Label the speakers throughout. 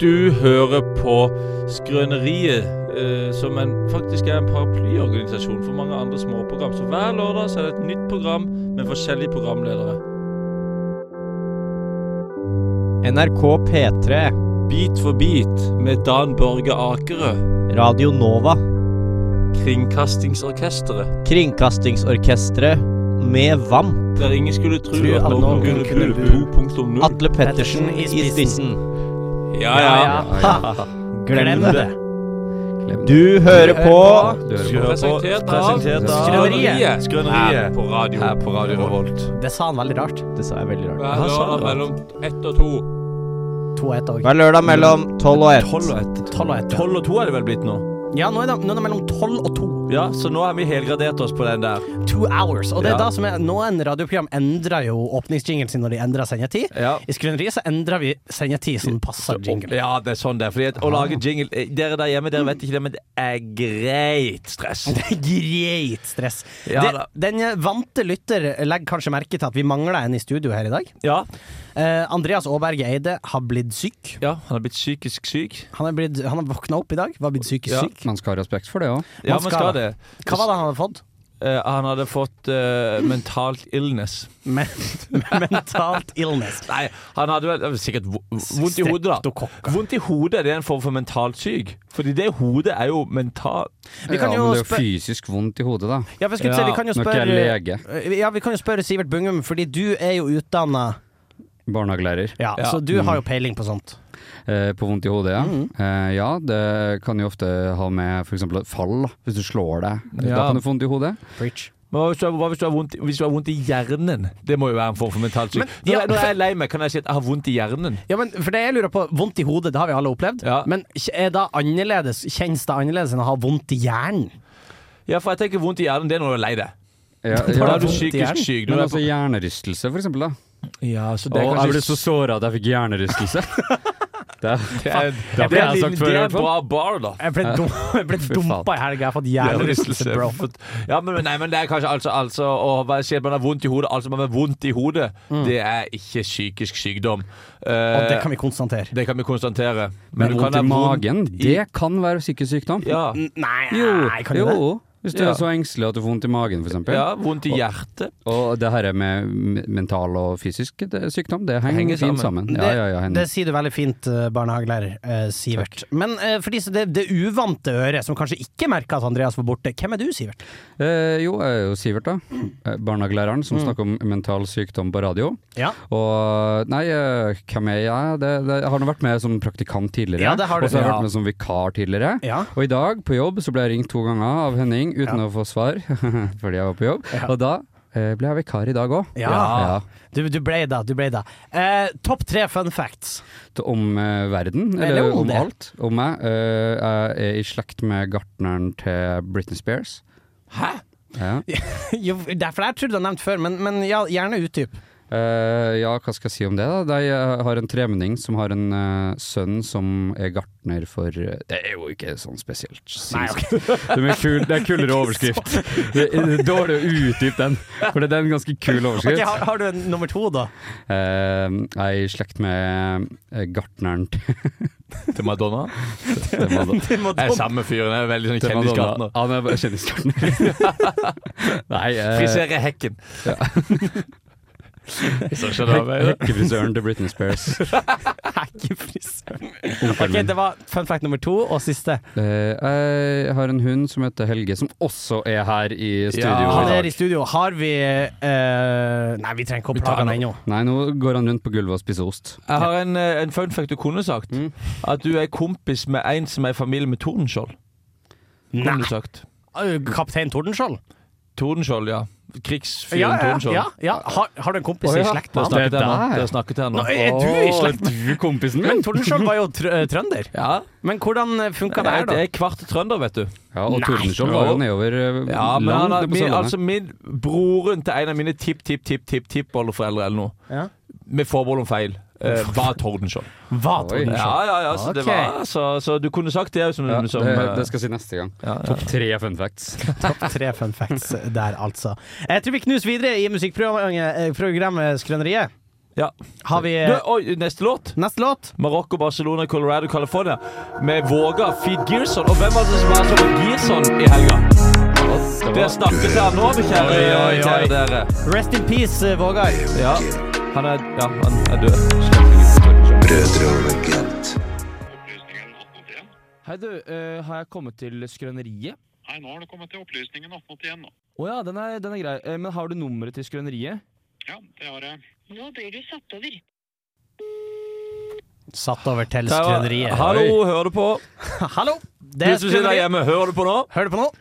Speaker 1: Du hører på Skrøneriet, eh, som en, faktisk er en paraplyorganisasjon for mange andre småprogram. Så hver lørdag så er det et nytt program med forskjellige programledere.
Speaker 2: NRK P3,
Speaker 1: Bit for bit med Dan Børge Akerø,
Speaker 2: Radio Nova,
Speaker 1: Kringkastingsorkesteret.
Speaker 2: Kringkastingsorkestret med VAM,
Speaker 1: Der ingen skulle tro
Speaker 2: Tro
Speaker 1: at
Speaker 2: at
Speaker 1: noen
Speaker 2: noen
Speaker 1: kunne
Speaker 2: kunne
Speaker 1: bo 2.0.
Speaker 2: Atle Pettersen i spissen.
Speaker 1: Ja, ja.
Speaker 2: Glem det. Du hører på
Speaker 1: Presentert av
Speaker 3: presentert av
Speaker 1: Skrøneriet. Her
Speaker 3: Skrøneriet.
Speaker 1: på radio.
Speaker 3: her på Radio Revolt.
Speaker 4: Det sa han veldig rart.
Speaker 2: Det sa jeg veldig rart.
Speaker 1: Hver lørdag mellom ett og to.
Speaker 4: To og ett òg.
Speaker 2: Hver lørdag mellom 12 og 1.
Speaker 3: 12 og 1.
Speaker 4: Tolv og ett. ja.
Speaker 3: 12 og 2 er det vel blitt nå?
Speaker 4: Ja, nå er, det, nå er det mellom tolv og to.
Speaker 3: Ja, så nå har vi helgradert oss på den der.
Speaker 4: Two hours. Og det er
Speaker 3: Ja.
Speaker 4: da som er Noen radioprogram endrer jo åpningsjingelen sin når de endrer sendetid.
Speaker 3: Ja.
Speaker 4: I Skrøneriet så endrer vi sendetid som passer jingelen.
Speaker 3: Ja, det er sånn det er. Fordi at å lage jingle eh, Dere der hjemme, dere vet ikke det, men det er greit stress.
Speaker 4: Det er greit stress.
Speaker 3: Ja
Speaker 4: det,
Speaker 3: da.
Speaker 4: den eh, vante lytter legger kanskje merke til at vi mangler en i studio her i dag.
Speaker 3: Ja,
Speaker 4: Eh, Andreas Aaberge Eide har blitt syk.
Speaker 3: ja han har blitt psykisk syk.
Speaker 4: Han er, blitt, han er våkna opp i dag, var blitt psykisk
Speaker 3: Ja.
Speaker 4: syk.
Speaker 5: Man skal ha respekt for det òg.
Speaker 3: Ja,
Speaker 4: Man
Speaker 3: man
Speaker 4: skal
Speaker 3: skal det.
Speaker 4: Hva var det han hadde fått?
Speaker 3: Eh, han hadde fått eh, mentalt illness.
Speaker 4: Men, mentalt illness.
Speaker 3: Nei, han hadde vel eh, sikkert vo- vondt i hodet, da.
Speaker 4: Streptokokka.
Speaker 3: Vondt i hodet det er en form for mentalt syk. Fordi det hodet er jo mental...
Speaker 4: Vi kan
Speaker 5: ja,
Speaker 4: jo
Speaker 5: men det er jo
Speaker 4: spør-
Speaker 5: fysisk vondt i hodet, da.
Speaker 4: Ja, for jeg skulle
Speaker 3: Ja,
Speaker 4: si, vi kan jo
Speaker 5: Når ikke jeg er
Speaker 4: spørre
Speaker 5: lege,
Speaker 4: Ja, vi kan jo spørre Sivert Bungum, fordi du er jo utdanna
Speaker 5: barnehagelærer,
Speaker 4: ja,
Speaker 3: Ja.
Speaker 4: Så du har jo peiling på sånt.
Speaker 5: eh, på vondt i hodet, ja.
Speaker 4: Mm.
Speaker 5: Eh, ja, det kan jo ofte ha med f.eks. et fall, da. hvis du slår deg. Da
Speaker 3: Ja.
Speaker 5: kan du få vondt i hodet.
Speaker 4: Preach.
Speaker 3: Men hva hvis du har, hva hvis du har, vondt, hvis du har vondt i hjernen? Det må jo være en form for mental syk. Når,
Speaker 4: ja,
Speaker 3: jeg- når jeg er lei meg, kan jeg si at jeg har vondt i hjernen.
Speaker 4: Ja, men for det jeg lurer på Vondt i hodet, det har vi alle opplevd.
Speaker 3: Ja.
Speaker 4: Men er det annerledes, kjennes det annerledes enn å ha vondt i hjernen?
Speaker 3: Ja, for jeg tenker vondt i hjernen, det er når du er lei deg.
Speaker 5: Ja,
Speaker 3: Da
Speaker 5: ja.
Speaker 3: er du
Speaker 4: vondt i hjernen.
Speaker 3: psykisk syk. Du
Speaker 5: Men
Speaker 3: er
Speaker 5: altså hjernerystelse, for eksempel. Da.
Speaker 3: på- ja, så
Speaker 5: Å,
Speaker 3: det er
Speaker 5: jeg ble
Speaker 3: kanskje
Speaker 5: så såra at jeg fikk hjernerystelse. det,
Speaker 3: Det er,
Speaker 5: det har
Speaker 3: det er,
Speaker 5: jeg
Speaker 3: en
Speaker 5: sagt
Speaker 3: liten-
Speaker 5: før, i
Speaker 3: det er en
Speaker 5: hvert fall.
Speaker 3: bra bar, da.
Speaker 4: Jeg ble, dum, jeg ble dumpa i helga, jeg har fått hjernerystelse, bro.
Speaker 3: Ja, men, nei, men det er kanskje altså, altså å hva si at man har vondt i hodet. Altså man har vondt i hodet,
Speaker 5: Mm.
Speaker 3: det er ikke psykisk sykdom. Eh,
Speaker 4: Og det kan vi konstatere.
Speaker 3: det kan vi konstatere.
Speaker 5: Men
Speaker 3: du kan
Speaker 5: vondt i
Speaker 3: ha vondt
Speaker 5: magen,
Speaker 3: i-
Speaker 5: det kan være psykisk sykdom.
Speaker 3: Ja,
Speaker 4: N- Nei,
Speaker 5: Jo,
Speaker 4: kan du det?
Speaker 5: jo. Hvis du
Speaker 3: Ja.
Speaker 5: er så engstelig at du får vondt i magen, f.eks. eksempel
Speaker 3: ja, vondt i hjertet.
Speaker 5: Og det her med m- mental og fysisk det- sykdom, det henger,
Speaker 3: Henger
Speaker 5: fint
Speaker 3: sammen.
Speaker 5: sammen. Ja, ja, ja,
Speaker 4: Det
Speaker 5: Henning.
Speaker 4: sier du veldig fint, eh, barnehagelærer eh, Sivert. Men eh, for de som det, det uvante øret, som kanskje ikke merka at Andreas var borte, hvem er du, Sivert?
Speaker 5: Eh, jo, jeg er jo Sivert, da. Eh, Barnehagelæreren som
Speaker 4: Mm.
Speaker 5: snakker om mental sykdom på radio.
Speaker 4: Ja.
Speaker 5: Og nei, eh, hvem er jeg? Det, det, jeg har nå vært med som praktikant tidligere.
Speaker 4: Ja, det har du.
Speaker 5: Og så har jeg
Speaker 4: Ja.
Speaker 5: vært med som vikar tidligere.
Speaker 4: Ja.
Speaker 5: Og i dag, på jobb, så ble jeg ringt to ganger av Henning uten å få svar, fordi jeg var på jobb. Og da eh, ble jeg vikar i dag òg.
Speaker 4: Ja. Du, du ble da, du ble da. Eh, Topp tre fun facts.
Speaker 5: om eh, verden,
Speaker 4: Eller
Speaker 5: eller,
Speaker 4: om
Speaker 5: om
Speaker 4: det.
Speaker 5: alt. Om meg. Eh, jeg er i slekt med gartneren til Britney Spears.
Speaker 3: Hæ?
Speaker 5: Ja.
Speaker 4: jo, det er- for det her tror jeg du har nevnt før, men, men ja, gjerne utdyp.
Speaker 5: Eh, ja, hva skal jeg si om det? da? De eh, har en tremenning som har en eh, sønn som er gartner for eh, Det er jo ikke sånn spesielt.
Speaker 4: Nei,
Speaker 5: sinnssykt. det, er kul, det er kulere overskrift. Det er dårlig å utdype den, for det er en ganske kul overskrift.
Speaker 4: Ok, har, har du en nummer to, da?
Speaker 5: Eh, jeg er i slekt med eh, gartneren til
Speaker 3: Til Madonna?
Speaker 5: til Madonna.
Speaker 4: Du må
Speaker 3: Jeg er
Speaker 4: dumme.
Speaker 3: samme fyren. Jeg er veldig sånn
Speaker 5: Til Madonna.
Speaker 3: kjendisgartner.
Speaker 5: Han er bare kjendisgartner. Nei, eh,
Speaker 3: Friserer hekken. Så skjønner jeg meg.
Speaker 5: hekkefrisøren til Britney Spears.
Speaker 4: Hakkefrisøren.
Speaker 5: Onkelen
Speaker 4: Ok,
Speaker 5: min.
Speaker 4: det var fun fact nummer to, og siste.
Speaker 5: Eh, jeg har en hund som heter Helge, som også er her i studio.
Speaker 3: Ja,
Speaker 5: i
Speaker 4: Han
Speaker 5: dag.
Speaker 4: er i studio. Har vi eh, Nei, vi trenger ikke å
Speaker 3: tar
Speaker 4: plage han
Speaker 3: han
Speaker 4: ennå.
Speaker 5: Nei, nå går han rundt på gulvet og spiser ost.
Speaker 3: Jeg har en, eh, en fun fact du kunne sagt.
Speaker 5: Mm.
Speaker 3: At du er kompis med en som er i familie med Tordenskjold. Kunne
Speaker 4: Nei.
Speaker 3: du sagt.
Speaker 4: Eh, Kaptein Tordenskiold?
Speaker 3: Tordenskjold, ja. Krigsfyren
Speaker 4: Ja, ja,
Speaker 3: Tordenskjold.
Speaker 4: ja, ja. Har, har du en kompis
Speaker 3: Å,
Speaker 4: i
Speaker 3: ja.
Speaker 4: slekt
Speaker 3: Det
Speaker 4: med han?
Speaker 3: har snakket
Speaker 5: Det
Speaker 3: her
Speaker 5: er
Speaker 3: nå.
Speaker 5: der.
Speaker 3: Det har snakket her nå.
Speaker 4: Nå er du i
Speaker 5: Å,
Speaker 4: slekt
Speaker 5: du er kompisen
Speaker 4: Men Tordenskiold var jo trø eh, trønder.
Speaker 3: Ja,
Speaker 4: Men hvordan funka det
Speaker 3: jeg,
Speaker 4: her, da?
Speaker 3: jeg er kvart trønder, vet du.
Speaker 5: Ja, og
Speaker 4: Nei.
Speaker 5: Tordenskjold var jo nedover eh,
Speaker 3: Ja, men han
Speaker 5: land
Speaker 3: har,
Speaker 5: det på
Speaker 3: min,
Speaker 5: Sørlandet.
Speaker 3: altså min broren til en av mine tipp-tipp-tipp-tipp-tippoldeforeldre eller noe,
Speaker 4: Ja.
Speaker 3: med forbehold om feil, eh, var Tordenskjold.
Speaker 4: Hva, Tordenskjold?
Speaker 3: Ja, ja, ja, så, det
Speaker 4: Ok.
Speaker 3: var, så, så du kunne sagt det som,
Speaker 5: ja,
Speaker 3: som
Speaker 5: det,
Speaker 3: eh,
Speaker 5: det skal jeg si neste gang.
Speaker 3: ja, ja.
Speaker 5: Topp tre fun facts.
Speaker 4: Topp tre fun facts der, altså. Jeg tror vi knus videre i musikkprogrammet eh, programmet Skrøneriet.
Speaker 3: Ja.
Speaker 4: Har vi eh,
Speaker 3: Du, oi, neste låt.
Speaker 4: neste låt?
Speaker 3: Marokko, Barcelona, Colorado, California. Med Våga, Feed Gearson. Og hvem var det som var som Gearson i helga? Det snakkes her nå, vi kjære,
Speaker 4: Oi, oi, oi.
Speaker 3: kjære dere.
Speaker 4: Rest in peace, eh, Vågar.
Speaker 3: Ja, han er, ja, han er død.
Speaker 6: Brødre og legend.
Speaker 7: Hei du, eh, har jeg kommet til Skrøneriet?
Speaker 8: Nei, nå har du kommet til opplysningen 1881 nå.
Speaker 7: Å ja, den er, den er grei. Eh, men har du nummeret til Skrøneriet?
Speaker 8: Ja, det har jeg.
Speaker 9: Nå blir du satt over.
Speaker 4: Satt over til
Speaker 3: Der var-
Speaker 4: skrøneriet.
Speaker 3: Hallo, hører du på?
Speaker 4: Hallo! Det
Speaker 3: Du
Speaker 4: er
Speaker 3: som sitter der
Speaker 4: skrøneriet.
Speaker 3: hjemme, hører du på nå?
Speaker 4: Hør du på nå?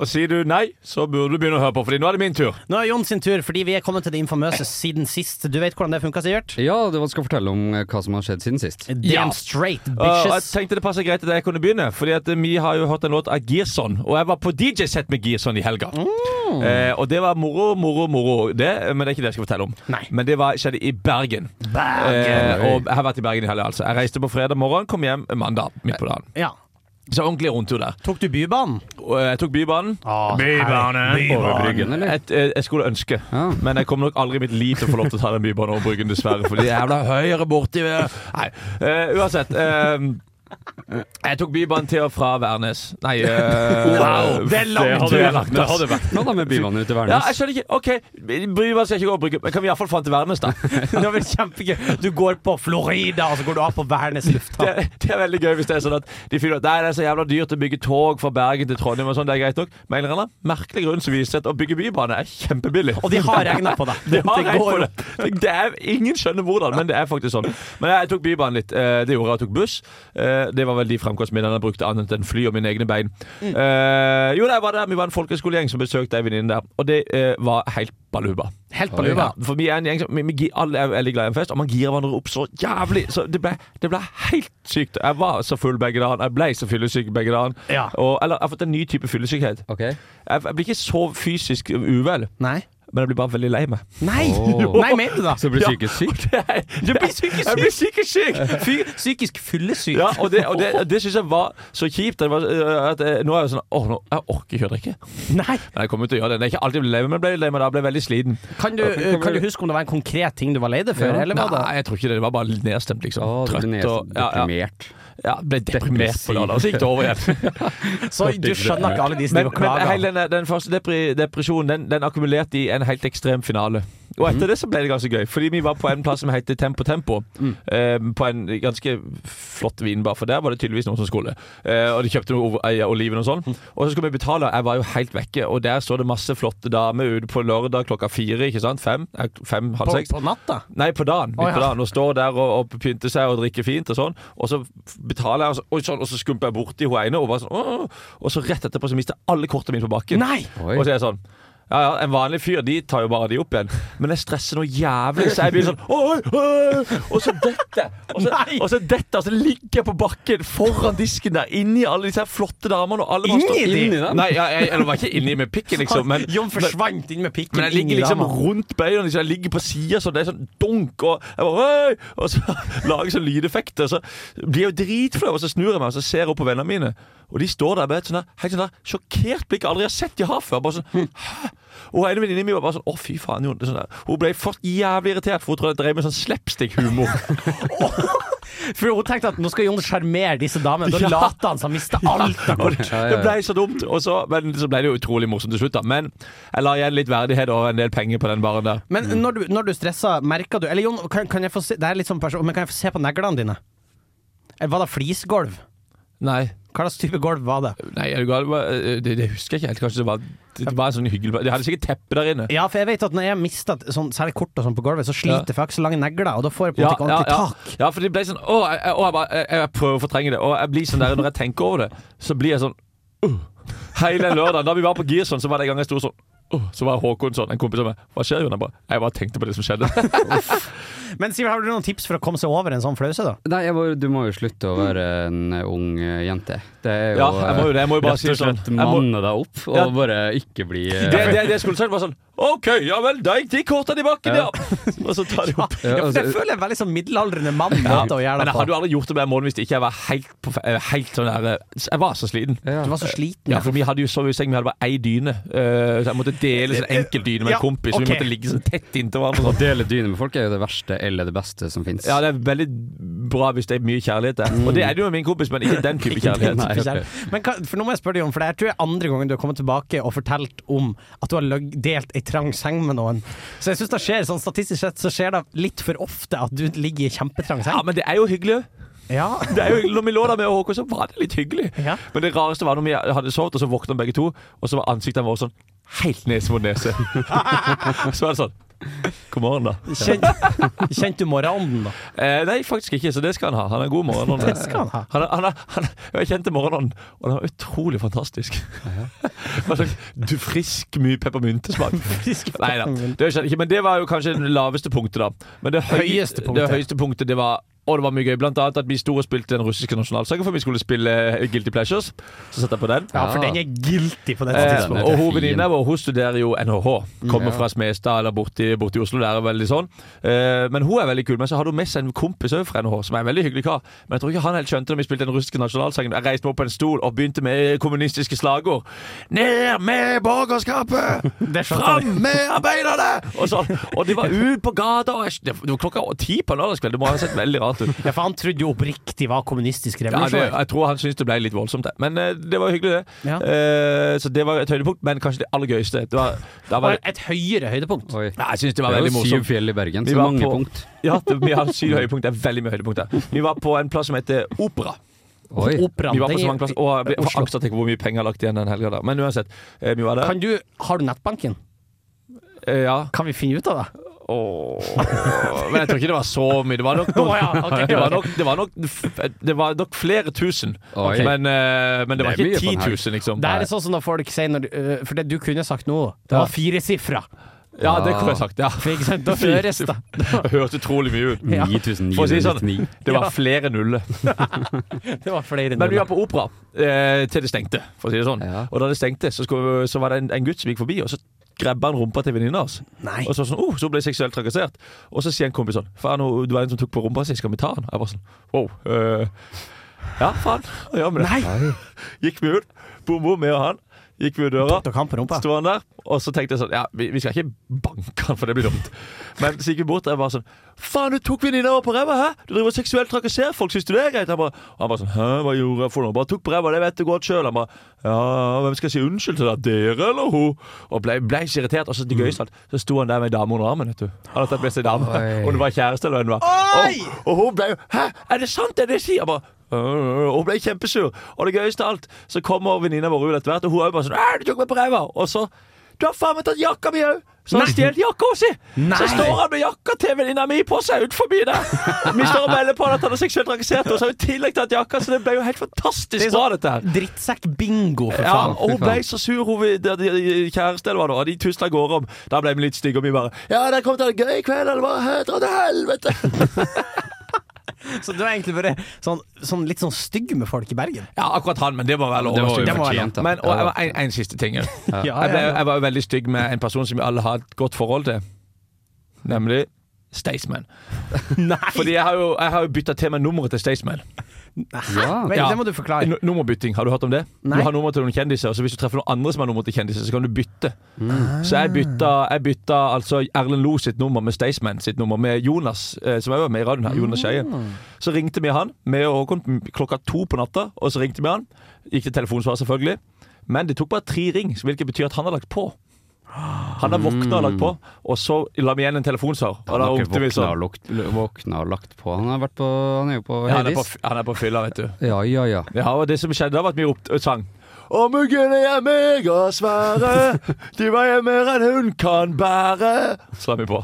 Speaker 3: Og sier du nei, så burde du begynne å høre på, Fordi nå er det min tur.
Speaker 4: Nå er Jon sin tur, fordi vi er kommet til det infamøse siden sist. Du vet hvordan det funka, Sivert?
Speaker 5: Ja, du skal fortelle om eh, hva som har skjedd siden sist.
Speaker 4: Damn
Speaker 3: Ja.
Speaker 4: straight,
Speaker 3: Og jeg
Speaker 4: bitches.
Speaker 3: tenkte det passer greit at jeg kunne begynne, Fordi at eh, vi har jo hørt en låt av Gearson. Og jeg var på DJ-sett med Gearson i helga.
Speaker 4: Mm.
Speaker 3: Eh, og det var moro, moro, moro, det. Men det er ikke det jeg skal fortelle om.
Speaker 4: Nei.
Speaker 3: Men det var, skjedde i Bergen. Eh, og jeg har vært i Bergen i helga, altså. Jeg reiste på fredag morgen, kom hjem mandag midt på dagen.
Speaker 4: ja.
Speaker 3: Så ordentlig rundtur der.
Speaker 4: Tok du Bybanen?
Speaker 3: Og eh, jeg tok Bybanen.
Speaker 5: Over Bryggen, eller?
Speaker 3: Et, eh, jeg skulle ønske,
Speaker 5: Ja.
Speaker 3: men jeg kommer nok aldri i mitt liv til å få lov til å ta den Bybanen over Bryggen, dessverre. For de er jævla høyere borti ved- Nei. Eh, uansett. eh, jeg tok Bybanen til og fra Værnes. Nei eh, Wow! Det er langt! Det hadde, det hadde vært
Speaker 5: Hva da med byvannet ute i
Speaker 3: ja, jeg
Speaker 5: Værnes?
Speaker 3: skjønner ikke. OK, Bybanen skal jeg ikke gå og bruke, men kan vi iallfall fram til Værnes, da?
Speaker 4: Det var vel kjempegøy. Du går på Florida, og så går du av på Værnes lufthavn.
Speaker 3: det, det er veldig gøy hvis det er sånn at de finner ut Nei, det er så jævla dyrt å bygge tog fra Bergen til Trondheim og sånn, det er greit nok. Men en eller annen merkelig grunn så viser det at å bygge bybane er kjempebillig.
Speaker 4: Og de har regna på deg.
Speaker 3: Det har jeg
Speaker 4: går
Speaker 3: for
Speaker 4: jo.
Speaker 3: det. det er, ingen skjønner hvordan, men det er faktisk sånn. Men jeg tok Bybanen litt. Eh, Det gjorde jeg. Jeg tok buss. Eh, Det var vel de fremkomstmidlene jeg brukte, annet enn fly og mine egne bein.
Speaker 4: Mm.
Speaker 3: Eh, Jo, da, jeg var der. Vi var en folkeskolegjeng som besøkte ei venninne der, og det eh, var helt baluba.
Speaker 4: Helt på luva.
Speaker 3: For vi er en gjeng som vi, vi, gi- Alle er veldig glad i en fest, og man girer hverandre opp så jævlig. Så det ble, det ble helt sykt. Jeg var så full begge dager. Jeg ble så fyllesyk begge dager.
Speaker 4: Ja.
Speaker 3: Og, eller jeg har fått en ny type fyllesykhet.
Speaker 5: Ok.
Speaker 3: Jeg, jeg blir ikke så fysisk uvel,
Speaker 4: Nei.
Speaker 3: men jeg blir bare veldig lei meg.
Speaker 4: Nei!
Speaker 5: Åh.
Speaker 4: Nei, mener du det?
Speaker 5: Så blir
Speaker 3: Ja.
Speaker 5: psykisk syk?
Speaker 3: Jeg blir psykisk syk!
Speaker 4: Fy, psykisk fyllesyk.
Speaker 3: Ja, og det, og det, det syns jeg var så kjipt. Det var, øh, at, jeg- nå er jeg sånn Åh, nå, jeg orker ikke å drikke.
Speaker 4: Nei.
Speaker 3: Men jeg kommer til å gjøre det. Det er ikke alltid jeg blir lei meg, men jeg ble lei meg da. Jeg ble veldig sliten.
Speaker 4: Kan du, kan du huske om det var en konkret ting du var lei deg for,
Speaker 5: Ja.
Speaker 4: eller var det
Speaker 3: Nei, jeg tror ikke det. Det var bare litt nedstemt, liksom.
Speaker 5: Å, du
Speaker 3: Trøtt
Speaker 5: blir
Speaker 3: og
Speaker 5: nesten
Speaker 3: ja, ja.
Speaker 5: deprimert.
Speaker 3: Ja, ble deprimert på lørdag, og så gikk det over igjen.
Speaker 4: Så du skjønner ikke alle de som
Speaker 3: Men,
Speaker 4: driver og
Speaker 3: men
Speaker 4: klager?
Speaker 3: hele den, den første depri, depresjonen den, den akkumulerte i en helt ekstrem finale. Og etter det så ble det ganske gøy, fordi vi var på en plass som heter Tempo Tempo. eh, på en ganske flott vinbar, for der var det tydeligvis noen som skulle. Eh, og de kjøpte noe ov- ei- oliven og sånn. Og så skulle vi betale, og jeg var jo helt vekke. Og der så det masse flotte damer ute på lørdag klokka fire, ikke sant? Fem? Eh, Fem, halv
Speaker 4: På,
Speaker 3: seks?
Speaker 4: på natta?
Speaker 3: Nei, på dagen. Midt
Speaker 4: Å, ja.
Speaker 3: på dagen. Og står der og, og pynter seg og drikker fint og sånn. Og så betaler jeg, og så, oi, sånn, og så skumper jeg borti hun ene, og bare sånn «Åh!» Og så rett etterpå så mister jeg alle kortene mine på bakken.
Speaker 4: Nei!
Speaker 5: Oi.
Speaker 3: Og så er jeg sånn ja, ja, En vanlig fyr de tar jo bare de opp igjen. Men jeg stresser noe jævlig, så jeg blir sånn oi, oi, Og så dette! Og så,
Speaker 4: Nei!
Speaker 3: og så dette, og så ligger jeg på bakken foran disken der, inni alle disse her flotte damene. Og alle bare står-
Speaker 4: Inni de?
Speaker 5: Inni dem?
Speaker 3: Nei, ja, jeg, eller var ikke inni med pikken, liksom. Men,
Speaker 4: Jon forsvant inn med pikken
Speaker 3: men jeg ligger liksom rundt beina, liksom. jeg ligger på sida, så det er sånn dunk, og jeg bare Oi! Og så lager jeg sånn lydeffekter, og så blir jeg jo dritflau, og så snur jeg meg og så ser jeg opp på vennene mine, og de står der med et sånn der, helt sånn der sjokkert blikk jeg aldri har sett de har før. Bare sånn Hæ? Og en venninne mi var bare sånn Å, fy faen, Jon. det er Sånn der. Hun ble først jævlig irritert, for hun trodde jeg drev med sånn slapstick-humor.
Speaker 4: For hun tenkte at nå skal Jon sjarmere disse damene. Da
Speaker 3: Ja.
Speaker 4: later han som han mister alt. av
Speaker 3: Og
Speaker 4: kort.
Speaker 3: det
Speaker 5: Ja, ja, ja.
Speaker 3: det ble så dumt. Og så, men så ble det jo utrolig morsomt til slutt, da. Men jeg la igjen litt verdighet og en del penger på den baren der.
Speaker 4: Men når du, når du stresser, merker du Eller Jon, kan, kan jeg få se, det er litt sånn person, men kan jeg få se på neglene dine? Eller var det flisgolv?
Speaker 3: Nei.
Speaker 4: Hva slags type gulv var det?
Speaker 3: Nei, er du gal? Hva- eh, Det, det husker jeg ikke helt. Kanskje det var, det var en sånn hyggelig De hadde sikkert teppe der inne.
Speaker 4: Ja, for jeg vet at når jeg mister sånn, særlig kort og sånn på gulvet, så sliter jeg for jeg har ikke så lange negler, og da får jeg på en måte ikke ordentlig
Speaker 3: ja.
Speaker 4: tak.
Speaker 3: ja, for det ble sånn Å, jeg, å, jeg, bare, jeg, jeg prøver å fortrenge det. Og jeg blir sånn der når jeg tenker over det, så blir jeg sånn «Åh». Hele lørdagen. Da vi var på Girson, så var det en gang jeg sto sånn «Åh», Så var Håkon sånn, en kompis av meg. Hva skjer, Jon? Jeg bare Jeg bare tenkte på det som skjedde.
Speaker 4: Men Sivert, har du noen tips for å komme seg over en sånn flause, da?
Speaker 5: Nei, jeg bare, du må jo slutte å være en ung eh, jente. Det er jo
Speaker 3: Ja, jeg må jo det. Jeg må jo bare
Speaker 5: rett
Speaker 3: si
Speaker 5: og
Speaker 3: sånn.
Speaker 5: slett
Speaker 3: Jeg må,
Speaker 5: manne deg opp,
Speaker 3: Ja.
Speaker 5: og bare ikke bli eh,
Speaker 3: det, det, det jeg skulle sagt, var sånn OK, ja vel, da gikk de kortene i bakken, ja. Og så tar de opp.
Speaker 4: for
Speaker 5: Ja,
Speaker 4: det
Speaker 5: altså,
Speaker 4: føler jeg er en veldig sånn middelaldrende mann-måte å gjøre
Speaker 3: Men
Speaker 4: det
Speaker 3: jeg hadde
Speaker 4: på.
Speaker 3: jo aldri gjort det med en måned hvis ikke jeg var helt, på, fe- eh, helt sånn der eh, Jeg var så sliten.
Speaker 5: ja.
Speaker 4: Du var så sliten.
Speaker 3: Ja, for vi hadde jo sovet i seng, vi hadde bare ei dyne. Eh, så jeg måtte dele sånn enkel dyne med en
Speaker 4: Ja,
Speaker 3: kompis. Så
Speaker 4: ok.
Speaker 3: vi måtte ligge sånn tett inntil hverandre.
Speaker 5: Å
Speaker 3: Sånn.
Speaker 5: dele dyne med folk er jo det verste eller det beste som fins.
Speaker 3: Ja, det er veldig bra hvis det er mye kjærlighet der. Og det er det jo med min kompis, men ikke den type kjærlighet.
Speaker 5: Nei, ok.
Speaker 4: Men hva, for nå må jeg spørre deg om, for jeg tror det er andre gangen du har kommet tilbake og fortalt om at du har løgg, delt ei trang seng med noen. Så jeg synes det skjer, sånn statistisk sett, så skjer det litt for ofte at du ligger i kjempetrang
Speaker 3: Ja,
Speaker 4: seng.
Speaker 3: men det er jo hyggelig.
Speaker 4: Ja.
Speaker 3: Det er jo, hyggelig. når vi lå der med Håkon, så var det litt hyggelig.
Speaker 4: Ja.
Speaker 3: Men det rareste var når vi hadde sovet, og så våkna begge to, og så var ansiktene våre sånn helt nese mot nese. så var det sånn God morgen, da.
Speaker 4: Kjent, kjent du morgenånden, da?
Speaker 3: Eh, nei, faktisk ikke, så det skal han ha. Han er en god morgenånd.
Speaker 4: Det skal han ha.
Speaker 3: Han, er- han, er- han, er- jeg kjente morgenånden, og den var utrolig fantastisk. Hva slags du frisk mye peppermyntesmak. Nei da, det skjedde ikke. Men det var jo kanskje det laveste punktet, da. Men det høy-
Speaker 4: Høyeste punktet.
Speaker 3: Det høyeste punktet, det var og det var mye gøy, Blant annet at vi sto og spilte den russiske nasjonalsangen, for vi skulle spille Guilty Pleasures. Så satte jeg på den.
Speaker 4: Ja, for den er guilty på dette
Speaker 3: Eh,
Speaker 4: tidspunktet.
Speaker 3: og hun
Speaker 5: fin.
Speaker 3: venninna vår hun studerer jo NHH. Kommer
Speaker 5: Ja.
Speaker 3: fra Smestad eller borti, borti Oslo. Der er veldig sånn eh, Men hun er veldig kul. Men så har hun med seg en kompis også fra NHH, som er en veldig hyggelig kar. Men jeg tror ikke han helt skjønte når vi spilte den russiske nasjonalsangen. Jeg reiste meg opp på en stol og begynte med kommunistiske slagord. Ned med borgerskapet!
Speaker 4: Det sånn skjønte
Speaker 3: Fram med arbeiderne! Og, sånn. og de var ute på gata. Og jeg, det var klokka ti på en lørdagskveld. Det må ha sett veldig rart ut.
Speaker 4: Ja, for han trodde jo oppriktig var kommunistisk
Speaker 3: Ja, det,
Speaker 4: revolusjon.
Speaker 3: jeg tror han syntes det ble litt voldsomt, det. Men eh, det var hyggelig, det.
Speaker 4: Ja.
Speaker 3: Eh, så det var et høydepunkt, men kanskje det aller gøyeste. Det var, da var
Speaker 4: Og et høyere høydepunkt.
Speaker 5: Oi.
Speaker 3: Nei, jeg synes det
Speaker 5: Det
Speaker 3: var
Speaker 5: er
Speaker 3: veldig
Speaker 5: jo syv
Speaker 3: morsomt.
Speaker 5: fjell i Bergen,
Speaker 3: Vi
Speaker 5: så
Speaker 3: var
Speaker 5: mange
Speaker 3: på-
Speaker 5: punkt.
Speaker 3: Ja, det, vi har syv høydepunkt. Det er veldig mye høydepunkt der. Vi var på en plass som heter Opera.
Speaker 5: Oi.
Speaker 4: Operaen,
Speaker 3: Vi var på
Speaker 4: den
Speaker 3: så
Speaker 4: er-
Speaker 3: mange plasser Og jeg ble- jeg får angst at jeg ikke hvor mye penger jeg har lagt igjen den helga. da. Men uansett, eh, vi var der.
Speaker 4: Kan du, har du nettbanken?
Speaker 3: Eh, Ja.
Speaker 4: Kan vi finne ut av det?
Speaker 3: Åh. Men jeg tror ikke det var så mye. Det var nok,
Speaker 4: Å ja, ok,
Speaker 3: det
Speaker 4: ok.
Speaker 3: var nok, det var nok, det var nok flere tusen.
Speaker 5: Oi.
Speaker 3: Men, eh, men det var
Speaker 5: Det er
Speaker 3: ikke
Speaker 5: mye på en
Speaker 3: 10
Speaker 5: helg.
Speaker 3: 000, liksom.
Speaker 4: Det er sånn som når folk sier når, øh, For det du kunne sagt nå, det var firesifra.
Speaker 3: Ja, det kunne jeg sagt. Ja.
Speaker 4: For ikke sant, da høres det.
Speaker 3: Det hørtes utrolig mye ut.
Speaker 4: Ja.
Speaker 3: For å si det sånn,
Speaker 5: 9999.
Speaker 3: det var
Speaker 4: Ja.
Speaker 3: flere nuller.
Speaker 4: Det var flere
Speaker 3: Men vi
Speaker 4: nuller.
Speaker 3: var på opera eh, til det stengte, for å si det sånn.
Speaker 5: Ja.
Speaker 3: Og da det stengte, så, skulle, så var det en, en gutt som gikk forbi, og så grabba han rumpa til venninna hans.
Speaker 4: Nei.
Speaker 3: Og så, sånn, oh, så ble jeg seksuelt trakassert. Og så sier en kompis sånn Faen, hun- det var en som tok på rumpa si, skal vi ta han? Jeg bare sånn wow. eh, ja, faen. Hva gjør vi det? Gikk vi ut. Bom, bom, jeg og han. Gikk vi ut døra.
Speaker 4: Dere kan på rumpa.
Speaker 3: Sto han der, og så tenkte jeg sånn Ja, vi, vi skal ikke banke han, for det blir dumt. Men så gikk vi bort, og jeg bare sånn Faen, du tok venninna vår på ræva, hæ? Du driver og seksuelt trakasserer folk, syns du det er greit? Han bare, han bare sånn Hæ, hva gjorde jeg for noe? Bare tok på ræva, det vet du godt sjøl. Han bare Ja, hvem skal si unnskyld til deg? Dere eller hun? Og ble, ble så irritert. Og så det gøyeste var at så sto han der med ei dame under armen, vet du. Han hadde tatt med seg dame.
Speaker 5: Oi.
Speaker 3: Om det var kjæreste eller hva det var. Og, og hun ble jo Hæ, er det sant det de sier? Jeg bare og hun ble kjempesur. Og det gøyeste av alt, så kommer venninna vår ut etter hvert, og hun er jo bare sånn «Æ, 'Du tok meg på ræva!' Og så 'Du har faen meg tatt jakka mi òg!' Så han stjal jakka si! Så står han med jakka til venninna mi på seg ut forbi der. Vi står og melder på han at han er seksuelt trakassert, og så har hun i tillegg tatt jakka, så det ble jo helt fantastisk
Speaker 4: Det er
Speaker 3: bra,
Speaker 4: sånn-
Speaker 3: dette her.
Speaker 4: Drittsekk-bingo, for
Speaker 3: Ja,
Speaker 4: faen.
Speaker 3: og hun
Speaker 5: fy faen.
Speaker 3: ble så sur, hun de- de- de- kjæresten eller hva det var. De tusla av gårde om. Da ble vi litt stygge, og vi bare 'Ja, det kom til å ha en gøy kveld', eller hva? «Hæ, Dra til helvete!
Speaker 4: Så du er egentlig bare sånn, sånn litt sånn stygg med folk i Bergen.
Speaker 3: Ja, akkurat han, men det må være lov.
Speaker 5: Det
Speaker 3: å
Speaker 5: var
Speaker 3: stygge.
Speaker 5: jo
Speaker 4: må være
Speaker 5: fortjent, da.
Speaker 3: Men, og
Speaker 5: Ja,
Speaker 3: jeg var en, en siste ting. Jeg,
Speaker 4: Ah, Ja,
Speaker 3: jeg, ble,
Speaker 4: ja, ja.
Speaker 3: jeg var jo veldig stygg med en person som vi alle har et godt forhold til. Nemlig Staysman.
Speaker 4: Nei!
Speaker 3: Fordi jeg har jo, jeg har jo bytta til meg nummeret til Staysman.
Speaker 5: Ja.
Speaker 4: Vel,
Speaker 3: Ja.
Speaker 4: det må du forklare.
Speaker 3: Nu- Nummerbytting, har du hørt om det?
Speaker 4: Nei.
Speaker 3: Du har nummer til noen kjendiser, og så hvis du treffer noen andre som har nummer til kjendiser, så kan du bytte. Så jeg bytta, jeg bytta altså Erlend Lo sitt nummer med Staysman sitt nummer med Jonas, eh, som jeg var med i radioen her, Jonas Skeie. Så ringte vi han, meg og Håkon, m- klokka to på natta, og så ringte vi han. Gikk til telefonsvar, selvfølgelig. Men det tok bare tre ring, hvilket betyr at han har lagt på. Han har våkna og lagt på, og så la vi igjen en telefonsvar. Og
Speaker 5: Han
Speaker 3: da
Speaker 5: har ikke
Speaker 3: ropte vi
Speaker 5: våkna og,
Speaker 3: sånn.
Speaker 5: lukt- våkna og lagt på. Han, har vært på, han er jo på
Speaker 3: Ja, Han er på,
Speaker 5: Heidis.
Speaker 3: f- han er på fylla, vet du.
Speaker 5: Ja, ja, ja.
Speaker 3: Ja, og det som skjedde da var at vi ropte og sang Og muggene er megasvære De veier mer enn hun kan bære Så la vi på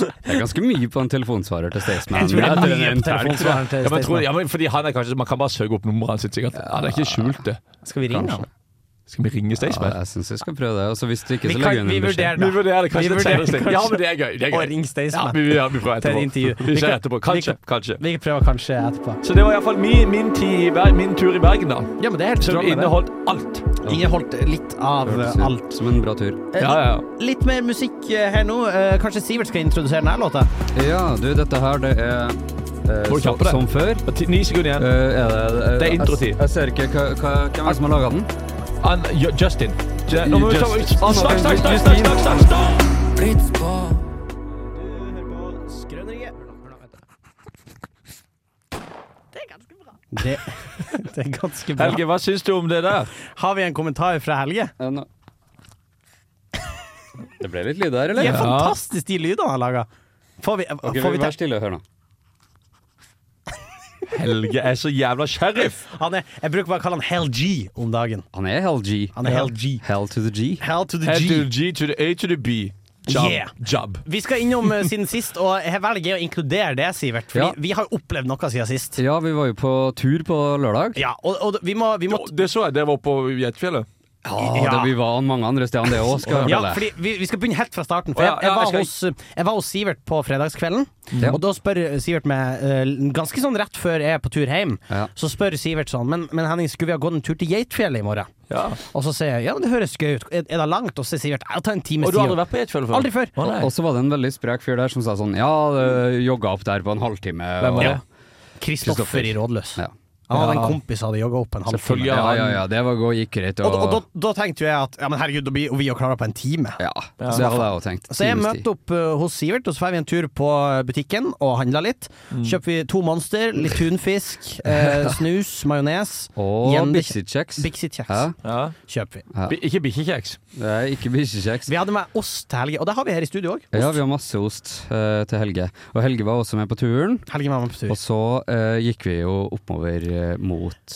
Speaker 5: Det er ganske mye på en telefonsvarer til Staysman.
Speaker 4: Jeg tror det
Speaker 5: Ja,
Speaker 4: er
Speaker 5: til den
Speaker 4: mye
Speaker 5: ene
Speaker 4: på
Speaker 5: telefon-
Speaker 4: telefonsvareren til
Speaker 3: ja, men, tror,
Speaker 4: Staysman.
Speaker 3: ja, men fordi han er kanskje Man kan bare søke opp nummeret hans sitt sikkert Han er ikke skjult det
Speaker 4: Skal vi ringe han?
Speaker 3: Skal vi ringe
Speaker 5: Ja,
Speaker 3: Staysman?
Speaker 5: jeg syns vi skal prøve det. Og så hvis det ikke,
Speaker 4: Vi,
Speaker 5: så
Speaker 4: kan,
Speaker 5: legger hun
Speaker 4: vi
Speaker 5: en beskjed.
Speaker 4: vurderer
Speaker 3: Vi
Speaker 4: det.
Speaker 3: vurderer det
Speaker 4: Vi
Speaker 3: kanskje et senere
Speaker 4: vurderer
Speaker 3: sted.
Speaker 4: kanskje
Speaker 3: Ja, men det er gøy, det er
Speaker 4: Og
Speaker 3: gøy.
Speaker 4: ring
Speaker 3: ja,
Speaker 4: Staysman.
Speaker 3: vi, ja, vi
Speaker 4: Til
Speaker 3: prøver
Speaker 4: et
Speaker 3: etterpå
Speaker 4: intervju.
Speaker 3: Vi
Speaker 4: Vi
Speaker 3: ser
Speaker 4: kan-
Speaker 3: etterpå,
Speaker 4: vi
Speaker 3: kanskje,
Speaker 4: kan-
Speaker 3: kanskje
Speaker 4: Vi prøver kanskje etterpå.
Speaker 3: Så det var i hvert fall min, min, tid i Ber- min tur i Bergen da
Speaker 4: Ja, men det er helt
Speaker 3: Som
Speaker 4: strålende.
Speaker 3: inneholdt alt
Speaker 4: Inneholdt litt av eh,
Speaker 5: Hørtes ut
Speaker 4: alt.
Speaker 5: Som en bra tur.
Speaker 4: Eh,
Speaker 3: Ja, ja.
Speaker 4: Litt mer musikk eh, her nå. Eh, Kanskje Sivert skal introdusere denne låta?
Speaker 5: Ja, du, dette her, det er eh,
Speaker 3: Må du
Speaker 5: så,
Speaker 3: kjappe deg?
Speaker 5: som før.
Speaker 3: Og ti- Ni sekunder
Speaker 5: Eh,
Speaker 3: igjen.
Speaker 5: er det, eh,
Speaker 3: Det er introtid.
Speaker 5: Jeg, jeg ser ikke hva, hva, hvem er det som har laga den.
Speaker 3: An, Ju- Justin. Ju- Nå må vi ta-
Speaker 5: Justin.
Speaker 3: Snakk, snakk, snakk, snakk, snakk, snakk, snakk!
Speaker 4: Det, det er ganske bra.
Speaker 3: Helge, hva syns du om det der?
Speaker 4: Har vi en kommentar fra Helge?
Speaker 5: Eh, nå- Det ble litt lyd her,
Speaker 4: Det
Speaker 5: eller?
Speaker 4: er fantastisk de lydene han lager. Får vi,
Speaker 5: Ok,
Speaker 4: får vi
Speaker 5: Vær
Speaker 4: til?
Speaker 5: stille og hør nå.
Speaker 3: Helge er så jævla sheriff.
Speaker 4: Han er, jeg bruker bare å kalle han Hell G om dagen.
Speaker 5: Han er Hell G.
Speaker 4: Han er Hell G.
Speaker 5: Hell to the G.
Speaker 4: Hell to the
Speaker 3: Head to
Speaker 4: G.
Speaker 3: the G to the A to the B. Job.
Speaker 4: Yeah.
Speaker 3: Job.
Speaker 4: Vi skal innom eh, siden sist, og jeg velger å inkludere det, Sivert. Fordi
Speaker 5: Ja.
Speaker 4: vi har jo opplevd noe siden sist.
Speaker 5: Ja, vi var jo på tur på lørdag.
Speaker 4: Ja, og, og vi må, vi må
Speaker 3: Jo, Det så jeg. Det var på Gjetfjellet.
Speaker 5: Ja, det vi var mange andre steder enn det òg, skal jeg
Speaker 4: Ja,
Speaker 5: fortelle.
Speaker 4: fordi vi, vi skal begynne helt fra starten. For
Speaker 3: Å
Speaker 4: jeg,
Speaker 3: ja,
Speaker 4: jeg,
Speaker 3: ja,
Speaker 4: var,
Speaker 3: jeg
Speaker 4: hos, jeg var hos Sivert på fredagskvelden,
Speaker 5: Ja.
Speaker 4: og da spør Sivert meg eh, ganske sånn rett før jeg er på tur hjem,
Speaker 5: Ja.
Speaker 4: så spør Sivert sånn Men, men Henning, skulle vi ha gått en tur til Geitfjellet i morgen?
Speaker 3: Ja.
Speaker 4: Og så sier jeg ja, men det høres gøy ut. Er, er det langt? Og så sier Sivert jeg tar en times
Speaker 3: Og du har
Speaker 4: tid.
Speaker 3: aldri vært på Gjetfjellet før?
Speaker 4: Aldri før.
Speaker 3: Å, nei.
Speaker 5: Og så var det en veldig sprek fyr der som sa sånn Ja, det jogga opp der på en halvtime.
Speaker 3: Hvem var
Speaker 5: og-
Speaker 3: det?
Speaker 4: Kristoffer i Rådløs.
Speaker 5: Ja.
Speaker 4: Han hadde en
Speaker 3: Ja.
Speaker 4: kompis som hadde jogga opp en halvtime.
Speaker 3: Selvfølgelig.
Speaker 5: Ja, ja, ja, det var gå, gikk greit.
Speaker 4: Og, og, da, da tenkte jo jeg at ja, men herregud, da blir jo vi jo klara på en time.
Speaker 5: ja, det hadde jeg òg tenkt.
Speaker 4: Så jeg
Speaker 5: Times tid.
Speaker 4: møtte opp eh, hos Sivert, og så får vi en tur på eh, butikken og handla litt.
Speaker 3: Mm.
Speaker 4: Kjøper vi to Monster, litt tunfisk, eh, snus, majones.
Speaker 5: Og
Speaker 4: Gjennom-
Speaker 5: bikkjekjeks.
Speaker 4: Bixie Kjeks
Speaker 5: Hæ?
Speaker 3: Ja.
Speaker 4: kjøper vi.
Speaker 3: Bi- Ikke bikkjekjeks.
Speaker 5: Det er ikke bikkjekjeks.
Speaker 4: Vi hadde med ost til helga, og det har vi her i studio òg.
Speaker 5: Ja, vi har masse ost eh, til Helge. Og Helge var også med på turen.
Speaker 4: Helge var med på tur.
Speaker 5: Og så eh, gikk vi jo oppover eh, mot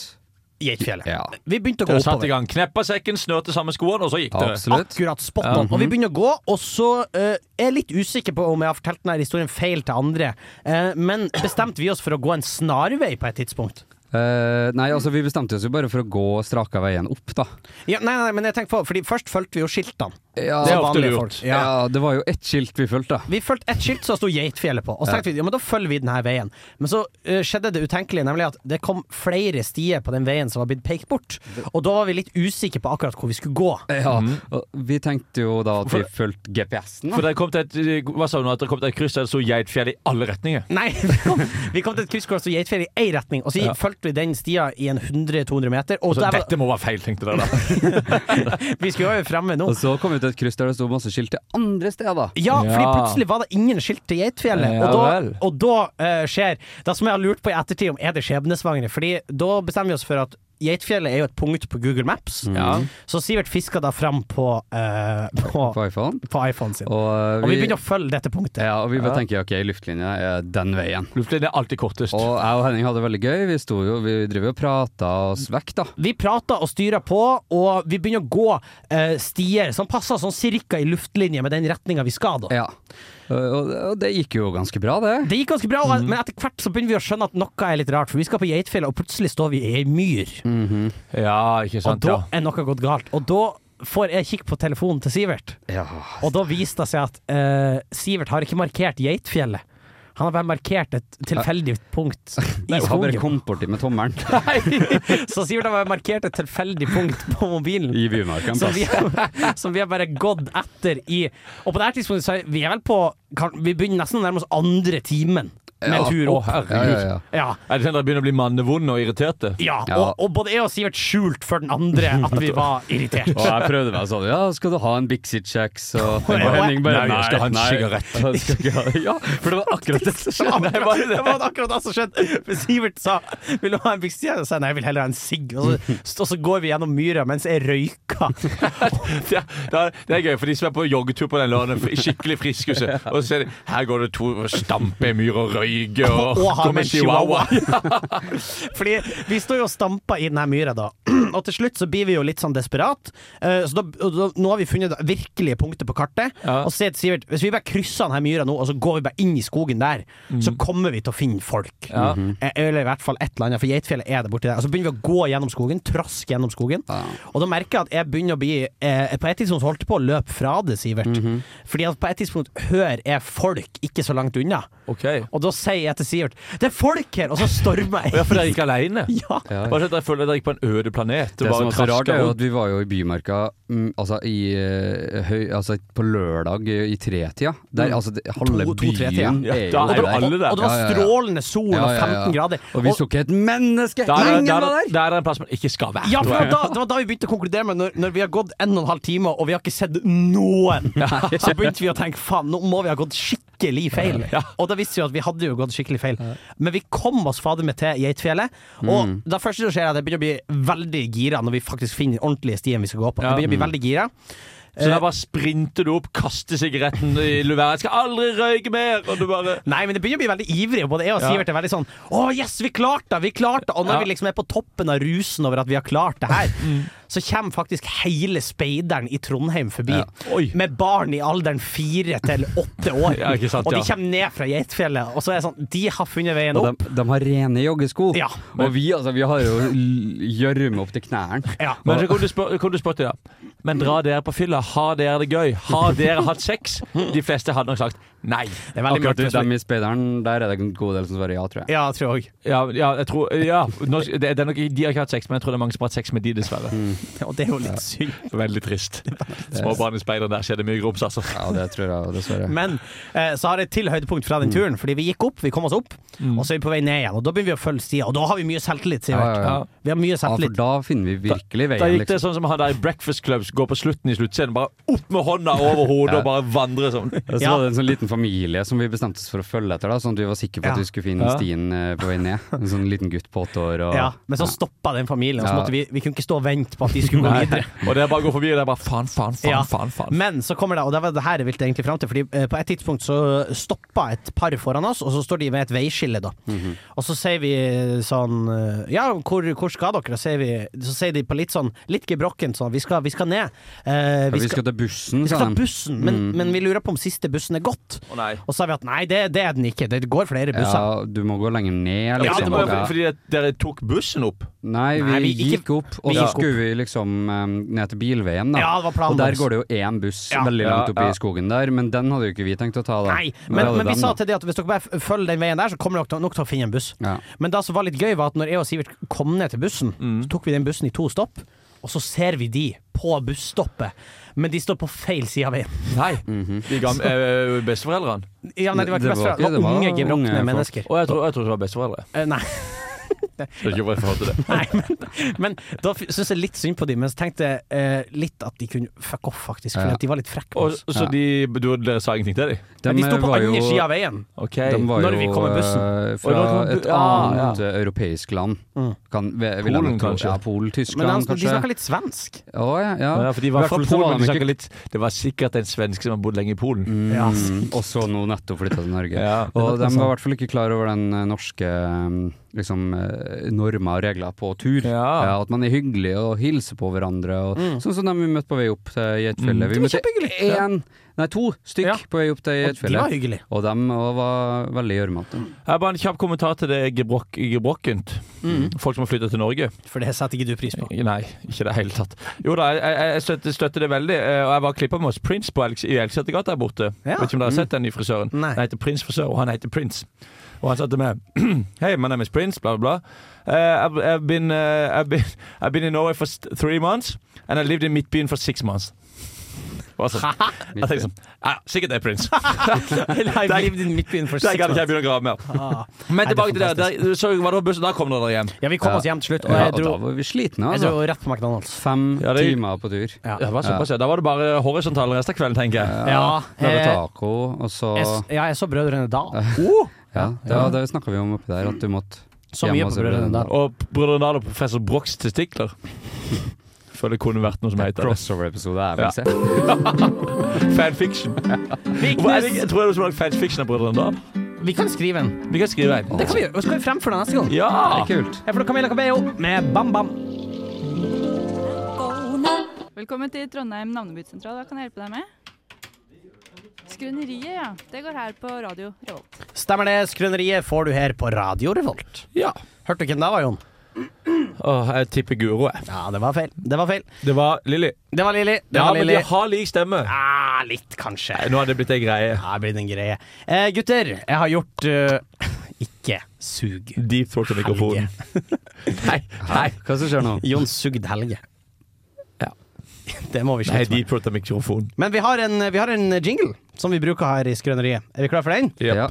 Speaker 4: Geitfjellet.
Speaker 5: Ja,
Speaker 4: Vi begynte å gå
Speaker 3: Dere satte i
Speaker 4: oppover.
Speaker 3: gang. Kneppa sekken, snørte sammen skoene, og så gikk dere.
Speaker 5: absolutt.
Speaker 4: Akkurat spot on.
Speaker 3: Mhm.
Speaker 4: Og vi begynner å gå, og så eh, er jeg litt usikker på om jeg har fortalt denne historien feil til andre, eh, men bestemte vi oss for å gå en snarvei på et tidspunkt?
Speaker 5: Eh, nei, altså vi bestemte oss jo bare for å gå straka veien opp, da.
Speaker 4: Ja, nei, nei, men jeg tenker på, fordi først fulgte vi jo skiltene.
Speaker 5: Ja,
Speaker 3: Det er
Speaker 4: som
Speaker 3: ofte
Speaker 4: vanlige
Speaker 3: lurt.
Speaker 4: folk.
Speaker 5: ja.
Speaker 4: Ja.
Speaker 5: det var jo ett skilt vi fulgte, da.
Speaker 4: Vi fulgte ett skilt som sto Geitfjellet på, og så tenkte vi ja, men da følger vi denne veien. Men så eh, skjedde det utenkelige, nemlig at det kom flere stier på den veien som var blitt pekt bort. Og da var vi litt usikre på akkurat hvor vi skulle gå.
Speaker 5: Ja, og vi tenkte jo da at vi fulgte GPS-en,
Speaker 3: For
Speaker 5: da.
Speaker 3: dere kom til et Hva sa du nå? At dere kom til et kryss der det sto Geitfjell i alle retninger?
Speaker 4: Nei, vi kom, vi kom til et kryss hvor det sto Geitfjellet i én retning, og så
Speaker 3: Ja.
Speaker 4: fulgte vi den stia i en 100-200 meter. Og
Speaker 3: Så
Speaker 4: der var,
Speaker 3: dette må være feil, tenkte dere da.
Speaker 4: vi skulle jo fremme nå.
Speaker 5: Og så kom vi til et kryss der det sto masse skilt til andre steder.
Speaker 4: Ja, fordi
Speaker 3: Ja.
Speaker 4: plutselig var det ingen skilt til Geitfjellet.
Speaker 3: Ja
Speaker 4: og da,
Speaker 3: vel.
Speaker 4: og da eh, skjer det som jeg har lurt på i ettertid, om er det skjebnesvangre. Fordi da bestemmer vi oss for at Geitfjellet er jo et punkt på Google Maps. Så Sivert fisker da fram på, eh, på,
Speaker 5: På iPhone.
Speaker 4: på iPhone sin. Og,
Speaker 5: Og, eh,
Speaker 4: vi begynner å følge dette punktet.
Speaker 5: Ja, og vi bare tenker ok, luftlinja er den veien.
Speaker 3: Luftlinjen er alltid kortest.
Speaker 5: Og jeg og Henning hadde det veldig gøy. Vi, sto jo, vi driver jo og prata oss vekk, da.
Speaker 4: Vi prater og styrer på, og vi begynner å gå eh, stier som passer sånn cirka i luftlinje med den retninga vi skal. da
Speaker 5: Ja. Og, og det gikk jo ganske bra, det.
Speaker 4: Det gikk ganske bra, og- men etter hvert så begynner vi å skjønne at noe er litt rart. For vi skal på Geitfjellet, og plutselig står vi i ei myr.
Speaker 3: Ja, ikke
Speaker 4: Og
Speaker 3: sant?
Speaker 4: da
Speaker 3: Ja.
Speaker 4: er noe gått galt. Og da får jeg kikk på telefonen til Sivert,
Speaker 5: Ja.
Speaker 4: og da viser det seg at eh, Sivert har ikke markert Geitfjellet. Han har bare markert et tilfeldig punkt i
Speaker 5: Nei, jeg har
Speaker 4: skogen.
Speaker 5: bare kommet borti med tommelen
Speaker 4: Så Sivert har bare markert et tilfeldig punkt på mobilen.
Speaker 5: i bymarka en
Speaker 4: Som
Speaker 5: plass.
Speaker 4: vi, har, som vi har bare gått etter i Og på det her tidspunktet så er vi er vel på kan, Vi begynner nesten å nærme oss andre timen med en tur
Speaker 3: Å,
Speaker 4: opp.
Speaker 5: Ja, ja,
Speaker 3: herregud.
Speaker 5: ja.
Speaker 4: Ja,
Speaker 3: Er det sånn at dere begynner å bli mannevonde og irriterte?
Speaker 4: ja.
Speaker 5: Ja.
Speaker 4: Og, og både jeg og Sivert skjult for den andre at vi var irritert.
Speaker 5: Og jeg prøvde meg og sa ja, skal du ha en Bixie Checks? Og, og
Speaker 4: ja.
Speaker 5: Henning bare
Speaker 3: Nei, jeg skal ha en sigarett.
Speaker 5: Jeg skal ikke ha- Ja, for det var akkurat det som
Speaker 4: Ja,
Speaker 5: skjedde.
Speaker 4: men det var, det var akkurat det som skjedde. For Sivert sa 'vil du ha en Bixie?' Og jeg sa nei, jeg vil heller ha en sigg. Og, så- og så går vi gjennom myra mens jeg røyker.
Speaker 3: Det, det, er, det er gøy, for de som er på joggetur på den lørdagen, fri- skikkelig friskhuset, og så ser de her går det to og stamper i myr og røyker og,
Speaker 4: Og har
Speaker 3: kommer
Speaker 4: med en chihuahua. Fordi vi står jo og stamper i denne myra, da. Og til slutt så blir vi jo litt sånn desperat. Eh, Så da, og da, nå har vi funnet det virkelige punktet på kartet. Og så sier Sivert hvis vi bare krysser denne myra nå, og så går vi bare inn i skogen der, så kommer vi til å finne folk. Eh, Eller i hvert fall et eller annet, for Geitfjellet er det borti der. Og så begynner vi å gå gjennom skogen, traske gjennom skogen. Og da merker jeg at jeg begynner å bli eh, På et tidspunkt så holdt jeg på å løpe fra det, Sivert. Fordi at på et tidspunkt hører jeg folk ikke så langt unna.
Speaker 3: Ok.
Speaker 4: Og da sier jeg til Sivert 'Det er folk her!' Og så stormer jeg.
Speaker 3: Ja, for dere gikk alene?
Speaker 4: Ja.
Speaker 3: Bare så at dere føler at dere gikk på en øde planet. ned til
Speaker 5: Det
Speaker 3: å
Speaker 5: som
Speaker 3: bare
Speaker 5: er så rart,
Speaker 3: traske
Speaker 5: er jo
Speaker 3: rundt.
Speaker 5: at vi var jo i Bymarka mm, altså, i, eh, høy, altså, på lørdag i, i tretida. Der, altså, det, halve
Speaker 4: To- to-tretida.
Speaker 5: byen
Speaker 3: Ja,
Speaker 5: er
Speaker 3: da
Speaker 5: jo
Speaker 4: Og
Speaker 3: er
Speaker 4: det,
Speaker 3: jo
Speaker 4: og,
Speaker 5: der.
Speaker 3: alle der.
Speaker 4: og det var
Speaker 5: Ja, ja, ja.
Speaker 4: strålende sol
Speaker 5: Ja,
Speaker 4: og
Speaker 5: ja, ja.
Speaker 4: 15 grader.
Speaker 5: Og vi
Speaker 4: Og-
Speaker 5: så ikke et menneske!
Speaker 3: Der er,
Speaker 5: Ingen
Speaker 3: der,
Speaker 5: var
Speaker 3: er-
Speaker 5: der!
Speaker 3: der er en plass man ikke skal være.
Speaker 4: ja, for
Speaker 3: tror
Speaker 4: det
Speaker 3: jeg.
Speaker 4: var da, det var da vi begynte å konkludere med når, når vi har gått en og en halv time og vi har ikke sett noen, så begynte vi å tenke faen, nå må vi ha gått skikkelig feil. Og da visste vi at vi hadde jo gått skikkelig feil. Men vi kom oss fader meg til Geitfjellet, og
Speaker 5: Mm.
Speaker 4: det første som skjer, er at jeg begynner å bli veldig gira når vi faktisk finner den ordentlige stien vi skal gå på. Jeg
Speaker 5: Mm.
Speaker 4: begynner å bli veldig gira.
Speaker 3: Så der bare sprinter du opp, kaster sigaretten i luværet. 'Skal aldri røyke mer!' Og du bare
Speaker 4: Nei, men det begynner å bli veldig ivrig. Og både jeg og Sivert er veldig sånn Å, yes, vi klarte det! Vi klarte det! Og når
Speaker 3: Ja. Mm.
Speaker 4: vi liksom er på toppen av rusen over at vi har klart det her, så kommer faktisk hele speideren i Trondheim forbi.
Speaker 3: Oi.
Speaker 4: Med barn i alderen fire til åtte år.
Speaker 3: Ja, ikke sant,
Speaker 4: og de
Speaker 3: ja.
Speaker 4: kommer ned fra Geitfjellet, og så er det sånn De har funnet veien
Speaker 5: Og
Speaker 4: opp.
Speaker 5: de, de har rene joggesko.
Speaker 4: Ja.
Speaker 5: Og vi, altså, vi har jo l- gjørme opp til knærne.
Speaker 4: Ja.
Speaker 3: Men så kom du, spør, kom du spør til det. Men dra dere på fylla. Har dere det gøy? Har dere hatt sex? De fleste hadde nok sagt nei.
Speaker 4: Det er veldig
Speaker 5: Akkurat
Speaker 4: mørkt.
Speaker 5: dem i speideren, der er det en god del som svarer ja, tror jeg.
Speaker 4: Ja, jeg tror jeg òg.
Speaker 3: Ja, ja jeg tror ja. Nå, det, det er nok, de har ikke hatt sex, men jeg tror det er mange som har hatt sex med de, dessverre.
Speaker 4: Og det er jo litt sykt.
Speaker 3: Mm. Veldig trist. Småbarn i speideren, der skjer det mye grums, altså.
Speaker 5: Ja, det tror jeg dessverre.
Speaker 4: Men eh, så har jeg et til høydepunkt fra den
Speaker 3: Mm.
Speaker 4: turen, fordi vi gikk opp, vi kom oss opp, og så er vi på vei ned igjen. Og da begynner vi å følge stia, og da har vi mye selvtillit, Sivert.
Speaker 5: Ja, ja, ja.
Speaker 4: Vi har mye
Speaker 5: Ja, for
Speaker 4: selvtillit.
Speaker 5: da finner vi virkelig
Speaker 3: Da
Speaker 5: veien,
Speaker 3: gikk det
Speaker 5: liksom.
Speaker 3: sånn som han der i Breakfast Clubs går på slutten i sluttscenen. Bare opp med hånda over hodet og bare vandre sånn.
Speaker 5: Og så
Speaker 4: Ja.
Speaker 5: var det en sånn liten familie som vi bestemte oss for å følge etter, da, sånn at vi var sikre på
Speaker 4: Ja.
Speaker 5: at vi skulle finne
Speaker 3: Ja.
Speaker 5: stien eh, på vei ned. En sånn liten gutt på åtte år. Og,
Speaker 4: Ja, men så stoppa den familien, og så
Speaker 5: Ja.
Speaker 4: måtte vi, vi kunne ikke stå og vente på at de skulle gå videre.
Speaker 3: Og det er bare å gå forbi, og det er bare faen, faen, faen,
Speaker 4: Ja.
Speaker 3: faen. faen.
Speaker 4: Men så kommer det, og det var det her jeg ville egentlig fram til, Fordi eh, på et tidspunkt så stoppa et par foran oss, og så står de ved et veiskille, da.
Speaker 5: Mhm.
Speaker 4: Og så sier vi sånn eh, Ja, hvor, hvor skal dere? Sier vi, så sier de på litt sånn litt gebrokkent sånn Vi skal, vi skal ned. Eh,
Speaker 5: Ja, vi skal sånn. Mhm. til bussen,
Speaker 4: vi
Speaker 5: sa
Speaker 4: skal ta
Speaker 5: de.
Speaker 4: bussen, men, men vi lurer på om siste bussen er gått.
Speaker 3: Å nei.
Speaker 4: Og så sa vi at nei, det, det er den ikke, det går flere
Speaker 5: Ja,
Speaker 4: busser.
Speaker 5: du må gå lenger ned,
Speaker 3: Ja, det
Speaker 5: liksom.
Speaker 3: var jo fordi at dere tok bussen opp.
Speaker 5: Nei, vi,
Speaker 4: Nei, vi gikk
Speaker 5: gikk opp, og
Speaker 4: vi
Speaker 5: så
Speaker 4: gikk opp.
Speaker 5: skulle vi liksom eh, ned til bilveien, da.
Speaker 4: Ja, det var planen
Speaker 5: og der
Speaker 4: vår.
Speaker 5: går det jo én buss
Speaker 4: Ja.
Speaker 5: veldig langt
Speaker 3: Ja,
Speaker 5: opp i
Speaker 3: ja.
Speaker 5: skogen der, men den hadde jo ikke vi tenkt å ta, da.
Speaker 4: Nei,
Speaker 5: det
Speaker 4: men,
Speaker 5: hadde
Speaker 4: men vi
Speaker 5: dem,
Speaker 4: sa
Speaker 5: da.
Speaker 4: til det at hvis dere bare f- følger den veien der, så kommer dere til- nok til å finne en buss.
Speaker 5: Ja.
Speaker 4: Men det som var litt gøy, var at når jeg og Sivert kom ned til bussen,
Speaker 5: Mm.
Speaker 4: så tok vi den bussen i to stopp, og så ser vi de på busstoppet. Men de står på feil side av veien.
Speaker 3: Nei.
Speaker 4: Mhm.
Speaker 3: De gamle eh, besteforeldrene.
Speaker 4: Ja, nei, de var ikke
Speaker 5: Det
Speaker 4: besteforeldre.
Speaker 5: var ikke-
Speaker 4: Det
Speaker 5: det
Speaker 4: var
Speaker 5: var
Speaker 4: unge,
Speaker 5: unge
Speaker 4: gebrokne
Speaker 5: folk.
Speaker 4: mennesker.
Speaker 3: Og jeg tror, jeg tror det var besteforeldre.
Speaker 4: Eh, Nei,
Speaker 3: Det er ikke hvorfor jeg forholdt til det.
Speaker 4: nei, men, men da f- syns jeg litt synd på de, men så tenkte jeg eh, litt at de kunne fuck off, faktisk, fordi
Speaker 5: Ja.
Speaker 4: at de var litt frekke på
Speaker 3: Og,
Speaker 4: oss.
Speaker 3: og så de, du, dere sa ingenting til dem?
Speaker 4: Men de står på
Speaker 5: var jo-
Speaker 4: andre sida av veien.
Speaker 3: Ok.
Speaker 5: De var
Speaker 4: når
Speaker 5: jo
Speaker 4: vi kom med bussen.
Speaker 5: eh,
Speaker 3: Og da
Speaker 5: fra
Speaker 3: kom bu-
Speaker 5: et
Speaker 3: ja,
Speaker 5: annet eh, europeisk land. Kan, vil jeg
Speaker 3: Polen,
Speaker 5: nok tro.
Speaker 3: kanskje?
Speaker 5: Ja, Polen, Tyskland,
Speaker 4: Mm. Men han, de
Speaker 5: kanskje.
Speaker 4: snakker litt svensk.
Speaker 5: Å, ja, ja.
Speaker 3: Ja, for de var
Speaker 5: I hvert
Speaker 3: fra
Speaker 5: fall så var
Speaker 3: Polen, men
Speaker 5: de
Speaker 3: de
Speaker 5: ikke-
Speaker 3: snakket litt Det var sikkert en svenske som har bodd lenge i Polen.
Speaker 4: Ja.
Speaker 5: Mm, og så nå nettopp flytta til Norge.
Speaker 3: Ja, det
Speaker 5: og de var i hvert fall ikke klar over den eh, norske eh, liksom, eh, normer og regler på tur.
Speaker 3: Ja.
Speaker 5: at man er hyggelig og hilser på hverandre. Og, Sånn som dem vi møtte på vei opp til Geitfjellet. Vi møtte én, nei to stykk
Speaker 4: Ja.
Speaker 5: på vei opp til
Speaker 4: Og de var
Speaker 5: Geitfjellet.
Speaker 4: hyggelige.
Speaker 5: Og dem også var veldig gjørmete.
Speaker 3: Her er bare en kjapp kommentar til det gebrokk, gebrokkent.
Speaker 5: Mm.
Speaker 3: Folk som har flytta til Norge.
Speaker 4: For det setter ikke du pris på.
Speaker 3: Nei, ikke i det hele tatt. Jo da, jeg- jeg, jeg støtter, støtter det veldig. eh, Og jeg var og klippa med hos Prince på Elks, i Elksetergata der borte.
Speaker 4: Ja.
Speaker 3: Vet ikke om
Speaker 5: Mm.
Speaker 3: dere har sett den nye frisøren?
Speaker 4: Nei.
Speaker 3: Den heter Prince Frisør, og han heter Prince. Og han sa til meg Hei, my name is Prince, bla, bla, bla. Uh, I've, I've, been, uh, I've, been, I've been in Norway for st- three months, and I lived in Midtbyen for six months. Og så, jeg tenkte sånn Ja, sikkert det er Prince.
Speaker 4: I've lived in Midtbyen for
Speaker 3: Det
Speaker 4: six
Speaker 3: kan
Speaker 4: months.
Speaker 3: ikke jeg begynne å grave mer.
Speaker 4: Ah.
Speaker 3: Men
Speaker 4: Nei, det er
Speaker 3: tilbake til det.
Speaker 4: fantastisk.
Speaker 3: Der, så var det bussen, da kom dere hjem.
Speaker 4: Ja, vi kom oss hjem til slutt, og
Speaker 5: Ja,
Speaker 4: jeg
Speaker 5: og
Speaker 4: dro,
Speaker 5: da var vi slitne,
Speaker 4: jeg
Speaker 5: altså.
Speaker 4: dro rett på McDonald's.
Speaker 5: Fem
Speaker 3: Ja, det-
Speaker 5: timer på tur.
Speaker 4: Ja.
Speaker 3: Det var såpass, Ah, ja. Da var det bare horisontal resten av kvelden, tenker jeg.
Speaker 4: Ja,
Speaker 5: Lagde
Speaker 4: eh,
Speaker 5: taco, og så
Speaker 4: Jeg, s- ja, jeg så Brødrene Oh! Dal.
Speaker 5: Ja, det, det snakka vi om oppi der, at du måtte
Speaker 4: Så
Speaker 5: hjem
Speaker 4: mye
Speaker 5: og
Speaker 4: på
Speaker 5: se
Speaker 4: Brødrene Dal.
Speaker 3: Og Brødrene Dal og professor Brochs testikler. Føler det kunne vært noe som heter det.
Speaker 5: Crossover-episode er vel
Speaker 3: Ja.
Speaker 5: se.
Speaker 3: Fanfiction. Hvor er det- Jeg tror det er noen som har lagd fanfiction av Brødrene Dal.
Speaker 4: Vi kan skrive en.
Speaker 3: Vi kan skrive en.
Speaker 4: Det kan vi gjøre. Og så kan vi fremføre den neste gang.
Speaker 3: Ja!
Speaker 5: Kult.
Speaker 4: Jeg får Camilla Cabello med Bam Bam.
Speaker 9: Velkommen til Trondheim navnebytesentral. Hva kan jeg hjelpe deg med? Skrøneriet, ja. Det går her på radio Revolt.
Speaker 4: Stemmer det, Skrøneriet får du her på Radio Revolt.
Speaker 3: ja.
Speaker 4: Hørte du hvem det var, Jon?
Speaker 3: Åh, jeg tipper Guro, jeg.
Speaker 4: Ja, det var feil. Det var feil.
Speaker 3: Det var Lilly.
Speaker 4: Det var Lilly. Det
Speaker 3: Ja,
Speaker 4: var
Speaker 3: men
Speaker 4: Lilly.
Speaker 3: de har lik stemme.
Speaker 4: Ah, litt, kanskje.
Speaker 3: Nå har det blitt ei greie.
Speaker 4: Ja, det blir en greie. Eh, gutter, jeg har gjort eh, Helge sug.
Speaker 3: Deep throat av mikrofonen. Nei, nei.
Speaker 5: Hva som skjer nå?
Speaker 4: Jon sugd Helge.
Speaker 3: Ja.
Speaker 4: Det må vi
Speaker 3: nei
Speaker 4: slutte med.
Speaker 3: deep throat av mikrofonen.
Speaker 4: Men vi har, en, vi har en jingle som vi bruker her i Skrøneriet. Er vi klar for den?
Speaker 5: Ja.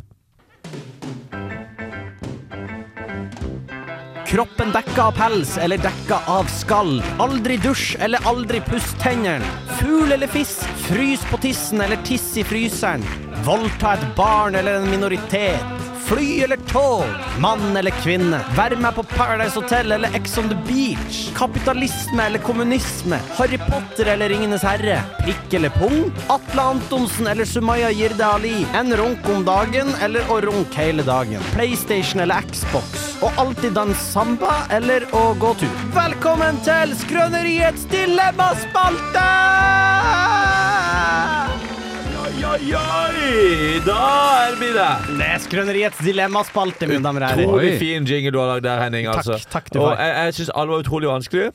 Speaker 4: Kroppen dekka av pels eller dekka av skall. Aldri dusj eller aldri puss tennene. Fugl eller fisk, frys på tissen eller tiss i fryseren. Voldta et barn eller en minoritet. Fly eller tog, mann eller kvinne. Vær med på Paradise Hotel eller Ex on the Beach. Kapitalisme eller kommunisme. Harry Potter eller Ringenes herre. Prikk eller pung. Atle Antonsen eller Sumaya Jirde Ali. En runk om dagen eller å runke hele dagen. PlayStation eller Xbox. Og alltid dans samba eller å gå tur. Velkommen til Skrøneriets dilemmaspalte!
Speaker 3: Oi, oi, oi! Da er vi der!
Speaker 4: Det er Skrøneriets dilemmaspalte, mine damer og herrer.
Speaker 3: Utrolig
Speaker 5: Oi.
Speaker 3: fin jingle du har lagd der, Henning.
Speaker 4: Takk,
Speaker 3: altså.
Speaker 4: takk du
Speaker 3: Og
Speaker 4: har.
Speaker 3: jeg, jeg syns alle var utrolig vanskelig.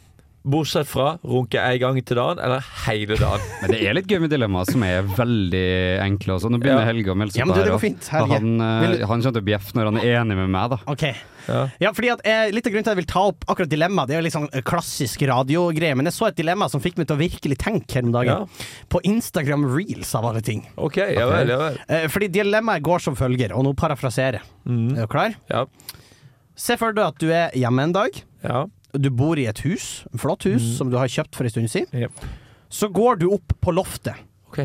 Speaker 3: Bortsett fra runke en gang til dagen, eller hele dagen.
Speaker 5: Men det er litt gøy med dilemmaer som er veldig enkle. Også. Nå begynner
Speaker 3: Ja.
Speaker 5: Helge å melde
Speaker 4: Ja,
Speaker 5: seg
Speaker 4: men du, det
Speaker 5: her,
Speaker 4: går
Speaker 5: og-
Speaker 4: fint,
Speaker 5: og
Speaker 4: Helge.
Speaker 5: Han, eh,
Speaker 4: Vil du-
Speaker 5: han kommer til å bjeffe når han er enig med meg, da.
Speaker 4: Ok.
Speaker 3: Ja.
Speaker 4: Ja, fordi at eh, Litt av grunnen til at jeg vil ta opp akkurat dilemma, det er jo litt sånn eh, klassisk radiogreie, men jeg så et dilemma som fikk meg til å virkelig tenke her om dagen.
Speaker 3: Ja.
Speaker 4: På Instagram Reels, av alle ting.
Speaker 3: OK, ja vel, ja vel.
Speaker 4: Eh, fordi dilemmaet går som følger, og nå parafraserer jeg. Er du klar?
Speaker 3: Mm. Ja.
Speaker 4: Se for deg at du er hjemme en dag.
Speaker 3: ja.
Speaker 4: Du bor i et hus, et flott hus, som du har kjøpt for en stund siden.
Speaker 3: Mm. Jep.
Speaker 4: Så går du opp på loftet.
Speaker 3: OK.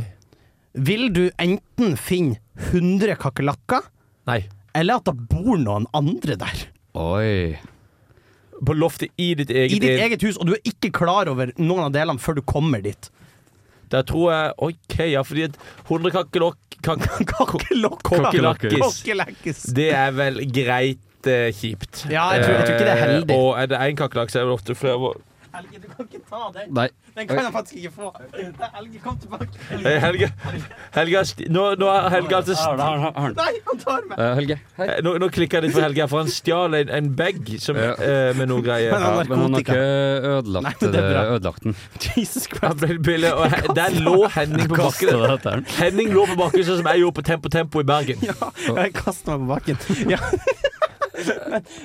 Speaker 4: Vil du enten finne 100 kakerlakker,
Speaker 3: Nei.
Speaker 4: eller at det bor noen andre der?
Speaker 5: Oi.
Speaker 3: På loftet i ditt
Speaker 4: I
Speaker 3: eget
Speaker 4: ditt
Speaker 3: liv.
Speaker 4: eget hus, og du er ikke klar over noen av delene før du kommer dit.
Speaker 3: Der tror jeg OK, ja, fordi at 100 kakkelokk kak Kokkelakkis.
Speaker 4: Kokkelakkis.
Speaker 3: Det er vel greit eh, kjipt.
Speaker 4: Ja, jeg tror- jeg tror ikke det er heldig.
Speaker 3: Eh, og er det én kakerlakk, så er det ofte flere.
Speaker 4: Helge, du kan ikke ta den.
Speaker 5: Nei.
Speaker 4: Den
Speaker 5: kan
Speaker 4: kan
Speaker 5: jeg
Speaker 4: jeg faktisk ikke få. Helge, kom tilbake.
Speaker 3: Eh, Helga, Helga sti- nå, nå er Helga altså st-
Speaker 4: Nei, han tar meg.
Speaker 5: Eh, Helge, hei.
Speaker 3: Eh, Nå, nå klikker jeg litt for Helga, for han stjal en, en bag som,
Speaker 5: Ja.
Speaker 3: eh, med noe
Speaker 4: Men
Speaker 3: greier.
Speaker 4: han-
Speaker 5: Ja, men han har
Speaker 4: narkotika.
Speaker 5: ikke
Speaker 4: Nei,
Speaker 5: ødelagt,
Speaker 4: men det er
Speaker 5: det-
Speaker 4: bra.
Speaker 5: ødelagt den.
Speaker 4: Jesus
Speaker 3: Han
Speaker 4: Christ.
Speaker 3: ble billig, og he- der lå Henning på bakken. Henning lå på bakken sånn som jeg gjorde på Tempo Tempo i Bergen.
Speaker 4: Ja, jeg kaster meg på bakken. Ja.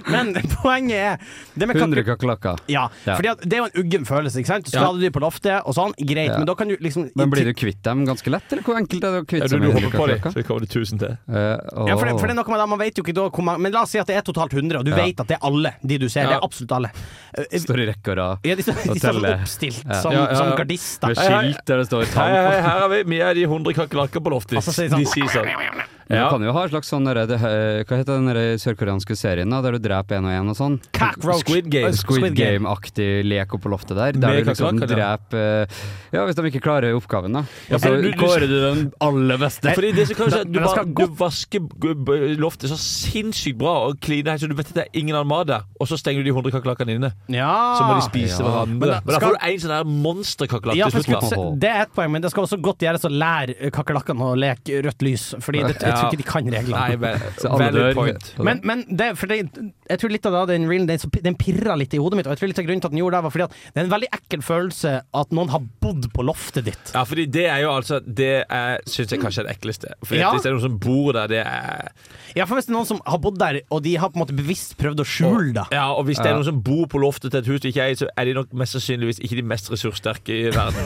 Speaker 4: Men, men poenget er det med
Speaker 5: 100
Speaker 4: kaker...
Speaker 5: kakerlakker.
Speaker 4: Ja,
Speaker 5: Ja.
Speaker 4: fordi at det er jo en uggen følelse. ikke sant? Skader du på loftet og sånn, greit,
Speaker 5: Ja.
Speaker 4: men da kan du liksom
Speaker 5: Men blir du kvitt dem ganske lett, eller hvor enkelt er det å
Speaker 3: Ja,
Speaker 5: kvitte
Speaker 3: du,
Speaker 5: seg
Speaker 3: du
Speaker 5: med
Speaker 3: hopper på dem,
Speaker 5: 100
Speaker 3: så kommer det tusen til.
Speaker 4: Ja, for det, for det er noe med det, man vet jo ikke da hvor mange Men la oss si at det er totalt 100, og du
Speaker 5: Ja.
Speaker 4: vet at det er alle de du ser.
Speaker 3: Ja.
Speaker 4: Det er absolutt alle. Eh,
Speaker 5: Står i rekke og rad
Speaker 4: Ja, de står de står
Speaker 5: teller.
Speaker 4: oppstilt
Speaker 5: Ja.
Speaker 4: Som,
Speaker 3: Ja, ja, ja.
Speaker 4: som gardister.
Speaker 5: med skilt der det står
Speaker 3: Hei, hei,
Speaker 5: tann.
Speaker 3: her er vi. Vi er de 100 kakerlakker på loftet.
Speaker 4: Altså, si sånn.
Speaker 3: De sier sånn.
Speaker 5: Du
Speaker 3: Ja.
Speaker 5: kan jo ha en slags sånn derre- det- Hva heter den derre sørkoreanske serien da, der du dreper en og en og sånn?
Speaker 4: Cockroach.
Speaker 3: Squid Game.
Speaker 5: Squid
Speaker 4: Squid Game.
Speaker 5: Game-aktig lek oppe på loftet der, der
Speaker 3: Med
Speaker 5: du liksom
Speaker 3: kakerlakker, ja.
Speaker 5: dreper eh, Ja, hvis de ikke klarer oppgaven, da. Og så
Speaker 3: for du- du-
Speaker 5: kårer du den aller
Speaker 4: Eh,
Speaker 5: beste.
Speaker 3: Fordi det som kan skje, er at du,
Speaker 4: Men det
Speaker 3: bare,
Speaker 4: skal
Speaker 3: du vasker g- b- loftet så sinnssykt bra og kliner helt, så du vet at det er ingen annen mat der. Og så stenger du de 100 kakerlakkene inne.
Speaker 4: Ja.
Speaker 3: Så må de spise
Speaker 5: Ja.
Speaker 3: hverandre. Ah. Men
Speaker 4: Men
Speaker 3: da,
Speaker 4: da-
Speaker 3: får du en sånn der monsterkakerlakk
Speaker 4: Ja, for
Speaker 3: til
Speaker 4: jeg
Speaker 3: slutt.
Speaker 4: skulle
Speaker 3: da.
Speaker 4: si- det er et poeng, men det skal også godt gjøres å lære kakerlakkene å leke rødt lys. Fordi det, jeg tror ikke de kan
Speaker 3: Nei,
Speaker 4: reglene.
Speaker 3: vel,
Speaker 5: Så alle
Speaker 3: valid
Speaker 5: dør.
Speaker 3: point.
Speaker 4: Men, men det, for det, jeg tror litt av det, den reelen den, som- den pirra litt i hodet mitt. Og jeg tror litt av grunnen til at den gjorde det, var fordi at det er en veldig ekkel følelse at noen har bodd på loftet ditt.
Speaker 3: Ja, fordi det er jo altså Det er, synes jeg kanskje er det ekleste. Fordi
Speaker 4: Ja.
Speaker 3: at Hvis det er noen som bor der, det er
Speaker 4: Ja, for hvis det er noen som har bodd der, og de har på en måte bevisst prøvd å skjule det
Speaker 3: Ja, Og hvis det er noen som bor på loftet til et hus du ikke er i, så er de nok mest sannsynligvis ikke de mest ressurssterke i verden.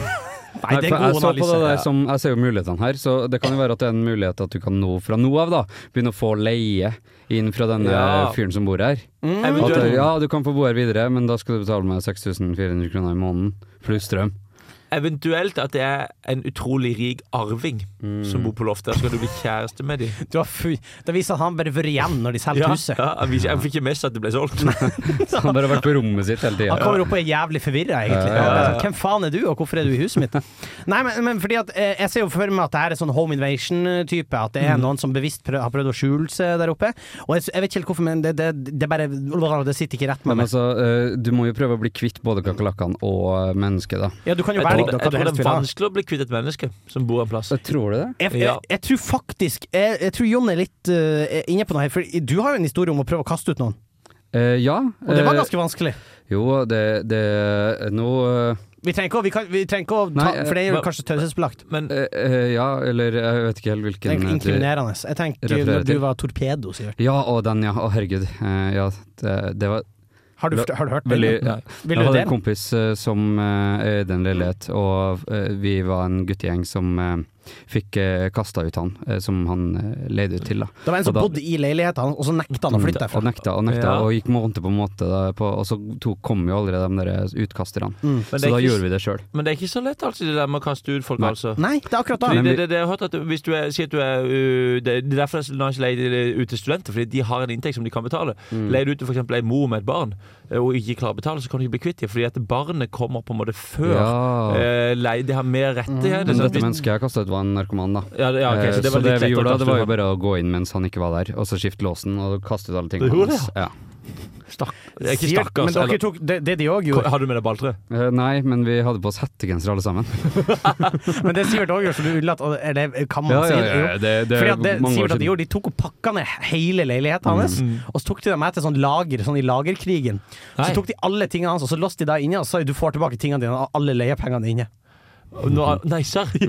Speaker 4: Nei, det er
Speaker 5: Nei, for
Speaker 4: god
Speaker 5: jeg, så på det
Speaker 4: analyse.
Speaker 5: der som, jeg ser jo mulighetene her, så det kan jo være at det er en mulighet at du kan nå fra nå av da begynne å få leie inn fra denne
Speaker 3: Ja.
Speaker 5: fyren som bor her.
Speaker 4: Mm.
Speaker 5: At,
Speaker 3: Eventuelt,
Speaker 5: ja, du kan få bo her videre, men da skal du betale meg 6400 kroner i måneden pluss strøm.
Speaker 3: eventuelt at det er en utrolig rik arving som bor på loftet. Så kan du bli kjæreste med dem.
Speaker 4: Du har fu- Det viser at han bare var igjen når de selger
Speaker 3: Ja,
Speaker 4: huset.
Speaker 3: ja, jeg fikk- jeg fikk ikke med seg at det ble solgt.
Speaker 5: Så han bare har vært på rommet sitt hele
Speaker 4: Han
Speaker 5: tida.
Speaker 4: kommer opp og er jævlig forvirra, egentlig. Hvem faen er du, og hvorfor er du i huset mitt? Nei, men, men fordi at eh, jeg ser jo for meg at det her er sånn home invasion-type. At det er
Speaker 3: Mm.
Speaker 4: noen som bevisst prøv, har prøvd å skjule seg der oppe. Og jeg, jeg vet ikke helt hvorfor, men det, det, det bare Det sitter ikke rett med
Speaker 5: Men
Speaker 4: meg.
Speaker 5: altså, eh, du må jo prøve å bli kvitt både kakerlakkene og eh, mennesket, da.
Speaker 4: Ja, du kan jo
Speaker 3: Jeg tror,
Speaker 4: velge
Speaker 3: jeg
Speaker 4: da hva
Speaker 3: tror
Speaker 4: du
Speaker 3: det
Speaker 4: helst
Speaker 3: er
Speaker 4: vil ha.
Speaker 3: vanskelig å bli kvitt et menneske som bor en plass.
Speaker 5: Så tror du det?
Speaker 4: Jeg,
Speaker 3: Ja.
Speaker 4: jeg, jeg tror faktisk Jeg, jeg tror Jon er litt eh, inne på noe her, for du har jo en historie om å prøve å kaste ut noen.
Speaker 5: Eh, ja.
Speaker 4: Og det var
Speaker 5: eh,
Speaker 4: ganske vanskelig.
Speaker 5: Jo, det, det Nå eh,
Speaker 4: Vi trenger ikke å, vi kan, vi trenger ikke å ta
Speaker 5: Nei, eh,
Speaker 4: For det er jo
Speaker 3: hva-
Speaker 4: kanskje taushetsbelagt.
Speaker 3: Men
Speaker 5: eh, eh, Ja, eller jeg vet ikke
Speaker 4: Det er
Speaker 5: helt hvilken
Speaker 4: jo Inkriminerende. Jeg tenker
Speaker 5: refererer
Speaker 4: når du
Speaker 5: til.
Speaker 4: var torpedo, Sivert.
Speaker 5: Ja, å, den, ja. Å, herregud. Eh, ja, det, det var
Speaker 4: Har du,
Speaker 5: Det-
Speaker 4: har du hørt
Speaker 5: veldig
Speaker 4: det?
Speaker 5: ja.
Speaker 4: Vil
Speaker 5: Jeg
Speaker 4: du
Speaker 5: hadde
Speaker 4: det?
Speaker 5: en kompis eh, som eh, eide en leilighet, og eh, vi var en guttegjeng som eh, fikk uh, kasta ut han, eh, som han eh, leide ut til. da.
Speaker 4: Det var en som
Speaker 5: Og da- Mm,
Speaker 4: bodde i leiligheten, og så nekta han å flytte
Speaker 5: Og
Speaker 4: derfra.
Speaker 5: nekta og nekta,
Speaker 3: Ja.
Speaker 5: og gikk måned på måned, da, på, og så tok, kom jo allerede de der utkasterne.
Speaker 4: Mm.
Speaker 3: Men
Speaker 5: Så
Speaker 3: det er
Speaker 5: da
Speaker 3: ikke-
Speaker 5: gjorde vi det sjøl.
Speaker 3: Men det er ikke så lett alltid det der med å kaste ut folk,
Speaker 5: Nei.
Speaker 3: altså.
Speaker 4: Nei, det er akkurat da.
Speaker 3: Fordi
Speaker 5: Nei,
Speaker 3: det,
Speaker 5: men-
Speaker 3: det, det, jeg har hørt at hvis du er, sier at du er uh, Det det er derfor det er så nice å leie det ut til studenter, fordi de har en inntekt som de kan betale.
Speaker 5: Mm.
Speaker 3: Leier du ut til f.eks. ei mor med et barn eh, og ikke klarer å betale, så kan du ikke bli kvitt det, fordi at barnet kommer på en måte før ja.
Speaker 5: Ja.
Speaker 3: leie. De har mer rettigheter. sant?
Speaker 5: Men dette
Speaker 3: sånn Hvis-
Speaker 5: mennesket jeg kasta ut, var en narkoman, da.
Speaker 3: ja, det- ja, ok,
Speaker 5: Eh,
Speaker 3: så det var litt
Speaker 5: vi
Speaker 3: lett å
Speaker 5: gjorde da,
Speaker 3: kaste
Speaker 5: det var jo
Speaker 3: ut han.
Speaker 5: bare å gå inn mens han ikke var der, og så skifte låsen og kaste ut alle tingene
Speaker 3: Du gjorde det,
Speaker 5: Ja.
Speaker 3: Stakk, det er Eh, ikke
Speaker 4: Sivert, Men
Speaker 3: stakkars.
Speaker 4: dere
Speaker 3: Eller,
Speaker 4: tok det, det de òg gjorde.
Speaker 3: har du med deg balltre?
Speaker 5: Eh, Nei, men vi hadde på oss hettegenser alle sammen.
Speaker 4: Men det Sivert òg gjorde, så du unnlater å- Eller kan man
Speaker 5: Ja,
Speaker 4: si
Speaker 5: ja,
Speaker 4: det?
Speaker 5: ja,
Speaker 4: Jo.
Speaker 5: ja, det, det
Speaker 4: Fordi
Speaker 5: er
Speaker 4: at det,
Speaker 5: mange
Speaker 4: Sivert at de,
Speaker 5: år siden. Mm.
Speaker 4: gjorde, de tok og pakka ned hele leiligheten hans, og så tok de dem med til sånn lager, sånn i lagerkrigen.
Speaker 3: Nei.
Speaker 4: Så tok de alle tingene hans, og så låste de deg inne, og så sa de, du får tilbake tingene dine og alle leiepengene dine.
Speaker 3: Nå, nei, serr? Fikk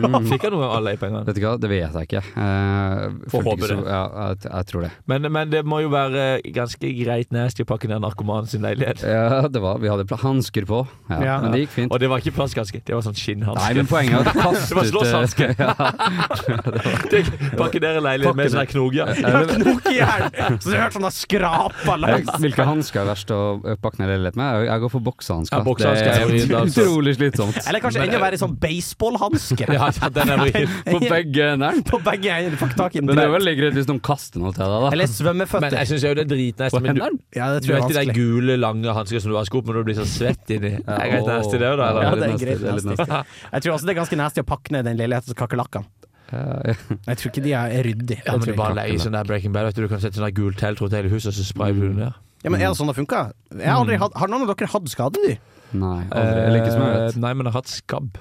Speaker 3: jeg noen av alle leiepengene?
Speaker 5: Vet du hva, det vet jeg ikke. Eh,
Speaker 3: Får
Speaker 5: følte
Speaker 3: håpe
Speaker 5: ikke så, ja, jeg, jeg tror det.
Speaker 3: Men, men det må jo være ganske greit nasty å pakke ned narkomanen sin leilighet.
Speaker 5: Ja, det var, vi hadde pla- hansker på, ja,
Speaker 4: Ja.
Speaker 5: men det gikk fint.
Speaker 3: Og det var ikke plasthanske, det var sånn skinnhanske.
Speaker 5: Nei, men poenget er at eh,
Speaker 3: Det var
Speaker 5: kastet
Speaker 3: slåsshanske.
Speaker 5: ja,
Speaker 3: Pakke ned en leilighet med
Speaker 5: Pakke
Speaker 3: sånn her knogjern.
Speaker 5: Ja, men-
Speaker 4: Knok i hjel! Så du hørte sånn at skrapa langs.
Speaker 5: eh, Hvilke hansker er verst å pakke ned leilighet med? Jeg- Jeg går for boksehansker.
Speaker 3: Ja, boksehansker er
Speaker 5: det
Speaker 3: vrient,
Speaker 5: er
Speaker 3: altså.
Speaker 5: utrolig slitsomt.
Speaker 4: Eller kanskje enda verre i sånn baseballhanske.
Speaker 3: Ja, ja, den er vrien.
Speaker 5: På begge hendene.
Speaker 4: På begge hender. Fuck tak i den.
Speaker 5: Men det er veldig greit hvis noen kaster noe til deg, da.
Speaker 4: Eller
Speaker 3: Men
Speaker 4: svømmeføtter.
Speaker 3: jeg syns jo det er dritnasty.
Speaker 5: På
Speaker 3: Men du,
Speaker 5: hendene?
Speaker 4: Ja, det
Speaker 3: du
Speaker 4: tror jeg
Speaker 3: vet
Speaker 4: er
Speaker 3: de der
Speaker 4: vanskelig.
Speaker 3: gule, lange hanskene som du vasker opp, men du blir så svett inni. Det er greit nasty, det òg, da.
Speaker 4: Ja,
Speaker 3: Eller?
Speaker 4: det er
Speaker 5: nasty,
Speaker 4: greit
Speaker 5: det er litt
Speaker 4: nasty. Jeg tror også det er ganske nasty å pakke ned den leiligheten til kakerlakkene.
Speaker 5: Ja,
Speaker 4: Jeg tror ikke de er er ryddige.
Speaker 3: Ja, men du bare leier
Speaker 5: kakken,
Speaker 3: sånn der Breaking Bad. Vet du, du kan sette sånn der gult telt rundt hele huset, og så sprayer du det ned.
Speaker 4: Ja, men Er det sånn det funka? Jeg har, aldri hatt, har noen av dere hatt skadedyr?
Speaker 5: Nei, aldri. Eller ikke som jeg vet.
Speaker 3: Eh, Nei, men jeg har hatt skabb.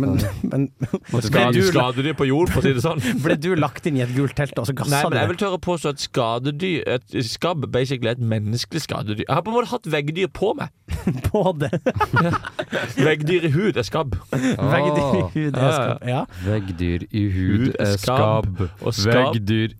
Speaker 4: Men, men ble,
Speaker 3: Skade-
Speaker 4: du,
Speaker 3: Skadedyr på jord, for å si det sånn.
Speaker 4: ble du lagt inn i et gult telt, og så
Speaker 3: Nei,
Speaker 4: gassa du?
Speaker 3: men jeg
Speaker 4: det?
Speaker 3: vil tørre å påstå at skadedyr et Skabb basically er et menneskelig skadedyr. Jeg har på en måte hatt veggdyr på meg.
Speaker 4: På det.
Speaker 3: Veggdyr i hud er skabb.
Speaker 4: Eh, Veggdyr i
Speaker 5: Ah,
Speaker 4: hud.
Speaker 3: Ja,
Speaker 4: Ja,
Speaker 3: ja.
Speaker 4: ja.
Speaker 5: Veggdyr i hud er skabb.
Speaker 3: Og skabb
Speaker 5: Veggdyr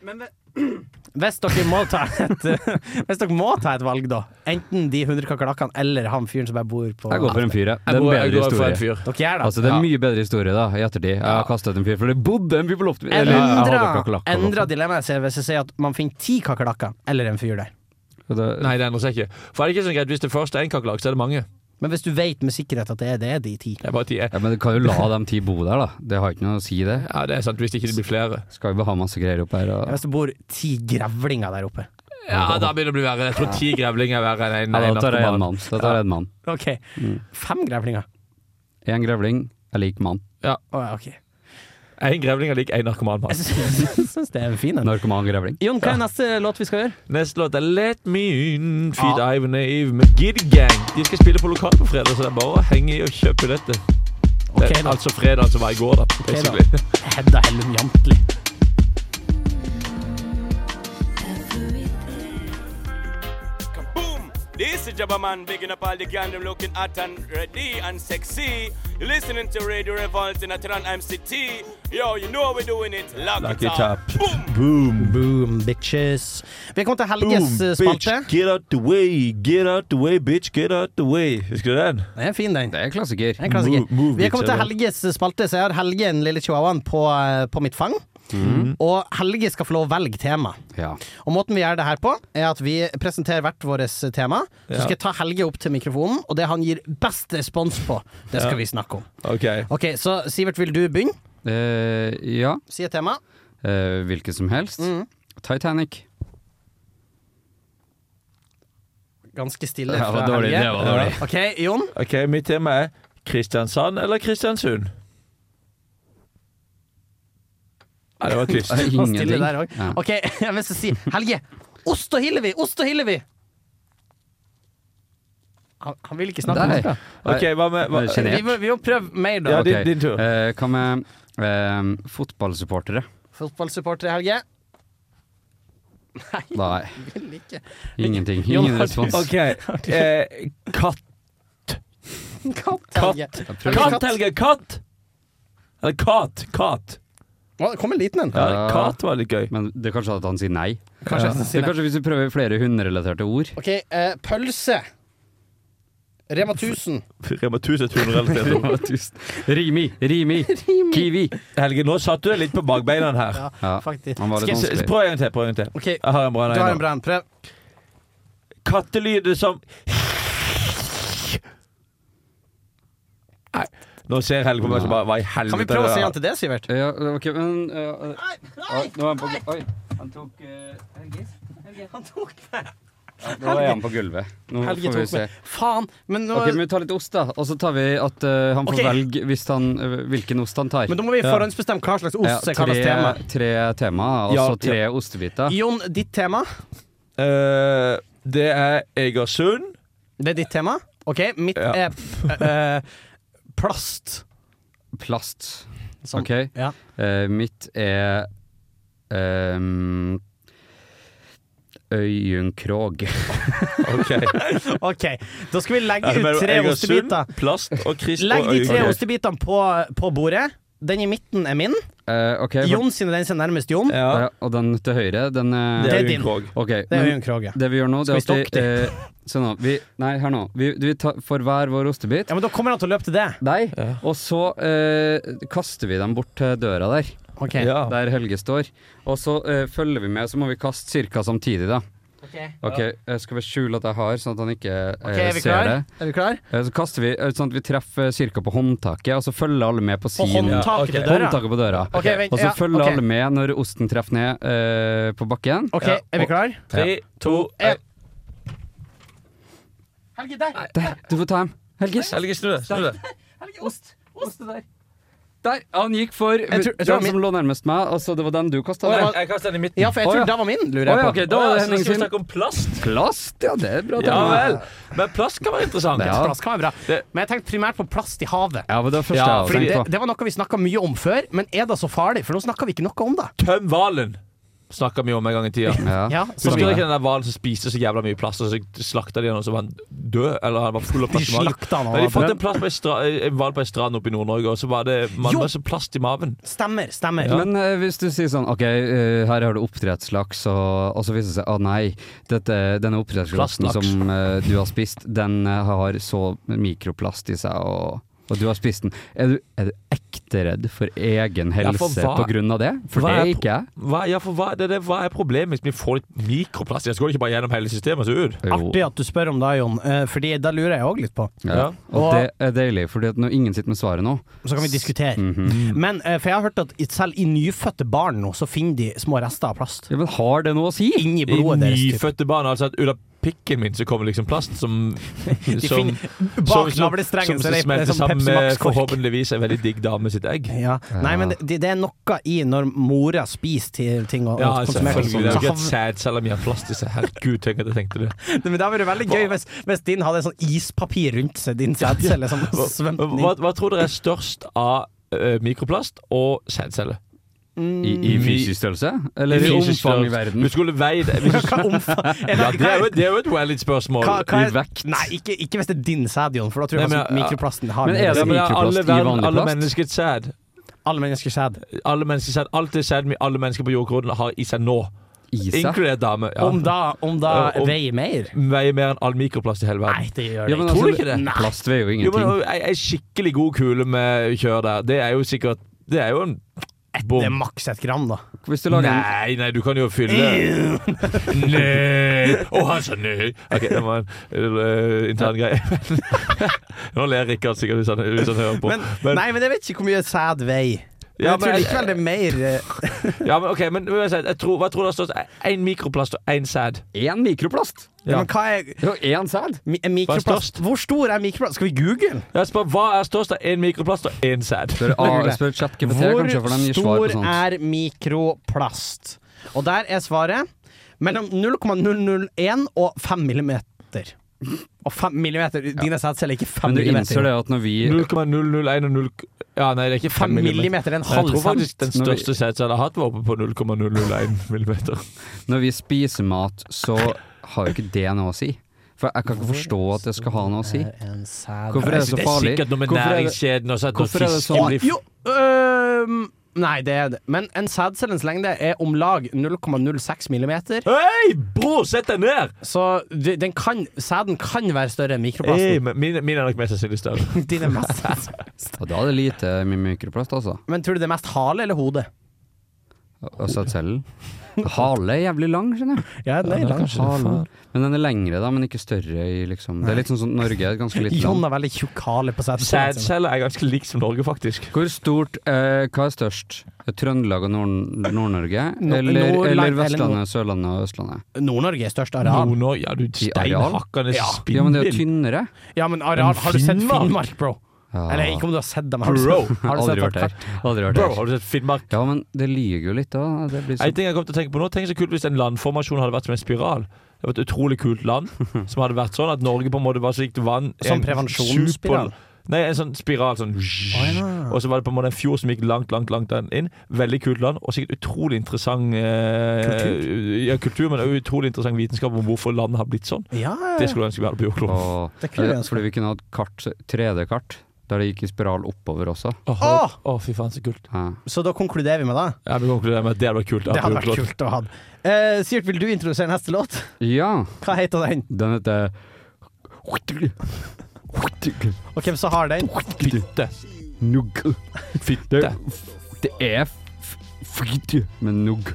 Speaker 4: Hvis dere må ta et Hvis dere må ta et valg, da. Enten de 100 kakerlakkene eller han fyren som bare bor på
Speaker 5: Jeg går for en fyr, ja. Det er
Speaker 3: Jeg
Speaker 5: en
Speaker 3: går, jeg
Speaker 5: bedre
Speaker 3: går for
Speaker 5: historie.
Speaker 3: en fyr.
Speaker 4: Dere gjør det.
Speaker 5: Altså, det er en mye bedre historie da, i ettertid. Jeg har kastet en fyr, for det bodde en fyr på loftet. Eller, jeg hadde
Speaker 4: Endra,
Speaker 5: kakerlakker altså. på
Speaker 4: endra
Speaker 5: loftet.
Speaker 4: dilemmaet seg hvis jeg sier at man finner ti kakerlakker eller en fyr der.
Speaker 5: Og det-
Speaker 3: Nei, det endrer seg ikke. For er det ikke sånn greit Hvis det først er en kakerlakk, så er det mange.
Speaker 4: Men hvis du vet med sikkerhet at det er det, er de ti.
Speaker 3: Det er bare ti.
Speaker 5: Ja, men du kan jo la de ti bo der, da. Det har ikke noe å si, det.
Speaker 3: Ja, det er sant. Hvis ikke det blir flere.
Speaker 5: Skal jo bare ha masse greier opp her. Og...
Speaker 4: Hvis det bor ti grevlinger der oppe.
Speaker 3: Ja, Da begynner det å bli verre. Jeg tror ti grevlinger er verre enn en,
Speaker 5: Ja,
Speaker 3: en
Speaker 5: da tar jeg en
Speaker 3: narkoman.
Speaker 5: mann. Da tar jeg en mann.
Speaker 4: Ok, Fem grevlinger?
Speaker 5: En grevling er lik mann.
Speaker 4: Å, ja, ok.
Speaker 3: En grevling er lik en narkoman. mann.
Speaker 4: Jeg syns syns det er en fin en.
Speaker 5: Narkoman grevling.
Speaker 4: Jon, hva er neste låt vi skal høre?
Speaker 3: Neste låt er Let Me In, Feed Ive Naive med Gid Gang. De skal spille på lokal på fredag, så det er bare å henge i og kjøpe dette.
Speaker 4: Ok,
Speaker 3: det,
Speaker 4: da.
Speaker 3: altså fredag som var i går, da.
Speaker 4: da.
Speaker 3: Basically.
Speaker 4: Hedda Hellum Jantli.
Speaker 10: Boom! This is Jabba Man bigging up all the gandom looking hot and ready and sexy. You're listening to Radio Revolt in Atran MCT. Yo, you know how we're doing it. Lock,
Speaker 3: Lock
Speaker 10: it
Speaker 3: it
Speaker 10: up. Boom!
Speaker 4: Boom, bitches. Vi har kommet til helges eh, spalte.
Speaker 3: get out the way, get out the way, bitch, get out the way. Husker du den?
Speaker 4: Det er en fin, den.
Speaker 5: Det er klassiker.
Speaker 4: Det er en klassiker.
Speaker 3: Move- move,
Speaker 4: Vi er kommet til
Speaker 3: bitch,
Speaker 4: Helges eh, spalte, så jeg har Helge, den lille chihuahuaen, på, eh, på mitt fang. Og Helge skal få lov å velge tema.
Speaker 5: Ja.
Speaker 4: Og måten vi gjør det her på, er at vi presenterer hvert vårt tema. Så
Speaker 3: Ja.
Speaker 4: skal jeg ta Helge opp til mikrofonen, og det han gir best respons på, det skal vi snakke om.
Speaker 3: Ok.
Speaker 4: Ok, Så Sivert, vil du begynne?
Speaker 5: Eh, ja.
Speaker 4: Si et tema.
Speaker 5: Eh, hvilket som helst.
Speaker 4: Mm.
Speaker 5: Titanic.
Speaker 4: Ganske stille
Speaker 5: Det
Speaker 4: fra
Speaker 5: var dårlig.
Speaker 4: Helge.
Speaker 5: Det var dårlig.
Speaker 4: Ok, Jon.
Speaker 3: Ok, Mitt tema er Kristiansand eller Kristiansund? Nei, det var tyst.
Speaker 5: Det er
Speaker 4: Han stiller
Speaker 5: Ingenting.
Speaker 4: der også.
Speaker 5: Ja.
Speaker 4: Ok, jeg vil så si Helge, ost og Hillevi, ost og Hillevi! Han, han vil ikke snakke om
Speaker 5: Der.
Speaker 4: det.
Speaker 3: Ok, hva med hva?
Speaker 5: Det er
Speaker 4: Vi,
Speaker 5: genialt.
Speaker 4: må- vi må prøve mer, da.
Speaker 3: Ja, din,
Speaker 5: Ok.
Speaker 3: din tur.
Speaker 5: Eh, hva med eh, fotballsupportere?
Speaker 4: Fotballsupportere, Helge.
Speaker 5: Nei.
Speaker 4: Vel ikke.
Speaker 5: Ingenting.
Speaker 4: Jo,
Speaker 5: Ingen
Speaker 4: har du-
Speaker 5: respons.
Speaker 3: OK. Eh, katt.
Speaker 4: Katthelge.
Speaker 5: Jeg tror-
Speaker 3: Katt, Helge! Katt! Eller kat. Kat.
Speaker 4: Å, det kom en liten en.
Speaker 3: Ja,
Speaker 5: Ja.
Speaker 3: Kat var litt gøy.
Speaker 5: Men det er kanskje at han sier nei.
Speaker 4: Kanskje jeg skal si
Speaker 5: Det er
Speaker 4: det.
Speaker 5: kanskje hvis vi prøver flere hundrelaterte ord.
Speaker 4: OK, eh, pølse. Rema 1000.
Speaker 3: Rema 1000 er 200 ord.
Speaker 5: Rimi, Rimi, Kiwi.
Speaker 3: Helge, nå satt du deg litt på bakbeina her.
Speaker 5: Ja,
Speaker 4: Faktisk.
Speaker 5: han var litt
Speaker 3: S- s-
Speaker 5: vanskelig.
Speaker 3: Prøv en gang til. prøv en gang til
Speaker 4: OK,
Speaker 3: Jeg har en bra
Speaker 4: du har en
Speaker 3: en. nå.
Speaker 4: brann. Prøv.
Speaker 3: Kattelyder som Nei. Nå ser Helge på meg som bare Hva i helvete?
Speaker 4: Kan vi prøve å si
Speaker 3: er
Speaker 4: han til det, Sivert?
Speaker 5: Ja, ok, men eh, Oi, nå er han på gul- Oi, han tok eh,
Speaker 4: Han tok meg.
Speaker 5: ja, Nå er han på gulvet. Nå
Speaker 4: Helge
Speaker 5: får vi
Speaker 4: tok
Speaker 5: se.
Speaker 4: meg. Faen. Men nå
Speaker 5: Ok, men vi tar litt ost, da. Og så tar vi at eh, han får
Speaker 4: Ok.
Speaker 5: velge hvis han, eh, hvilken ost han tar.
Speaker 4: Men da må vi
Speaker 3: Ja.
Speaker 4: forhåndsbestemme hva slags ost som er
Speaker 5: tre,
Speaker 4: kalles tema.
Speaker 5: tre tema,
Speaker 3: Ja,
Speaker 5: altså tre ostebiter.
Speaker 4: Jon, ditt tema?
Speaker 3: Eh, Det er Egersund.
Speaker 4: Det er ditt tema? OK, mitt
Speaker 3: Ja.
Speaker 4: er eh, plast.
Speaker 5: Plast.
Speaker 4: Sånn.
Speaker 5: Ok.
Speaker 4: Ja.
Speaker 5: Eh, mitt er um, Øyunn Krog.
Speaker 3: OK.
Speaker 4: OK, da skal vi legge
Speaker 3: Men
Speaker 4: ut tre
Speaker 3: Egersund,
Speaker 4: ostebiter.
Speaker 3: plast og Krist
Speaker 4: Legg
Speaker 3: og
Speaker 4: de tre
Speaker 3: Øyvind.
Speaker 4: ostebitene på, på bordet. Den i midten er min.
Speaker 5: Eh, ok, for-
Speaker 4: Jon sin er den som er nærmest Jon.
Speaker 3: Ja,
Speaker 5: Ja, og den til høyre, den er
Speaker 3: det
Speaker 4: Det
Speaker 3: er
Speaker 4: er din.
Speaker 3: Øyvind Krog.
Speaker 5: Ok,
Speaker 4: Det er
Speaker 5: men
Speaker 4: Øyunn Krogh. Ja.
Speaker 5: det vi gjør nå, det er
Speaker 4: Skal vi
Speaker 5: at vi eh, Se nå. Vi, nei, hør nå. Vi, vi tar, får hver vår ostebit.
Speaker 4: ja, men da kommer han til å løpe til det.
Speaker 5: Deg. Og så eh, kaster vi dem bort til døra der,
Speaker 4: OK.
Speaker 3: Ja.
Speaker 5: der Helge står. Og så eh, følger vi med, så må vi kaste ca. samtidig, da. Ok, jeg skal bare skjule at jeg har, sånn at han ikke eh,
Speaker 4: Ok, er vi
Speaker 5: ser
Speaker 4: klar?
Speaker 5: det.
Speaker 4: Er vi klar?
Speaker 5: Eh, Så kaster vi, eh, sånn at vi treffer ca. på håndtaket, og så følger alle med på
Speaker 4: På
Speaker 5: sin
Speaker 4: håndtaket
Speaker 3: Ja, ok.
Speaker 4: til døra.
Speaker 5: Håndtaket på døra.
Speaker 4: Ok, vent,
Speaker 5: Og så
Speaker 4: ja,
Speaker 5: følger
Speaker 4: ok.
Speaker 5: alle med når osten treffer ned eh, på bakken.
Speaker 4: OK, er vi klar?
Speaker 3: Tre, to,
Speaker 4: Ja.
Speaker 3: én.
Speaker 4: Helge, der!
Speaker 5: Der, du får ta dem. Helge,
Speaker 3: Helge, snu deg. Snu deg.
Speaker 4: Helge, ost! Ost der.
Speaker 5: Der! Han gikk for
Speaker 4: tror- jeg tror det var
Speaker 5: den som lå nærmest meg, altså det var den du kasta.
Speaker 4: Å,
Speaker 5: der.
Speaker 4: ja,
Speaker 3: Jeg kaster den i midten.
Speaker 4: Ja, for jeg
Speaker 5: Å,
Speaker 4: tror
Speaker 5: ja.
Speaker 4: det var min,
Speaker 5: Å,
Speaker 4: lurer
Speaker 5: ja,
Speaker 4: jeg på.
Speaker 5: ok, da var det
Speaker 3: så
Speaker 5: Henning
Speaker 3: skal sånn vi
Speaker 5: sin.
Speaker 3: snakke om plast.
Speaker 5: Plast, ja, det er bra.
Speaker 3: Ja
Speaker 5: tema.
Speaker 3: vel. Men plast kan være interessant.
Speaker 5: Ja.
Speaker 4: Plast kan være bra. Men jeg tenkte primært på plast i havet.
Speaker 5: Ja, men det var første
Speaker 3: Ja,
Speaker 5: jeg
Speaker 4: Fordi det,
Speaker 5: hadde tenkt på.
Speaker 4: det var noe vi snakka mye om før, men er det så farlig? For nå snakker vi ikke noe om det.
Speaker 3: Tøm hvalen snakka vi om en gang i tida.
Speaker 5: Ja.
Speaker 4: Ja,
Speaker 3: Husker du
Speaker 5: Stemmer.
Speaker 3: ikke den der hvalen som spiste så jævla mye plast, og så slakta de han, og så var han død? Eller han var full av
Speaker 4: De
Speaker 3: plast i magen?
Speaker 4: slakta
Speaker 3: Nei, de
Speaker 4: han.
Speaker 3: fant en plass på ei stra- en hval på ei strand oppe i Nord-Norge, og så var det man
Speaker 4: Jo.
Speaker 3: var så plast i maven.
Speaker 4: Stemmer, stemmer.
Speaker 5: Men eh, hvis du sier sånn OK, eh, her har du oppdrettslaks, og, og så viser det seg å nei, dette, denne oppdrettslaksen
Speaker 3: Plastlaks.
Speaker 5: som eh, du har spist, den eh, har så mikroplast i seg, og, og du har spist den. Er du, er du ekte redd for egen
Speaker 3: Ja,
Speaker 5: helse
Speaker 3: for hva-
Speaker 5: på grunn av det? For
Speaker 3: hva
Speaker 5: det er
Speaker 3: er pro-
Speaker 5: ikke jeg.
Speaker 3: Hva, ja, for hva, det, er det, hva er problemet hvis vi får litt mikroplast i det? Så går det ikke bare gjennom hele systemet og så ut?
Speaker 5: Jo.
Speaker 4: Artig at du spør om det, Jon, eh, Fordi da lurer jeg òg litt på.
Speaker 5: Ja. Og
Speaker 4: Og-
Speaker 5: det er deilig, fordi at når ingen sitter med svaret nå
Speaker 4: Så kan vi diskutere.
Speaker 5: mhm.
Speaker 4: Men eh, for jeg har hørt at selv i nyfødte barn nå, så finner de små rester av plast.
Speaker 5: ja, Men har det noe å si?
Speaker 4: Inni
Speaker 3: I
Speaker 4: blodet deres. typ.
Speaker 3: nyfødte barn, altså at ut av pikken min så kommer liksom plast som
Speaker 4: De
Speaker 3: som-
Speaker 4: finner
Speaker 3: som-
Speaker 4: bak navlestrengen,
Speaker 3: som
Speaker 4: så det er det
Speaker 3: smelter
Speaker 4: er som sånn
Speaker 3: sammen
Speaker 4: Pepsi
Speaker 3: med
Speaker 4: Max-kork.
Speaker 3: forhåpentligvis en veldig digg dame sitt egg.
Speaker 4: Ja. Nei, men det, det er noe i når mora spiser til ting og,
Speaker 3: Ja,
Speaker 4: og konsumerer
Speaker 3: altså,
Speaker 4: sånn.
Speaker 3: selvfølgelig. Det er jo ikke et
Speaker 4: ting.
Speaker 3: sæd selv om jeg har plast i seg. Herregud, tenk at jeg tenkte det.
Speaker 4: Men det hadde vært veldig gøy hvis, hvis din hadde en sånn ispapir rundt seg, din sædcelle som svømte inn.
Speaker 3: Hva, hva tror dere er størst av eh, mikroplast og sædceller?
Speaker 5: I, i fysisk størrelse? Eller i
Speaker 3: Fysisk
Speaker 5: omfang i
Speaker 3: størrelse.
Speaker 5: verden?
Speaker 3: Hvis du skulle veid hvis du,
Speaker 4: Hva omfang er
Speaker 3: ja, det, er jo,
Speaker 4: hva-
Speaker 3: det er jo et valid spørsmål.
Speaker 4: hva- hva
Speaker 5: i
Speaker 4: er-
Speaker 5: vekt.
Speaker 4: Nei, ikke, ikke hvis det er din sæd, Jon, for da tror jeg
Speaker 3: Nei, men,
Speaker 4: faktisk
Speaker 3: ja.
Speaker 4: mikroplasten har
Speaker 5: Men er
Speaker 4: mer å
Speaker 5: det
Speaker 4: si.
Speaker 3: men er
Speaker 5: mikroplast
Speaker 3: alle,
Speaker 5: i
Speaker 3: verden,
Speaker 5: vanlig
Speaker 3: alle
Speaker 5: plast?
Speaker 3: menneskets sæd
Speaker 4: Alle menneskers sæd.
Speaker 3: Alle menneskers sæd Alt det sæd alle mennesker på jordkloden har i seg nå,
Speaker 5: I seg?
Speaker 3: inkludert dame, ja.
Speaker 4: Om da, om da
Speaker 3: Ja, om-
Speaker 4: veier mer?
Speaker 3: veier mer enn all mikroplast i hele verden.
Speaker 4: Nei, det gjør det
Speaker 5: Ja, men
Speaker 4: ikke.
Speaker 5: altså,
Speaker 3: Tror du ikke det?
Speaker 4: Nei.
Speaker 5: Plast veier jo
Speaker 3: Jo,
Speaker 5: ingenting.
Speaker 3: men ei, ei skikkelig god kule med kjør der, det er jo sikkert Det er jo en
Speaker 4: Det er
Speaker 3: bom.
Speaker 4: maks et gram, da.
Speaker 3: altså-
Speaker 5: Hvis du lager en
Speaker 3: Nei, nei, du kan jo fylle Nei! Å, han sa nei! Ok, det var en eh, intern greie. Nå ler Rikard sikkert hvis han, hvis han hører på.
Speaker 4: Men, nei, men jeg vet ikke hvor mye sæd veier. Men
Speaker 3: Ja,
Speaker 4: jeg tror
Speaker 3: men-
Speaker 4: likevel det er mer eh,
Speaker 3: Ja, men ok, men uansett, jeg tror, hva tror du har stått? Én mikroplast og én sæd.
Speaker 5: én mikroplast!
Speaker 4: ja.
Speaker 3: Ja.
Speaker 4: Men hva er
Speaker 5: Det er jo én sæd!
Speaker 4: mi- er mikroplast?
Speaker 3: størst?
Speaker 4: Hvor stor er mikroplast? Skal vi google?
Speaker 3: Jeg spør, Hva er størst av én mikroplast og én sæd?
Speaker 5: Spør, ah, spør ChatGPT, kanskje, for den gir svar
Speaker 4: Hvor
Speaker 5: på
Speaker 4: stor
Speaker 5: sånt.
Speaker 4: er mikroplast? Og der er svaret mellom 0,001 og 5 millimeter. Og fem millimeter Dine sædceller er ikke fem
Speaker 5: Men du
Speaker 4: millimeter.
Speaker 5: innser det at når vi
Speaker 3: 0,001 og 0 Ja, nei, det er ikke 5
Speaker 4: Fem
Speaker 3: millimeter.
Speaker 4: millimeter er en
Speaker 3: Jeg
Speaker 4: halv
Speaker 3: tror
Speaker 4: cent.
Speaker 3: faktisk den
Speaker 5: Når vi-
Speaker 3: største sædcellen jeg har hatt, var oppe på 0,001 millimeter.
Speaker 5: Når vi spiser mat, så har jo ikke det noe å si. For jeg kan ikke forstå at det skal ha noe å si.
Speaker 4: Eh, En sæd
Speaker 5: Hvorfor er det så farlig? Hvorfor er det,
Speaker 3: også, at
Speaker 5: hvorfor er det sånn?
Speaker 4: Jo øhm, Nei, det er det. Men en sædcellens lengde er om lag 0,06 millimeter.
Speaker 3: Hei, bror, sett deg ned!
Speaker 4: Så de- den kan, sæden kan være større enn
Speaker 3: Hey,
Speaker 4: mikroplasten.
Speaker 3: men min, min er nok mest sannsynlig større.
Speaker 4: Din er mest
Speaker 5: Og da er det lite med mikroplast, altså.
Speaker 4: Men tror du det er mest hale eller hode?
Speaker 5: Og sædcellen. Hale er jævlig lang, skjønner jeg.
Speaker 4: Ja, nei,
Speaker 5: Lang hale. Men den er lengre, da, men ikke større i liksom Det er litt sånn som Norge er et ganske lite
Speaker 4: Jon
Speaker 5: land.
Speaker 4: har veldig tjukk hale på sædcellen. sin.
Speaker 3: Sædceller er ganske likt som Norge, faktisk.
Speaker 5: Hvor stort eh, Hva er størst? Trøndelag og Nord- Nord-Norge?
Speaker 4: Nord-
Speaker 5: eller,
Speaker 4: Nordland,
Speaker 5: eller
Speaker 4: eller
Speaker 5: Vestlandet, Sørlandet og Østlandet?
Speaker 4: Nord-Norge er størst areal.
Speaker 3: Nord-Norge Ja, du
Speaker 5: areal?
Speaker 3: steinhakkende
Speaker 4: Ja.
Speaker 3: spindel.
Speaker 5: Ja, men det er jo tynnere.
Speaker 4: Ja, men areal Har du sett
Speaker 3: Finnmark?
Speaker 4: Finnmark, bro?
Speaker 5: Ja.
Speaker 4: Eller ikke om du har sett dem. Har du
Speaker 3: Bro,
Speaker 4: sett, har du
Speaker 5: Aldri
Speaker 4: sett
Speaker 5: vært
Speaker 4: dem?
Speaker 5: her. Aldri vært
Speaker 3: bro,
Speaker 5: her.
Speaker 3: har du sett Finnmark?
Speaker 5: Ja, men det lyger jo litt, da. Det blir sånn
Speaker 3: En
Speaker 5: så
Speaker 3: ting jeg kom til å tenke på nå Tenk så kult hvis en landformasjon hadde vært som en spiral. Det var et utrolig kult land som hadde vært sånn at Norge på en måte var så likt vann
Speaker 4: Som
Speaker 3: en
Speaker 4: sånn prevensjonsspiral?
Speaker 3: super- Nei, en sånn spiral sånn Og så var det på en måte en fjord som gikk langt, langt langt den inn. Veldig kult land, og sikkert utrolig interessant eh, kultur. Ja, kultur, men også utrolig interessant vitenskap om hvorfor landet har blitt sånn.
Speaker 4: Ja,
Speaker 3: Det skulle jeg ønske vi hadde på jordkloden.
Speaker 5: og,
Speaker 4: Det kunne jeg ønske.
Speaker 5: Fordi vi kunne hatt kart, 3D-kart, der det gikk i spiral oppover også.
Speaker 3: Åh,
Speaker 4: Åh!
Speaker 3: åh, fy faen, så kult.
Speaker 5: Ja.
Speaker 4: Så da konkluderer vi med det?
Speaker 3: Ja, vi konkluderer med at det hadde vært kult. å ha
Speaker 4: Det
Speaker 3: på
Speaker 4: hadde vært
Speaker 3: jordkloden.
Speaker 4: kult å ha. Eh, Sivert, vil du introdusere neste låt?
Speaker 5: ja,
Speaker 4: Hva heter den?
Speaker 5: den heter
Speaker 4: Og hvem som har den?
Speaker 3: Fitte.
Speaker 5: Nugg.
Speaker 3: Fitte.
Speaker 5: Det er f- fritt med nugg.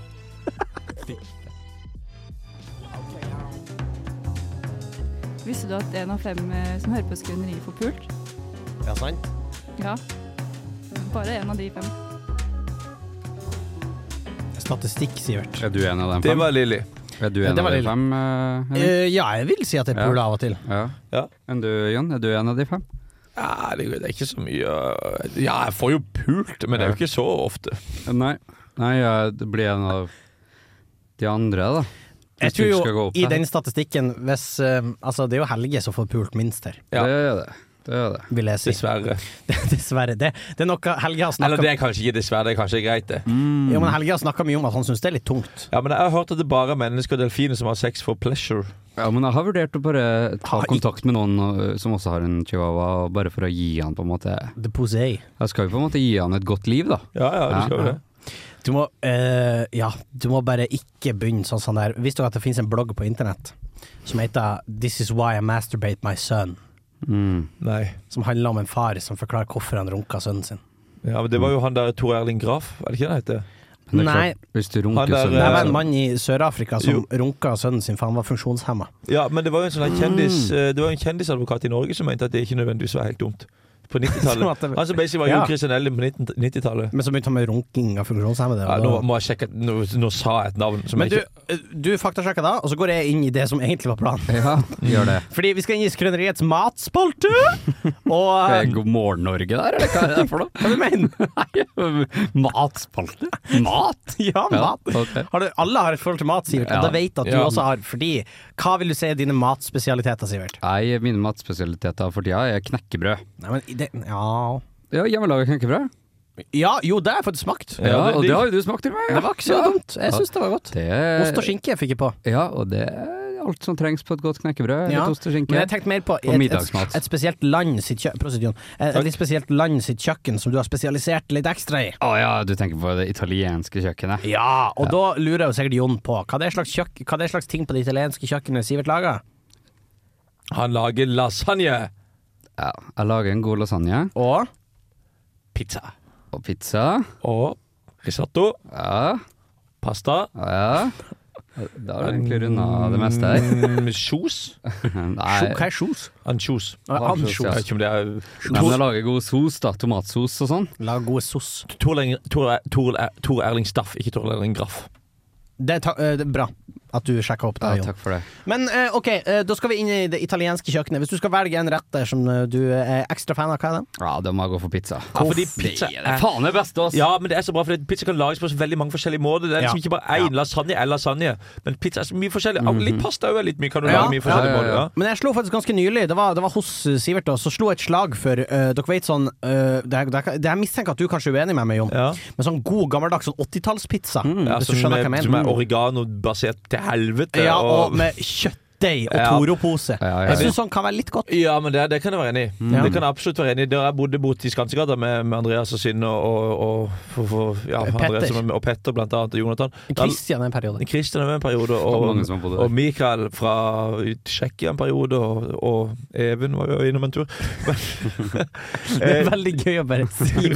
Speaker 9: Visste du at en av fem eh, som hører på Skrøneriet, får pult?
Speaker 4: Ja, sant?
Speaker 9: Ja. Bare en av de fem.
Speaker 4: Statistikk, Sivert.
Speaker 5: Er du en av dem
Speaker 3: Det
Speaker 5: fem?
Speaker 3: var Lilly.
Speaker 5: Er du
Speaker 4: Ja,
Speaker 5: en
Speaker 4: det
Speaker 5: av
Speaker 4: var
Speaker 5: de
Speaker 4: lille.
Speaker 5: fem? eh, Henning?
Speaker 4: Eh, ja, jeg vil si at jeg
Speaker 5: Ja.
Speaker 4: puler av og til.
Speaker 5: ja.
Speaker 3: Ja.
Speaker 5: Enn du, Jon? Er du en av de fem?
Speaker 3: Ja, det, det er ikke så mye øh, Ja, jeg får jo pult, men det er jo ikke så ofte.
Speaker 5: Eh, Nei. Nei, jeg blir en av de andre, da. Hvis
Speaker 4: Jeg tror
Speaker 5: du
Speaker 4: jo
Speaker 5: skal gå opp
Speaker 4: i
Speaker 5: der.
Speaker 4: den statistikken hvis eh, Altså, det er jo Helge som får pult minst her,
Speaker 3: Ja.
Speaker 5: Det er det. Det er det.
Speaker 4: vil jeg si.
Speaker 3: Dessverre.
Speaker 4: Dessverre. Det, det er noe Helge har
Speaker 3: Eller
Speaker 4: snakka
Speaker 3: det er kanskje ikke dessverre, det er kanskje greit, det.
Speaker 4: Jo, men Helge har snakket mye om at han syns det er litt tungt.
Speaker 3: Ja, Men jeg har hørt at det bare er mennesker og delfiner som har sex for pleasure.
Speaker 5: Ja, men jeg har vurdert å bare ta
Speaker 4: Ha i-
Speaker 5: kontakt med noen og- som også har en chihuahua, og bare for å gi han på en måte
Speaker 4: The posé.
Speaker 5: Jeg skal jo på en måte gi han et godt liv, da.
Speaker 3: Ja, ja, du
Speaker 5: Ja,
Speaker 3: skal jo
Speaker 5: ja.
Speaker 3: det.
Speaker 4: Du må eh, Ja, du må bare ikke begynne sånn som det her. Visste du at det finnes en blogg på internett som heter 'This is why I masturbate my son'?
Speaker 5: Mm.
Speaker 3: Nei.
Speaker 4: Som handler om en far som forklarer hvorfor han runka sønnen sin.
Speaker 3: Ja, men Det var jo han der Tor Erling Graff, er det ikke det han heter?
Speaker 5: Men det er
Speaker 4: Nei.
Speaker 5: klart, hvis du
Speaker 3: Han
Speaker 5: runker
Speaker 3: der,
Speaker 5: så
Speaker 4: Det
Speaker 3: eh,
Speaker 4: var
Speaker 5: det
Speaker 4: en mann i Sør-Afrika som
Speaker 3: Jo.
Speaker 4: runka sønnen sin, for han var funksjonshemma.
Speaker 3: Ja, men det var jo en sånn her kjendis
Speaker 5: Mm.
Speaker 3: eh, Det var jo en kjendisadvokat i Norge som mente at det ikke nødvendigvis var helt dumt. På 90-tallet.
Speaker 4: Som at det-
Speaker 3: Han som basically var
Speaker 4: Ja.
Speaker 3: Jon Christian Elling på 90- 90-tallet.
Speaker 4: Men så begynte han med runking av funksjonshemmede.
Speaker 3: Ja,
Speaker 4: og
Speaker 3: nå
Speaker 4: da-
Speaker 3: må jeg sjekke at- Nå, nå sa jeg et navn som
Speaker 4: men
Speaker 3: jeg
Speaker 4: du,
Speaker 3: ikke
Speaker 4: eh, du faktasjekker da, og så går jeg inn i det som egentlig var planen.
Speaker 5: Ja, gjør det.
Speaker 4: Fordi vi skal inn i Skrøneriets matspalte! Og
Speaker 5: Er
Speaker 4: eh,
Speaker 5: det God morgen Norge der, eller hva er det for noe?
Speaker 4: hva du mener
Speaker 5: Nei, Matspalte? Mat?
Speaker 4: Ja, mat.
Speaker 5: Ja, ok.
Speaker 4: Har du, alle har et forhold til mat, Sivert,
Speaker 5: Ja.
Speaker 4: og det vet jeg at du
Speaker 5: Ja.
Speaker 4: også har. Fordi, hva vil du si er dine matspesialiteter, Sivert?
Speaker 5: Nei, mine matspesialiteter for tida er knekkebrød.
Speaker 4: Nei, men i det, ja.
Speaker 5: Ja, Hjemmelaga knekkebrød.
Speaker 4: ja, jo, det har jeg fått smakt.
Speaker 5: Ja,
Speaker 3: det-
Speaker 5: og
Speaker 3: det-
Speaker 5: det har jo du smakt til meg. Ja.
Speaker 4: Det var ikke så
Speaker 5: Ja.
Speaker 4: dumt. Jeg syns det var godt.
Speaker 5: Det,
Speaker 4: Ost og skinke fikk jeg på.
Speaker 5: Ja, og det er alt som trengs på et godt knekkebrød.
Speaker 4: Ja,
Speaker 5: Litt ost og
Speaker 4: Men
Speaker 5: skinke.
Speaker 4: jeg tenkte mer på
Speaker 5: Og
Speaker 4: et, et,
Speaker 5: middagsmat.
Speaker 4: et spesielt land sitt kjøkken Prosit, Jon. Et, et litt spesielt land sitt kjøkken som du har spesialisert litt ekstra i.
Speaker 5: Å ja, du tenker på det italienske kjøkkenet.
Speaker 4: Ja, og da lurer jo sikkert Jon på hva det er slags, kjøkk- hva det er slags ting på det italienske kjøkkenet Sivert lager.
Speaker 3: Han lager lasagne!
Speaker 5: Ja, jeg lager en god lasagne
Speaker 4: Og
Speaker 3: Pizza.
Speaker 5: og pizza.
Speaker 3: Og risotto.
Speaker 5: Ja,
Speaker 3: Pasta.
Speaker 5: ja. Da har du egentlig runda det meste her.
Speaker 3: Mm, Kjos?
Speaker 5: Nei,
Speaker 4: Sjo- hva er sjos?
Speaker 3: Ansjos.
Speaker 4: Ah,
Speaker 5: Ansjos, ja.
Speaker 3: Jeg vet ikke om det er
Speaker 5: nei, men jeg lager god sos, da. Tomatsos og sånn.
Speaker 4: Lager gode sos.
Speaker 3: Tor Erling- Tor Er- Tor Erling Staff, ikke Tor Erling Graff.
Speaker 4: Det er, ta, eh, det er bra. at du sjekka opp det.
Speaker 5: Ja,
Speaker 4: Jon.
Speaker 5: takk for det.
Speaker 4: Men eh, ok, eh, da skal vi inn i det italienske kjøkkenet. Hvis du skal velge en rett der som eh, du er ekstra fan av, hva er det?
Speaker 5: Ja, da må jeg gå for pizza.
Speaker 3: Ja, fordi pizza
Speaker 5: Det
Speaker 3: er-
Speaker 5: er faen det beste, ass!
Speaker 3: Ja, men det er så bra, for pizza kan lages på så veldig mange forskjellige måter. Det er
Speaker 4: Ja.
Speaker 3: liksom
Speaker 4: Mhm.
Speaker 3: ikke bare én lasagne er lasagne, men pizza er så mye forskjellig. Og Litt pasta òg er litt mye, kan du
Speaker 4: Ja,
Speaker 3: lage mye forskjellige
Speaker 5: ja, ja,
Speaker 3: måter.
Speaker 5: ja.
Speaker 3: Ja.
Speaker 4: Men jeg slo faktisk ganske nylig, det var, det var hos eh, Sivert, da, så slo jeg et slag for eh, Dere vet sånn eh, det, her- det, her- det her mistenker jeg at du kanskje er uenig med meg, Jon,
Speaker 3: Ja. Mm.
Speaker 4: men sånn god, gammeldags sånn 80-tallspizza,
Speaker 3: Ja,
Speaker 4: hvis
Speaker 3: som,
Speaker 4: du skjønner
Speaker 3: er,
Speaker 4: hva jeg
Speaker 3: som er
Speaker 4: mener.
Speaker 3: oregano-basert til helvete.
Speaker 4: Ja, og
Speaker 3: og,
Speaker 4: med kjøttdeig og
Speaker 3: Ja.
Speaker 4: Toro-pose.
Speaker 5: Ja, ja, ja.
Speaker 4: Jeg syns sånn kan være litt godt.
Speaker 3: ja men det, det kan jeg være enig i.
Speaker 4: Mm.
Speaker 3: Det kan jeg absolutt være enig i. Da jeg bodde borte i Skansegata med, med Andreas og Synne og, og, og, og ja,
Speaker 4: Petter.
Speaker 3: Andreas og, og Petter, blant annet, og Jonathan Da-
Speaker 4: Christian en periode.
Speaker 3: Christian er med en periode,
Speaker 5: var
Speaker 3: og,
Speaker 5: mange som var på det.
Speaker 3: og Mikael fra Tsjekkia en periode, og, og Even var jo innom en tur. Men,
Speaker 4: Det er veldig gøy å bare si.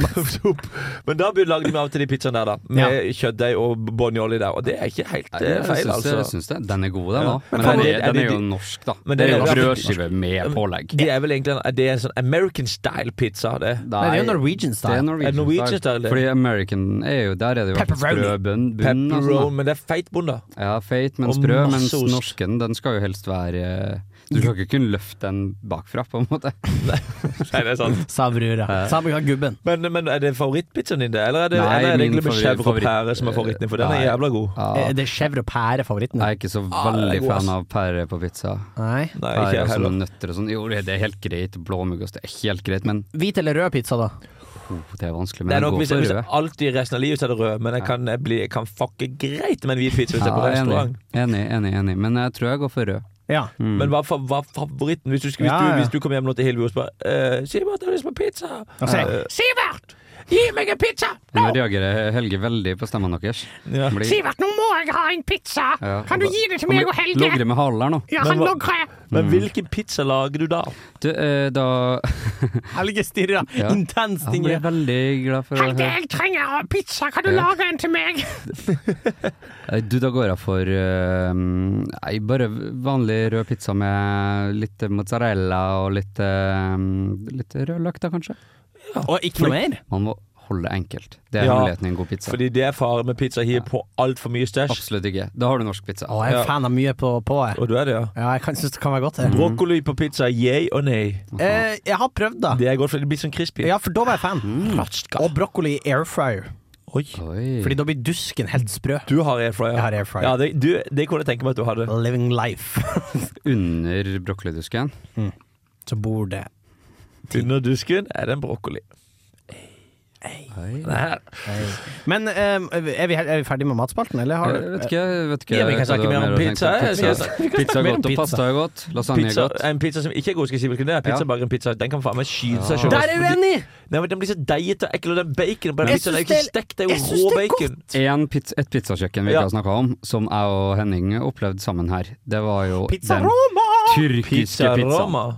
Speaker 3: Men da blir- lagde vi av og til de pizzaene der, da. Med kjøttdeig og bonjolli der. Og det er ikke helt
Speaker 5: Nei,
Speaker 3: eh,
Speaker 5: jeg
Speaker 3: feil,
Speaker 5: syns- jeg
Speaker 3: altså.
Speaker 5: syns det. Den er god, den
Speaker 3: Ja.
Speaker 5: òg.
Speaker 3: Men
Speaker 5: Men
Speaker 3: kan
Speaker 5: den
Speaker 3: du-
Speaker 5: er,
Speaker 3: er
Speaker 5: den
Speaker 3: det
Speaker 5: er jo
Speaker 3: de-
Speaker 5: norsk, da.
Speaker 3: Men
Speaker 5: det er
Speaker 3: det
Speaker 5: jo
Speaker 3: er-
Speaker 5: brødskive med pålegg.
Speaker 3: De er vel egentlig en, er det en sånn American style pizza, det.
Speaker 4: Nei, det er jo Norwegian
Speaker 5: Det er
Speaker 4: style.
Speaker 5: Norwegian,
Speaker 3: Er det Norwegian
Speaker 5: style.
Speaker 3: style, det?
Speaker 5: Fordi American er jo Der er det jo alltid
Speaker 4: Pepperoni.
Speaker 5: sprø bunn. bunn og sånn, da.
Speaker 3: Pepperoni, men det er feit bunn, da.
Speaker 5: Ja, feit, men
Speaker 3: Og
Speaker 5: sprø.
Speaker 3: masse
Speaker 5: Mens
Speaker 3: ost.
Speaker 5: norsken, den skal jo helst være eh, Du skal ikke kunne løfte den bakfra, på en måte.
Speaker 3: Nei, det er sant.
Speaker 4: Sa brura. Sa brura gubben.
Speaker 3: Men, men er det favorittpizzaen din, det? Eller er det,
Speaker 5: Nei,
Speaker 3: eller er det
Speaker 5: min
Speaker 3: egentlig med
Speaker 5: favori-
Speaker 3: chèvre og
Speaker 5: favoritt-
Speaker 3: pære som er favoritten din? For den er
Speaker 5: Nei.
Speaker 3: jævla god.
Speaker 5: Ja.
Speaker 4: Er Eh, det chèvre og pære favoritten?
Speaker 5: Jeg er ikke så
Speaker 3: Ah, det
Speaker 5: veldig
Speaker 3: er god, ass.
Speaker 5: fan av pære på pizza.
Speaker 4: Nei.
Speaker 3: Nei, ikke
Speaker 5: Pære
Speaker 3: jeg
Speaker 5: og
Speaker 3: heller.
Speaker 5: sånne nøtter og sånn. Jo, det det er helt greit. Blåmuggost det er helt greit, men
Speaker 4: Hvit eller rød pizza, da?
Speaker 5: oh, det er vanskelig.
Speaker 3: Mm. Det er
Speaker 5: Men
Speaker 3: nok
Speaker 5: gå
Speaker 3: hvis jeg,
Speaker 5: for
Speaker 3: hvis jeg
Speaker 5: rød.
Speaker 3: alltid resten av livet så er det rød, men jeg kan, jeg bli, jeg kan fucke greit med en hvit pizza hvis jeg er på
Speaker 5: Ja,
Speaker 3: restaurant.
Speaker 5: enig, enig, enig, enig. Men jeg tror jeg går for rød.
Speaker 4: Ja.
Speaker 5: Mm.
Speaker 3: Men hva er fa- hva er favoritten? Hvis du, skulle- hvis,
Speaker 4: Ja, ja.
Speaker 3: du, hvis du kom hjem nå til Hilvi og spør uh, 'Sivert, har du lyst på pizza?'
Speaker 4: Altså,
Speaker 3: Eh, 'Sivert, gi meg en pizza!'
Speaker 5: Nå reagerer Helge veldig på stemmen deres.
Speaker 3: Ja.
Speaker 5: Han blir-
Speaker 4: Sivert, nå må jeg ha en pizza!
Speaker 5: Ja,
Speaker 4: Kan du gi det til
Speaker 5: han
Speaker 4: meg
Speaker 5: blir-
Speaker 4: og Helge?
Speaker 5: Logrer med halen her nå.
Speaker 4: Ja,
Speaker 3: Men
Speaker 4: han
Speaker 3: hva-
Speaker 4: logrer!
Speaker 3: Men
Speaker 5: Mm.
Speaker 3: hvilken pizza lager du da?
Speaker 5: Du, eh, da
Speaker 4: Helge stirrer
Speaker 5: Ja.
Speaker 4: intenst
Speaker 5: Han
Speaker 4: inn i
Speaker 5: blir veldig glad for å
Speaker 4: Helge,
Speaker 5: høre
Speaker 4: jeg trenger pizza! Kan du
Speaker 5: Ja.
Speaker 4: lage en til meg?
Speaker 5: Nei, Du, da går jeg for eh, Nei, bare vanlig rød pizza med litt mozzarella og litt, eh, litt rød løk, da kanskje?
Speaker 4: Og ikke noe mer?
Speaker 5: Man må holde det enkelt. Det er
Speaker 3: Ja,
Speaker 5: muligheten i en god pizza.
Speaker 3: Fordi det er fare med pizza hiver på altfor mye stæsj.
Speaker 5: Absolutt ikke. Da har du norsk pizza.
Speaker 4: Å,
Speaker 3: Ah.
Speaker 4: jeg er fan av mye på, på jeg.
Speaker 3: Og du er det, ja.
Speaker 5: Mm.
Speaker 4: Ja, jeg kan synes det kan være godt. Jeg,
Speaker 3: Brokkoli på pizza, yay og nei.
Speaker 4: eh, jeg har prøvd, da.
Speaker 3: Det er godt, for det blir sånn crispy.
Speaker 4: Ja, for da var jeg fan.
Speaker 5: Mm.
Speaker 4: Og brokkoli i air fryer.
Speaker 3: Oi.
Speaker 5: Oi.
Speaker 4: Fordi da blir dusken helt sprø.
Speaker 3: Du har air fryer.
Speaker 4: Jeg har air fryer.
Speaker 3: Ja, det, du, det kunne jeg tenke meg at du hadde.
Speaker 4: Living life.
Speaker 5: Under brokkolidusken.
Speaker 4: Så bor det
Speaker 3: Under dusken er det en brokkoli.
Speaker 5: Oi.
Speaker 4: Men eh, er, vi, er vi ferdig med matspalten, eller har
Speaker 5: Jeg
Speaker 4: du
Speaker 5: vet ikke, jeg vet ikke
Speaker 3: Ja, vi kan
Speaker 5: hva
Speaker 3: snakke
Speaker 5: du har
Speaker 3: mer om
Speaker 5: å tenke
Speaker 3: pizza,
Speaker 5: på.
Speaker 3: jeg skal
Speaker 5: Pizza,
Speaker 3: snakke- vi kan
Speaker 5: pizza
Speaker 4: snakke mer
Speaker 5: er
Speaker 4: om
Speaker 5: godt, og
Speaker 4: pizza.
Speaker 5: pasta er godt. Lasagne er
Speaker 3: Pizza, eh,
Speaker 5: godt.
Speaker 3: en pizza som ikke er god, skal jeg si hvilken det er. Pizza
Speaker 5: Ja.
Speaker 3: bare en pizza. Den kan faen meg skyte seg
Speaker 5: Ja.
Speaker 3: sjøl.
Speaker 4: Der er jeg uenig!
Speaker 3: Nei, men Den blir så deigete og ekkel, og den baconen på den
Speaker 4: Jeg
Speaker 3: pizzaen
Speaker 4: syns
Speaker 3: er jo ikke
Speaker 4: det-
Speaker 3: stekt, det er
Speaker 4: jeg
Speaker 3: jo
Speaker 4: syns
Speaker 3: rå
Speaker 4: det er
Speaker 3: bacon.
Speaker 5: En pizza, et pizzakjøkken vi
Speaker 3: Ja.
Speaker 5: ikke har snakka om, som jeg og Henning opplevde sammen her, det var jo
Speaker 4: Pizza
Speaker 5: den
Speaker 4: Roma!
Speaker 5: tyrkiske
Speaker 3: Pizza
Speaker 5: pizzaen.
Speaker 3: Roma.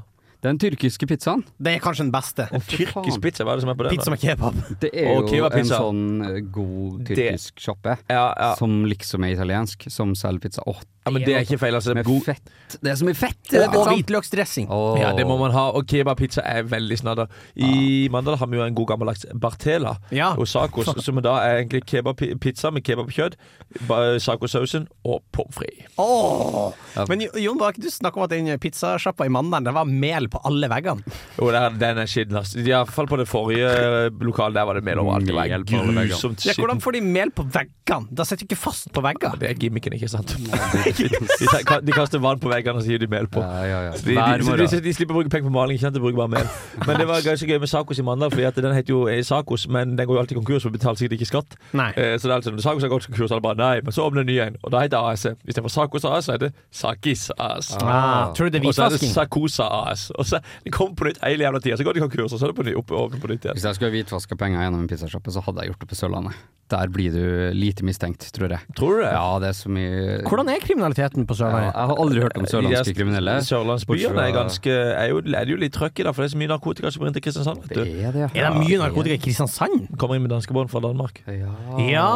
Speaker 5: Den tyrkiske pizzaen,
Speaker 4: Det er kanskje den beste.
Speaker 3: En tyrkisk pizza, hva er det som er på den?
Speaker 4: Pizza
Speaker 3: da?
Speaker 4: med kebab.
Speaker 5: det er
Speaker 3: Og
Speaker 5: jo en
Speaker 3: kebabpizza.
Speaker 5: sånn eh, god
Speaker 3: Det-
Speaker 5: tyrkisk sjappe
Speaker 3: Ja, ja.
Speaker 5: som liksom er italiensk, som selger pizza. Åh,
Speaker 3: ja, men det er ikke feil, altså. Det
Speaker 5: med
Speaker 3: er god.
Speaker 5: fett! Det er så mye fett i den
Speaker 4: Og, og
Speaker 5: pizzaen!
Speaker 4: hvitløksdressing.
Speaker 5: Åh.
Speaker 3: Ja, det må man ha. Og kebabpizza er veldig snadder. I Mandal har vi jo en god gammeldags bartela.
Speaker 4: Ja.
Speaker 3: Og sacos, som da er egentlig kebabpizza med kebabkjøtt, ba- sacosausen og pommes frites.
Speaker 4: Åh. Men Jo- Jon, var ikke du snakka om at den pizzasjappa i Mandelen, det var mel på alle veggene?
Speaker 3: Jo, der- den er skitten, ass. Iallfall på det forrige lokalet. Der var det mel overalt. Det var
Speaker 5: Mel på alle vegger.
Speaker 3: grusomt
Speaker 4: Ja,
Speaker 3: skitten.
Speaker 4: hvordan får de mel på veggene? Da sitter du ikke fast på veggene.
Speaker 3: Det er gimmicken, ikke sant? De, ta- de kaster vann på veggene og så gir de mel på.
Speaker 5: Ja, ja, ja.
Speaker 3: De, de,
Speaker 5: Hver
Speaker 3: så de, så
Speaker 5: morgen.
Speaker 3: de slipper å bruke penger på maling, ikke sant? De bruker bare mel. Men det var ganske gøy med Sakos i Mandal, Fordi at den heter jo eh, Sakos, men den går jo alltid konkurs og betaler sikkert ikke skatt.
Speaker 4: Nei.
Speaker 3: Eh, så det er altså, når Sakos har gått konkurs, så er det bare nei, men så åpner en ny en, og da heter E. det AS. Istedenfor Sakos AS, så heter det Sakis AS.
Speaker 4: Ah, tror du det er
Speaker 3: Og så er det
Speaker 4: hvitvasking?
Speaker 3: Sakosa AS. Og så det kommer på nytt hele jævla tida, så går det konkurs, og så er det på ny, opp, åpner på nytt igjen.
Speaker 5: Hvis jeg skulle hvitvaska penger gjennom en pizzasjappe, så hadde jeg gjort det på Sørlandet. Der blir du lite mistenkt, tror jeg.
Speaker 3: Tror du det?
Speaker 5: Ja, det er så mye
Speaker 4: Hvordan er kriminaliteten på
Speaker 5: Ja,
Speaker 4: Sørlandet?
Speaker 5: jeg har aldri hørt om sørlandske
Speaker 3: De der
Speaker 5: kriminelle.
Speaker 3: Sørlandsbyene
Speaker 5: Bortsett
Speaker 3: er
Speaker 5: fra-
Speaker 3: ganske er jo, er det jo litt trøkk i, da, for det er så mye narkotika som brenner til Kristiansand. vet
Speaker 5: Det
Speaker 3: du
Speaker 5: er det,
Speaker 4: Er det mye narkotika i Kristiansand?
Speaker 3: Kommer inn med danskebånd fra Danmark.
Speaker 5: Ja.
Speaker 4: Ja!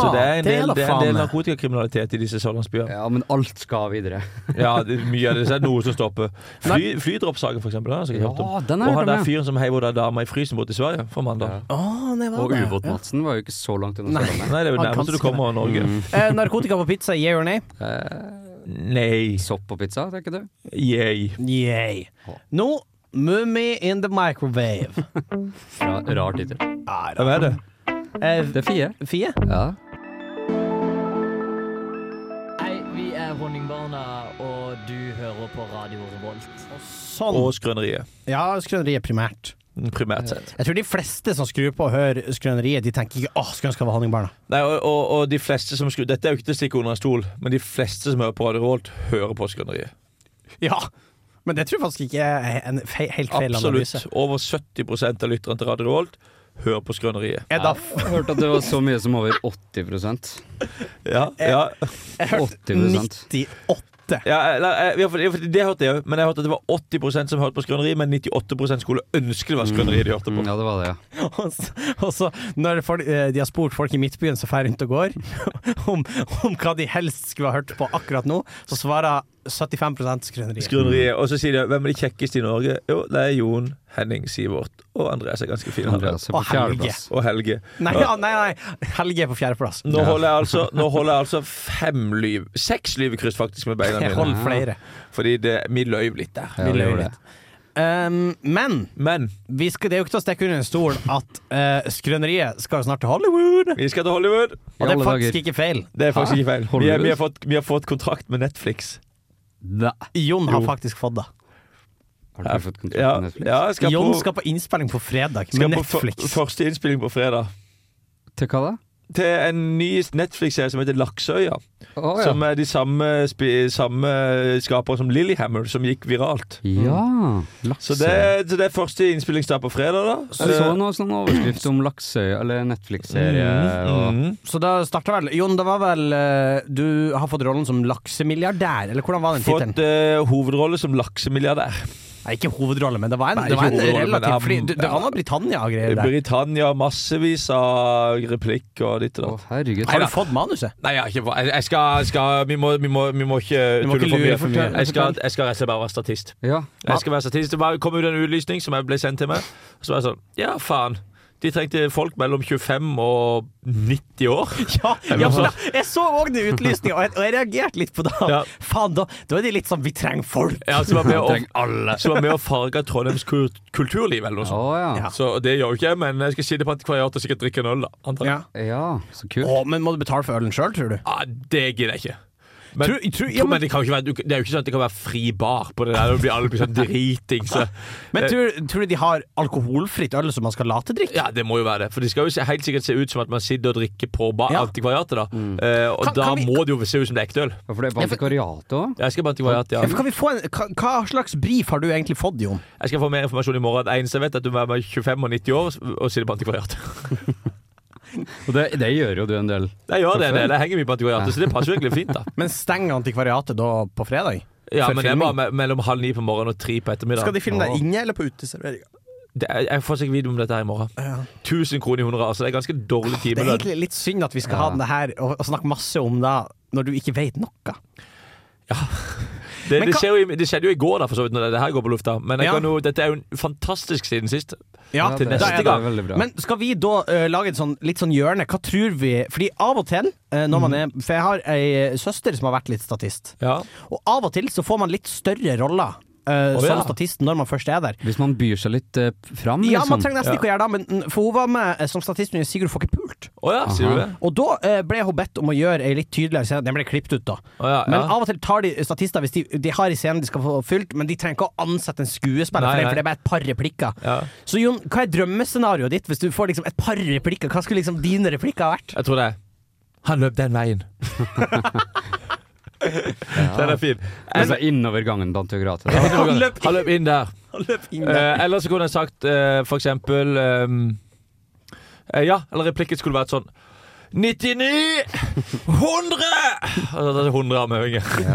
Speaker 3: Så det er en del,
Speaker 4: da
Speaker 3: det er en
Speaker 4: faen
Speaker 3: del
Speaker 4: meg.
Speaker 3: narkotikakriminalitet i disse sørlandsbyene.
Speaker 5: ja, men alt skal videre.
Speaker 3: Ja, det, mye av det så er det noe som stopper. Fly, flydroppsaken mandagen, for eksempel. Da, som jeg
Speaker 5: Ja,
Speaker 3: hørte om.
Speaker 5: den har
Speaker 3: og
Speaker 5: jeg hørt
Speaker 3: han
Speaker 5: om,
Speaker 3: der
Speaker 5: ja.
Speaker 3: fyren som heiv henne dama i frysen bort til Sverige for mandag.
Speaker 5: Og Ubåt-Madsen var jo ikke så langt unna.
Speaker 4: Nei.
Speaker 5: Sørlandet.
Speaker 3: Nei, det er jo
Speaker 4: Han kan
Speaker 3: nærmest du kommer av Norge.
Speaker 5: Mm.
Speaker 4: Eh, narkotika på pizza, yeah or nay?
Speaker 3: Nei.
Speaker 5: Sopp på pizza, tenker du?
Speaker 3: Yay.
Speaker 4: Yay. Nå Mummy in the microwave.
Speaker 5: Ra rar tittel.
Speaker 3: Hvem er det?
Speaker 4: Eh,
Speaker 5: Det er Fie.
Speaker 4: Fie?
Speaker 5: Ja.
Speaker 11: Hei, vi er Honningbarna, og du hører på Radio Revolt.
Speaker 4: Sånn.
Speaker 3: Og Skrøneriet.
Speaker 4: Ja, Skrøneriet primært.
Speaker 3: Primært sett.
Speaker 4: Jeg tror de fleste som skrur på og hører Skrøneriet, de tenker ikke 'Å, skulle ønske jeg var Honningbarna'.
Speaker 3: Nei, og, og, og de fleste som skru... Dette er jo ikke til å stikke under en stol, men de fleste som hører på Radio Revolt, hører på Skrøneriet.
Speaker 4: Ja, men det tror jeg faktisk ikke er en fe helt feil
Speaker 3: Absolutt.
Speaker 4: analyse.
Speaker 3: Over 70 av lytterne til Radio Revolt hører på Skrøneriet.
Speaker 4: Er da
Speaker 5: Jeg hørte at det var så mye som over 80
Speaker 3: Ja, ja.
Speaker 4: jeg hørte
Speaker 5: 80%.
Speaker 4: 98.
Speaker 3: Ja, eller, eh, i hvert fall- i hvert fall det hørte jeg òg, men jeg hørte at det var 80 som hørte på Skrøneri, men 98 skulle ønske det var Skrøneri de hørte på.
Speaker 5: Ja, det var det, Mm. ja.
Speaker 4: Og så- Og så, når folk, eh, de har spurt folk i Midtbyen som drar rundt og går, om, om hva de helst skulle ha hørt på akkurat nå, så svarer 75 Skrøneriet.
Speaker 3: Skrøneriet, Og så sier de hvem er de kjekkeste i Norge? Jo, det er Jon, Henning, Sivert og Andreas er ganske fin. han der.
Speaker 5: Andreas er altså, på
Speaker 4: Å, helge.
Speaker 5: fjerdeplass.
Speaker 3: Og Helge.
Speaker 4: Nei, ja, nei, nei, Helge er på fjerdeplass.
Speaker 3: Nå holder jeg altså, nå holder jeg altså fem lyv Seks lyvekryss faktisk med beina
Speaker 4: Jeg
Speaker 3: mine.
Speaker 4: holder flere.
Speaker 3: Fordi det, vi løy litt der.
Speaker 5: Ja, det gjorde det.
Speaker 4: Um, men
Speaker 3: Men
Speaker 4: vi skal, det er jo ikke til å stikke under en stol at eh, Skrøneriet skal jo snart til Hollywood.
Speaker 3: vi skal til Hollywood.
Speaker 5: I
Speaker 4: Og det
Speaker 5: alle
Speaker 4: er faktisk
Speaker 5: dager.
Speaker 4: ikke feil.
Speaker 3: Det er faktisk ikke feil. Vi, er,
Speaker 5: Hollywood?
Speaker 3: vi, har fått, vi har fått kontrakt med Netflix.
Speaker 5: Nei.
Speaker 4: Jon har
Speaker 3: Jo.
Speaker 4: faktisk fått det.
Speaker 5: Har du fått kontrakt
Speaker 3: Ja,
Speaker 5: med Netflix?
Speaker 3: ja skal
Speaker 4: Jon
Speaker 3: på,
Speaker 4: skal på innspilling på fredag
Speaker 3: skal
Speaker 4: med
Speaker 3: på for-
Speaker 4: Netflix.
Speaker 3: første innspilling på fredag.
Speaker 5: Til hva da?
Speaker 3: til en ny Netflix-serie som heter Laksøya.
Speaker 5: Å ja.
Speaker 3: Som er de samme, spi- samme skapere som Lillehammer, som gikk viralt.
Speaker 5: Ja,
Speaker 3: Så
Speaker 5: lakse.
Speaker 3: det, så det er første innspillingsdag på fredag, da.
Speaker 5: Jeg så noe sånn overskrift om Laksøy, eller Netflix-serie. og...
Speaker 3: Mm.
Speaker 4: Så da starter vel Jon, det var vel eh, Du har fått rollen som laksemilliardær, eller hvordan var den tittelen?
Speaker 3: Fått eh, hovedrolle som laksemilliardær.
Speaker 4: Nei, ikke hovedrolle, men det var en,
Speaker 3: Nei,
Speaker 4: det var
Speaker 3: ikke
Speaker 4: en
Speaker 3: hovedrolle, men
Speaker 4: relativt
Speaker 3: han-
Speaker 4: fordi Det, det var noe Britannia-greier der.
Speaker 3: Britannia, massevis av replikk og ditt og
Speaker 5: Å,
Speaker 3: datt.
Speaker 5: herregud.
Speaker 4: Har du fått manuset?
Speaker 3: Nei, jeg, har ikke, jeg- jeg skal, jeg skal vi, må, vi, må, vi må ikke
Speaker 4: Vi må ikke
Speaker 3: tulle for
Speaker 4: lure
Speaker 3: mye.
Speaker 4: for mye.
Speaker 3: Jeg skal, jeg skal rett og slett bare være statist.
Speaker 5: Ja.
Speaker 3: Jeg skal være statist. Det bare kom ut en utlysning som jeg ble sendt til meg. Og så var jeg sånn Ja, faen. De trengte folk mellom 25 og 90 år.
Speaker 4: Ja, ja for da, jeg så òg den utlysninga, og, jeg- og jeg reagerte litt på det.
Speaker 3: Ja.
Speaker 4: Faen, da, da er de litt sånn Vi trenger folk!
Speaker 3: Ja, som var med å, som var med å farge Trondheims kul- kulturliv, eller noe
Speaker 5: Å
Speaker 3: sånt.
Speaker 5: ja.
Speaker 3: Så det gjør jo ikke jeg, men jeg skal si det på antikvariatet og sikkert drikke en øl, da. Antar
Speaker 4: Ja.
Speaker 3: jeg.
Speaker 5: Ja, så kult.
Speaker 4: Å, men må du betale for ølen sjøl, tror du?
Speaker 3: Ah, det gidder jeg ikke. Men,
Speaker 4: Tror- tror- ja,
Speaker 3: men, det, kan jo ikke være, du- det er jo ikke sånn at det kan være fri bar på det der. Da blir alle blir sånn driting. Så. Eh.
Speaker 4: Men tror, tror du de har alkoholfritt øl som man skal late drikke?
Speaker 3: Ja, det må jo være det. For det skal jo se, helt sikkert se ut som at man sitter og drikker på bar,
Speaker 4: Ja. Mm.
Speaker 3: antikvariatet, da. Eh, og
Speaker 4: Kan-
Speaker 3: da
Speaker 4: kan vi-
Speaker 3: må det jo se ut som det er ekte øl.
Speaker 5: Ja, For det er på antikvariatet òg?
Speaker 3: Jeg skal på antikvariatet, ja.
Speaker 4: Ja, for Kan vi få en, hva, hva slags brief har du egentlig fått, Jon?
Speaker 3: Jeg skal få mer informasjon i morgen. Det eneste jeg vet, er at du må være 25 og 90 år og sitte på antikvariatet.
Speaker 5: Og det, det gjør jo du en del.
Speaker 3: Jeg gjør det, en del. jeg henger mye på antikvariatet, så det passer jo egentlig fint, da.
Speaker 4: Men stenger antikvariatet da på fredag?
Speaker 3: Ja,
Speaker 4: For
Speaker 3: men det er bare
Speaker 4: filming.
Speaker 3: me mellom halv ni på morgenen og tre på ettermiddagen.
Speaker 4: de filme deg inne eller på uteserveringa?
Speaker 3: Det er, jeg får sikkert video om dette her i morgen. 1000 kroner i 100, altså. Det er ganske dårlig
Speaker 4: Det er
Speaker 3: timelønn.
Speaker 4: egentlig litt synd at vi skal ha det her og, og snakke masse om det når du ikke vet noe.
Speaker 3: Det,
Speaker 4: Men
Speaker 3: det,
Speaker 4: hva-
Speaker 3: skjer jo i- det skjedde jo i går, da, for så vidt, når det, det her går på lufta. Men jeg
Speaker 4: Ja.
Speaker 3: kan jo, dette er jo en fantastisk siden sist.
Speaker 4: Ja,
Speaker 5: Ja,
Speaker 3: til
Speaker 5: det-
Speaker 3: neste
Speaker 5: det er
Speaker 3: gang.
Speaker 5: veldig bra.
Speaker 4: Men skal vi da eh, lage et sånn, litt sånn hjørne? Hva tror vi Fordi av og til, eh, når man er For jeg har ei søster som har vært litt statist.
Speaker 3: Ja.
Speaker 4: Og av og til så får man litt større roller eh,
Speaker 3: Å,
Speaker 4: som
Speaker 3: ja.
Speaker 4: statist når man først er der.
Speaker 5: Hvis man byr seg litt eh, fram,
Speaker 4: Ja, man
Speaker 5: liksom.
Speaker 4: trenger nesten
Speaker 3: Ja.
Speaker 4: ikke å gjøre det, men mm, for hun var med eh, som statist under Sigurd Får ikke pult.
Speaker 3: Å ja, sier du det?
Speaker 4: Og da eh, ble hun bedt om å gjøre ei litt tydeligere scene. Den ble klippet ut, da.
Speaker 3: Å ja,
Speaker 4: Men
Speaker 3: ja.
Speaker 4: av og til tar de statister hvis de, de har en scene de skal få fylt, men de trenger ikke å ansette en skuespiller
Speaker 3: Nei,
Speaker 4: for det,
Speaker 3: nei.
Speaker 4: for det er bare et par replikker.
Speaker 3: ja.
Speaker 4: Så Jon, hva er drømmescenarioet ditt hvis du får liksom et par replikker? Hva skulle liksom dine replikker ha vært?
Speaker 3: Jeg tror det. er Han løp den veien. Den er fin.
Speaker 5: Altså, innover gangen til antikvariatet. da.
Speaker 3: Han løp, han løp inn der.
Speaker 4: Eh,
Speaker 3: Eh, eller så kunne jeg sagt eh, for eksempel ehm, eh, Ja, eller replikken skulle vært sånn 99 100! Altså, det er 100 armhevinger. Eh.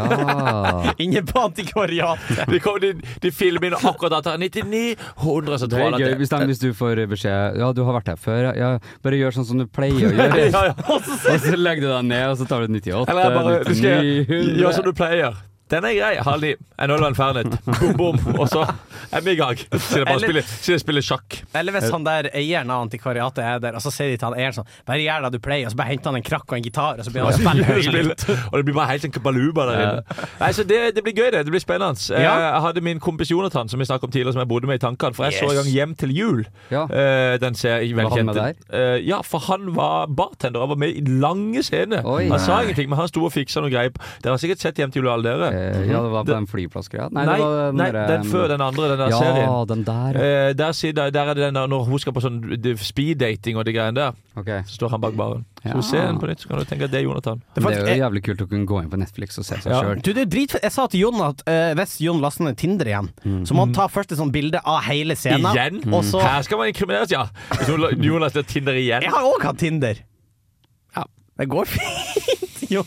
Speaker 5: Ja.
Speaker 4: Inne på antikvariatet.
Speaker 3: De, kom- de, de filmer inn akkurat dette. 99 100, så
Speaker 5: Det
Speaker 3: tror
Speaker 5: er
Speaker 3: jeg
Speaker 5: gøy
Speaker 3: at
Speaker 5: hvis, de, hvis du får beskjed Ja, du har vært her før. Ja, bare gjør sånn som du pleier å gjøre.
Speaker 3: ja, ja.
Speaker 5: Og så legger du deg ned, og så tar du 98,
Speaker 3: Eller jeg bare Du skal
Speaker 5: 99,
Speaker 3: gjøre som du pleier. Den er grei. Halv ni. En øl og en fernet. Bom, bom. Og så er vi i gang. Siden jeg bare
Speaker 4: Eller-
Speaker 3: spiller, siden jeg spiller sjakk.
Speaker 4: Eller hvis han der eieren av antikvariatet er der, og så sier de til han eieren sånn Bare gjør det du pleier, og så bare henter han en krakk og en gitar, og så begynner
Speaker 3: Altså,
Speaker 4: han å spille høylytt.
Speaker 3: Og det blir bare helt sånn kabaluba der inne. Nei, så det, det blir gøy, det. Det blir spennende.
Speaker 4: Ja.
Speaker 3: Eh, Jeg hadde min kompis Jonathan, som vi snakket om tidligere, som jeg bodde med i tankene. For jeg så
Speaker 4: Yes.
Speaker 3: en gang Hjem til jul. Eh, Den ser jeg
Speaker 5: Var han
Speaker 3: velkjent.
Speaker 5: med
Speaker 3: Eh, Ja, for han var bartender. Han var med i lange scener.
Speaker 5: Oi.
Speaker 3: Han sa
Speaker 5: Nei. Eh,
Speaker 3: ingenting, men han sto og fiksa noen greier. Dere har sikkert sett Hjem til jul, alle dere.
Speaker 5: Ja, det var på
Speaker 3: Det-
Speaker 5: den flyplassgreia.
Speaker 3: Nei, nei, den, før den andre, den der
Speaker 5: eh, ja,
Speaker 3: serien.
Speaker 5: den der.
Speaker 3: Eh, der, sitter, der er det den der når hun skal på sånn d- speed-dating og de greiene der. Så står han bak baren. Så
Speaker 5: Ja.
Speaker 3: du ser den på nytt, så kan du tenke at det er Jonathan.
Speaker 5: Det, er jo jævlig kult å kunne gå inn på Netflix og se seg
Speaker 3: Ja.
Speaker 5: selv sjøl.
Speaker 4: Du, det er jo dritfett. Jeg sa til Jon at eh, hvis Jon laster ned Tinder igjen, så må han ta først et sånt bilde av hele scenen.
Speaker 3: Mm. Igjen? Mm.
Speaker 4: Og så
Speaker 3: Her skal man inkrimineres, ja! Hvis hun la- Jonas til Tinder igjen.
Speaker 4: Jeg har òg hatt Tinder. Det går fint, Jon.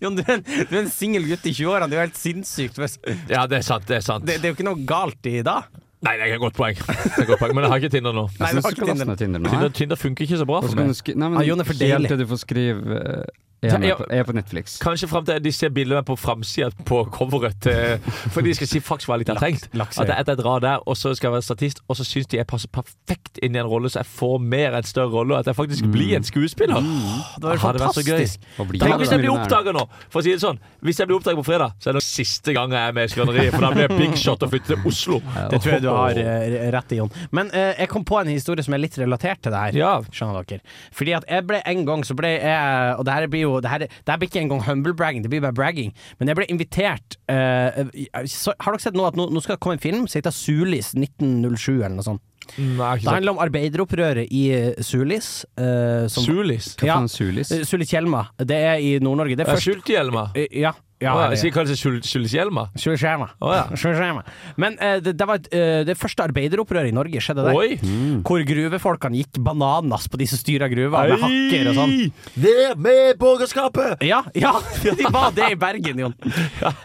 Speaker 4: Jon, du er en, du er en singel gutt i 20-årene. Det er jo helt sinnssykt. hvis- Det,
Speaker 3: Ja, det er sant. Det er sant.
Speaker 4: det er jo ikke noe galt i da.
Speaker 3: Nei, det er et godt poeng. Det er et godt poeng. Men jeg har ikke Tinder nå.
Speaker 4: Nei, du har ikke Tinder.
Speaker 5: Tinder. Tinder nå,
Speaker 3: Tinder,
Speaker 5: hæ?
Speaker 3: Tinder funker ikke så bra
Speaker 5: Og så
Speaker 3: for
Speaker 5: kan
Speaker 3: meg.
Speaker 5: du skri- Nei, men
Speaker 4: Ah, Jon er for
Speaker 5: Helt
Speaker 4: deilig.
Speaker 5: til du får skrive eh,
Speaker 3: Ta-
Speaker 5: er, med
Speaker 3: ja.
Speaker 5: på, er på Netflix.
Speaker 3: Kanskje fram til de ser bildet med på framsida på coveret. til- For de skal si faktisk hva jeg litt har tenkt.
Speaker 4: Laks- lakseøye.
Speaker 3: At jeg, at jeg drar der, og så skal jeg være statist, og så syns de jeg passer perfekt inn i en rolle, så jeg får mer en større rolle, og at jeg faktisk blir en skuespiller.
Speaker 4: Mm. Det var jo
Speaker 3: Ah, det hadde vært så gøy.
Speaker 4: fantastisk.
Speaker 5: Hva blir
Speaker 3: Tenk hvis jeg blir
Speaker 5: millionær?
Speaker 3: oppdaga nå! For å si det sånn Hvis jeg blir oppdaget på fredag, så er det nok siste gang jeg er med i Skrøneriet. For da blir jeg big shot og flytter til Oslo.
Speaker 4: Det tror jeg du har eh, rett i, Jon. Men eh, jeg kom på en historie som er litt relatert til det her.
Speaker 3: Ja.
Speaker 4: Skjønner dere. Fordi at jeg ble en gang så ble jeg Og det her blir jo Det her, det her blir ikke engang humble bragging, det blir bare bragging. Men jeg ble invitert eh, så, Har dere sett nå at nå, nå skal det komme en film som heter Sulis 1907 eller noe sånt?
Speaker 3: Nei, mm, ikke
Speaker 4: Det
Speaker 3: sant.
Speaker 4: handler om arbeideropprøret i eh, Sulis. eh, som-
Speaker 3: Sulis?
Speaker 5: Hva
Speaker 4: Ja.
Speaker 5: faen, Sulis?
Speaker 4: Eh, Sulitjelma. Det er i Nord-Norge. Det er
Speaker 3: Ja,
Speaker 4: først
Speaker 3: Sulthjelma?
Speaker 4: eh, Ja. ja, ja,
Speaker 3: Å, jeg
Speaker 4: ja.
Speaker 3: Skal jeg kalle det Sul- Sulthjelma?
Speaker 4: Sulitjelma.
Speaker 3: Å ja.
Speaker 4: Sulitjelma. Men eh, det, det var et, eh, det første arbeideropprøret i Norge skjedde der.
Speaker 3: Oi!
Speaker 4: Hvor gruvefolkene gikk bananas på de som styra gruva, med hakker og sånn.
Speaker 3: Vær med borgerskapet!
Speaker 4: Ja, ja, de var det i Bergen, Jon.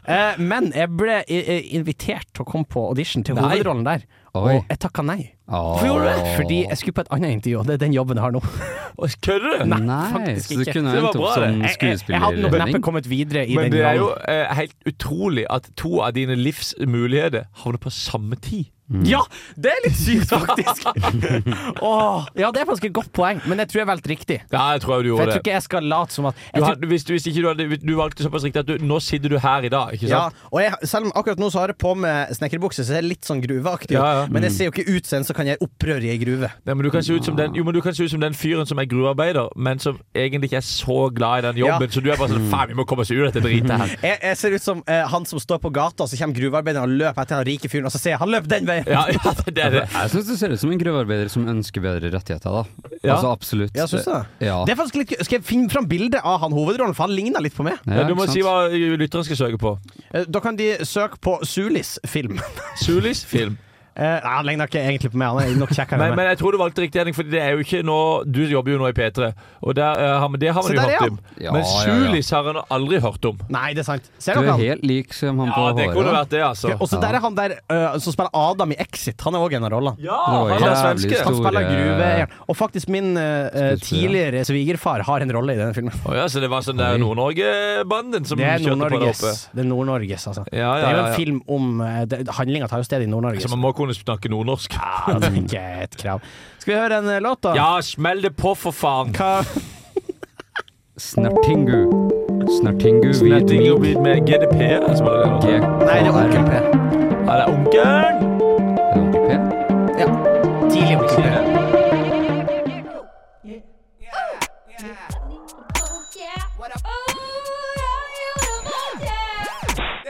Speaker 4: Eh, men jeg ble eh, invitert til å komme på audition til
Speaker 3: Nei.
Speaker 4: hovedrollen der,
Speaker 5: Oi.
Speaker 4: og jeg takka nei.
Speaker 5: Hvorfor
Speaker 4: Fordi jeg skulle på et annet intervju, og det er den jobben jeg har nå.
Speaker 3: Kødder du?
Speaker 5: Nei,
Speaker 4: faktisk
Speaker 5: så du
Speaker 4: ikke.
Speaker 5: kunne
Speaker 3: Det var
Speaker 5: endt opp
Speaker 3: bra, det.
Speaker 5: som
Speaker 4: Jeg, jeg, jeg hadde nok neppe
Speaker 5: skuespillerring.
Speaker 4: kommet videre i
Speaker 3: Men
Speaker 4: den
Speaker 3: det
Speaker 4: rollen.
Speaker 3: er jo eh, helt utrolig at to av dine livs muligheter havner på samme tid.
Speaker 4: Ja, det er litt sykt, faktisk. Åh, ja, det er faktisk et godt poeng, men jeg tror jeg valgte riktig.
Speaker 3: Ja, jeg tror jo du
Speaker 4: For
Speaker 3: gjorde
Speaker 4: jeg tror
Speaker 3: det.
Speaker 4: ikke jeg skal late som at jeg
Speaker 3: Du
Speaker 4: tror,
Speaker 3: hadde, hvis, du- hvis ikke du, hadde, du valgte såpass riktig at du, nå sitter du her i dag, ikke
Speaker 4: ja,
Speaker 3: sant?
Speaker 4: og jeg, Selv om akkurat nå så har jeg på med snekkerbukse, så jeg er litt sånn gruveaktig,
Speaker 3: Ja, Mm. ja.
Speaker 4: men jeg ser jo ikke ut som en som kan gjøre opprør i ei gruve.
Speaker 3: Nei, men du kan se ut som den, jo, men du kan se ut som den fyren som er gruvearbeider, men som egentlig ikke er så glad i den jobben, så du er bare sånn Faen, vi må komme oss ut av dette dritet her.
Speaker 4: Jeg, jeg ser ut som eh, han som står på gata, og så kommer gruvearbeideren og løper etter han rike fyren, og så ser jeg han løp den veien!
Speaker 3: Ja, ja, det er det.
Speaker 5: Jeg syns du ser ut som en gruvearbeider som ønsker bedre rettigheter, da.
Speaker 3: Ja.
Speaker 5: Altså absolutt.
Speaker 4: Ja, synes du det?
Speaker 5: Ja.
Speaker 4: Det er faktisk litt gøy. Skal jeg finne fram bilde av han hovedrollen, for han ligner litt på meg.
Speaker 5: Ja,
Speaker 3: Ja, du må
Speaker 5: ikke sant?
Speaker 3: si hva lytteren skal søke på.
Speaker 4: Eh, Da kan de søke på Sulis film.
Speaker 3: Sulis film.
Speaker 4: Eh, nei, han ligner ikke egentlig på meg, han er nok kjekkere
Speaker 3: Men,
Speaker 4: enn meg.
Speaker 3: men jeg tror du valgte riktig, Henning, Fordi det er jo ikke nå Du jobber jo nå i P3, og der, eh, har, det har
Speaker 4: Se,
Speaker 3: man
Speaker 4: der
Speaker 3: jo
Speaker 4: er
Speaker 3: hørt
Speaker 4: han.
Speaker 3: om.
Speaker 5: Ja,
Speaker 3: men
Speaker 5: ja, ja.
Speaker 3: Sulis har han aldri hørt om.
Speaker 4: Nei, det er sant. Ser
Speaker 5: Du
Speaker 4: dere
Speaker 5: er
Speaker 4: han?
Speaker 5: helt lik som han på
Speaker 3: Ja, det kunne
Speaker 5: håret.
Speaker 3: vært det, altså.
Speaker 4: Og så der er han der eh, som spiller Adam i Exit. Han er òg en av rollene.
Speaker 3: Ja,
Speaker 5: Det var
Speaker 3: han er
Speaker 5: jævlig
Speaker 3: svenske.
Speaker 5: stor.
Speaker 4: Han spiller
Speaker 5: Store-
Speaker 4: gruveeieren. Og faktisk min eh, eh, tidligere svigerfar har en rolle i denne filmen.
Speaker 3: Å ja, så det var sånn der Nord-Norge-banden som
Speaker 4: Det er
Speaker 3: kjørte på der
Speaker 4: Nord-Norges,
Speaker 3: oppe?
Speaker 4: Det er Nord-Norges, altså.
Speaker 3: Ja,
Speaker 4: Det er jo
Speaker 3: ja, ja,
Speaker 4: en
Speaker 3: ja.
Speaker 4: film om eh, det- Handlinga tar jo sted i Nord-Norge.
Speaker 3: Så
Speaker 4: Så
Speaker 3: man må kunne snakke nordnorsk.
Speaker 4: ja, det er ikke et krav. Skal vi høre en eh, låt, da?
Speaker 3: Ja, smell det på, for faen!
Speaker 4: Hva?
Speaker 5: Snartingu. Snartingu vid
Speaker 3: Snetting
Speaker 5: mig.
Speaker 3: jo bit med GDP. er det som er det nå.
Speaker 4: Nei, det er Onkel P.
Speaker 3: Altså, Ja, det er onkelen!
Speaker 5: P.
Speaker 4: Tidlig Onkel P.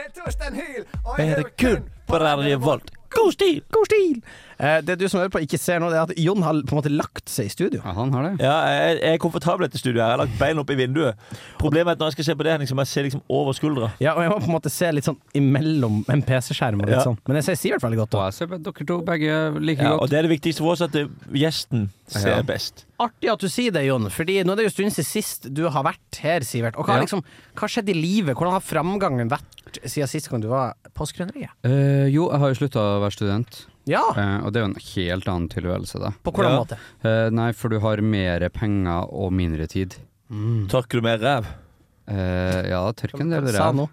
Speaker 3: Er det kun på Radio Revolt? God stil!
Speaker 4: God stil! Eh, det du som hører på ikke ser nå, det er at Jon har på en måte lagt seg i studio.
Speaker 5: Ja, han har det.
Speaker 3: Ja, jeg jeg er komfortabel i dette studioet. her. Jeg har lagt beina opp i vinduet. Problemet er at når jeg skal se på det, Henning, så må jeg se liksom over skuldra.
Speaker 4: Ja, og jeg må på en måte se litt sånn imellom en PC-skjerm og litt
Speaker 3: Ja.
Speaker 4: sånn. Men jeg ser Sivert veldig godt,
Speaker 5: Og
Speaker 4: da.
Speaker 5: jeg ser på dere to begge like
Speaker 3: Ja, og
Speaker 5: godt.
Speaker 3: det er det viktigste for oss, at det, gjesten ser
Speaker 5: Ja.
Speaker 3: best.
Speaker 4: Artig at du sier det, Jon, Fordi nå er det jo en stund siden sist du har vært her, Sivert. Og hva,
Speaker 5: Ja.
Speaker 4: liksom, hva skjedde i livet? Hvordan har framgangen vært siden sist gang du var på Skrøneriet?
Speaker 5: Eh, jo, jeg har jo slutta å være student,
Speaker 4: Ja,
Speaker 5: eh, og det er jo en helt annen tilværelse, da.
Speaker 4: på hvordan
Speaker 3: Ja.
Speaker 4: måte?
Speaker 5: Eh, nei, for du har mer penger og mindre tid.
Speaker 3: Tørker du mer ræv?
Speaker 5: Eh, ja, tørk en del
Speaker 4: Sa
Speaker 5: ræv.
Speaker 4: nå.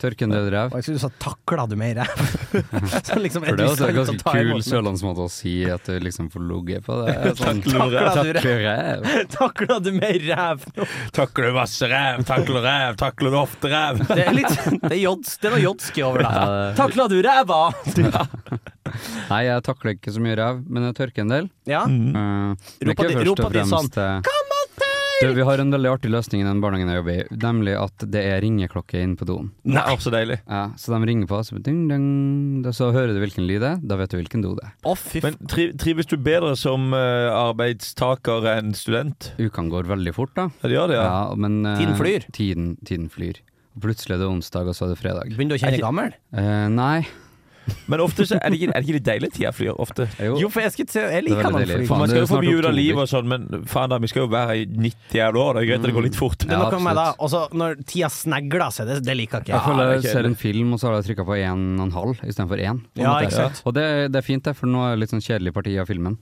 Speaker 5: Tørke en del ræv.
Speaker 4: Og jeg skulle sagt 'takla du meg i ræv'? Så liksom,
Speaker 5: For det er også en
Speaker 4: interessant å
Speaker 5: ganske
Speaker 4: ta
Speaker 5: kul
Speaker 4: imot, men-
Speaker 5: sørlandsmåte å si at du liksom får ligget på. Det er sånn
Speaker 4: Takler du ræv?
Speaker 5: takler ræv.
Speaker 4: Takla du meg i ræv?
Speaker 3: Takler du masse ræv, takler ræv, takler du ofte ræv?
Speaker 4: Det er litt Det er, jods, det er noe jodski over det.
Speaker 5: Ja, det-
Speaker 4: Takla du ræva?
Speaker 5: Nei, jeg takler ikke så mye ræv, men jeg tørker en del.
Speaker 4: Ja.
Speaker 5: Eh, men
Speaker 4: Mm. Roper
Speaker 5: ikke
Speaker 4: de-
Speaker 5: først
Speaker 4: roper
Speaker 5: og
Speaker 4: de
Speaker 5: fremst,
Speaker 4: sånn,
Speaker 5: eh, du, Vi har en veldig artig løsning i den barnehagen jeg jobber i, nemlig at det er ringeklokke inn på doen.
Speaker 3: Nei, å, så deilig.
Speaker 5: Ja, så de ringer på, så, ding, ding, da- så hører du hvilken lyd det er, da vet du hvilken do det er.
Speaker 4: Å, fy f...
Speaker 3: Men tri trives du bedre som eh, arbeidstaker enn student?
Speaker 5: Ukene går veldig fort, da.
Speaker 3: Ja, det gjør det, ja.
Speaker 5: Ja, men, eh,
Speaker 4: Tiden flyr.
Speaker 5: Tiden, tiden flyr. Og plutselig er det onsdag, og så er det fredag.
Speaker 4: Begynner du å kjenne gammel?
Speaker 5: Eh, nei.
Speaker 3: Men ofte så er det ikke, er det ikke litt deilig at tida flyr ofte?
Speaker 5: Jo,
Speaker 4: Jo, for jeg skal se Jeg
Speaker 5: Det er
Speaker 4: liker
Speaker 5: veldig
Speaker 4: han
Speaker 5: deilig.
Speaker 4: fly.
Speaker 5: Faen,
Speaker 3: Man
Speaker 5: det er
Speaker 3: skal jo
Speaker 5: snart
Speaker 3: forbi ut av
Speaker 5: oktober.
Speaker 3: livet og sånn, men faen da, vi skal jo være i 90 jævla år. Det er greit at det går litt fort.
Speaker 4: Det er noe
Speaker 5: Ja,
Speaker 4: med det.
Speaker 5: absolutt.
Speaker 4: Og så når tida snegler seg, det, Ah, det liker ikke
Speaker 5: Jeg
Speaker 4: jeg.
Speaker 5: føler jeg
Speaker 3: det er
Speaker 5: ser en film, og så har jeg trykka på én og en halv istedenfor én. på en
Speaker 4: Ja,
Speaker 5: måte.
Speaker 4: ikke sant.
Speaker 5: Og det, det er fint, det, for nå er det litt sånn kjedelig parti av filmen.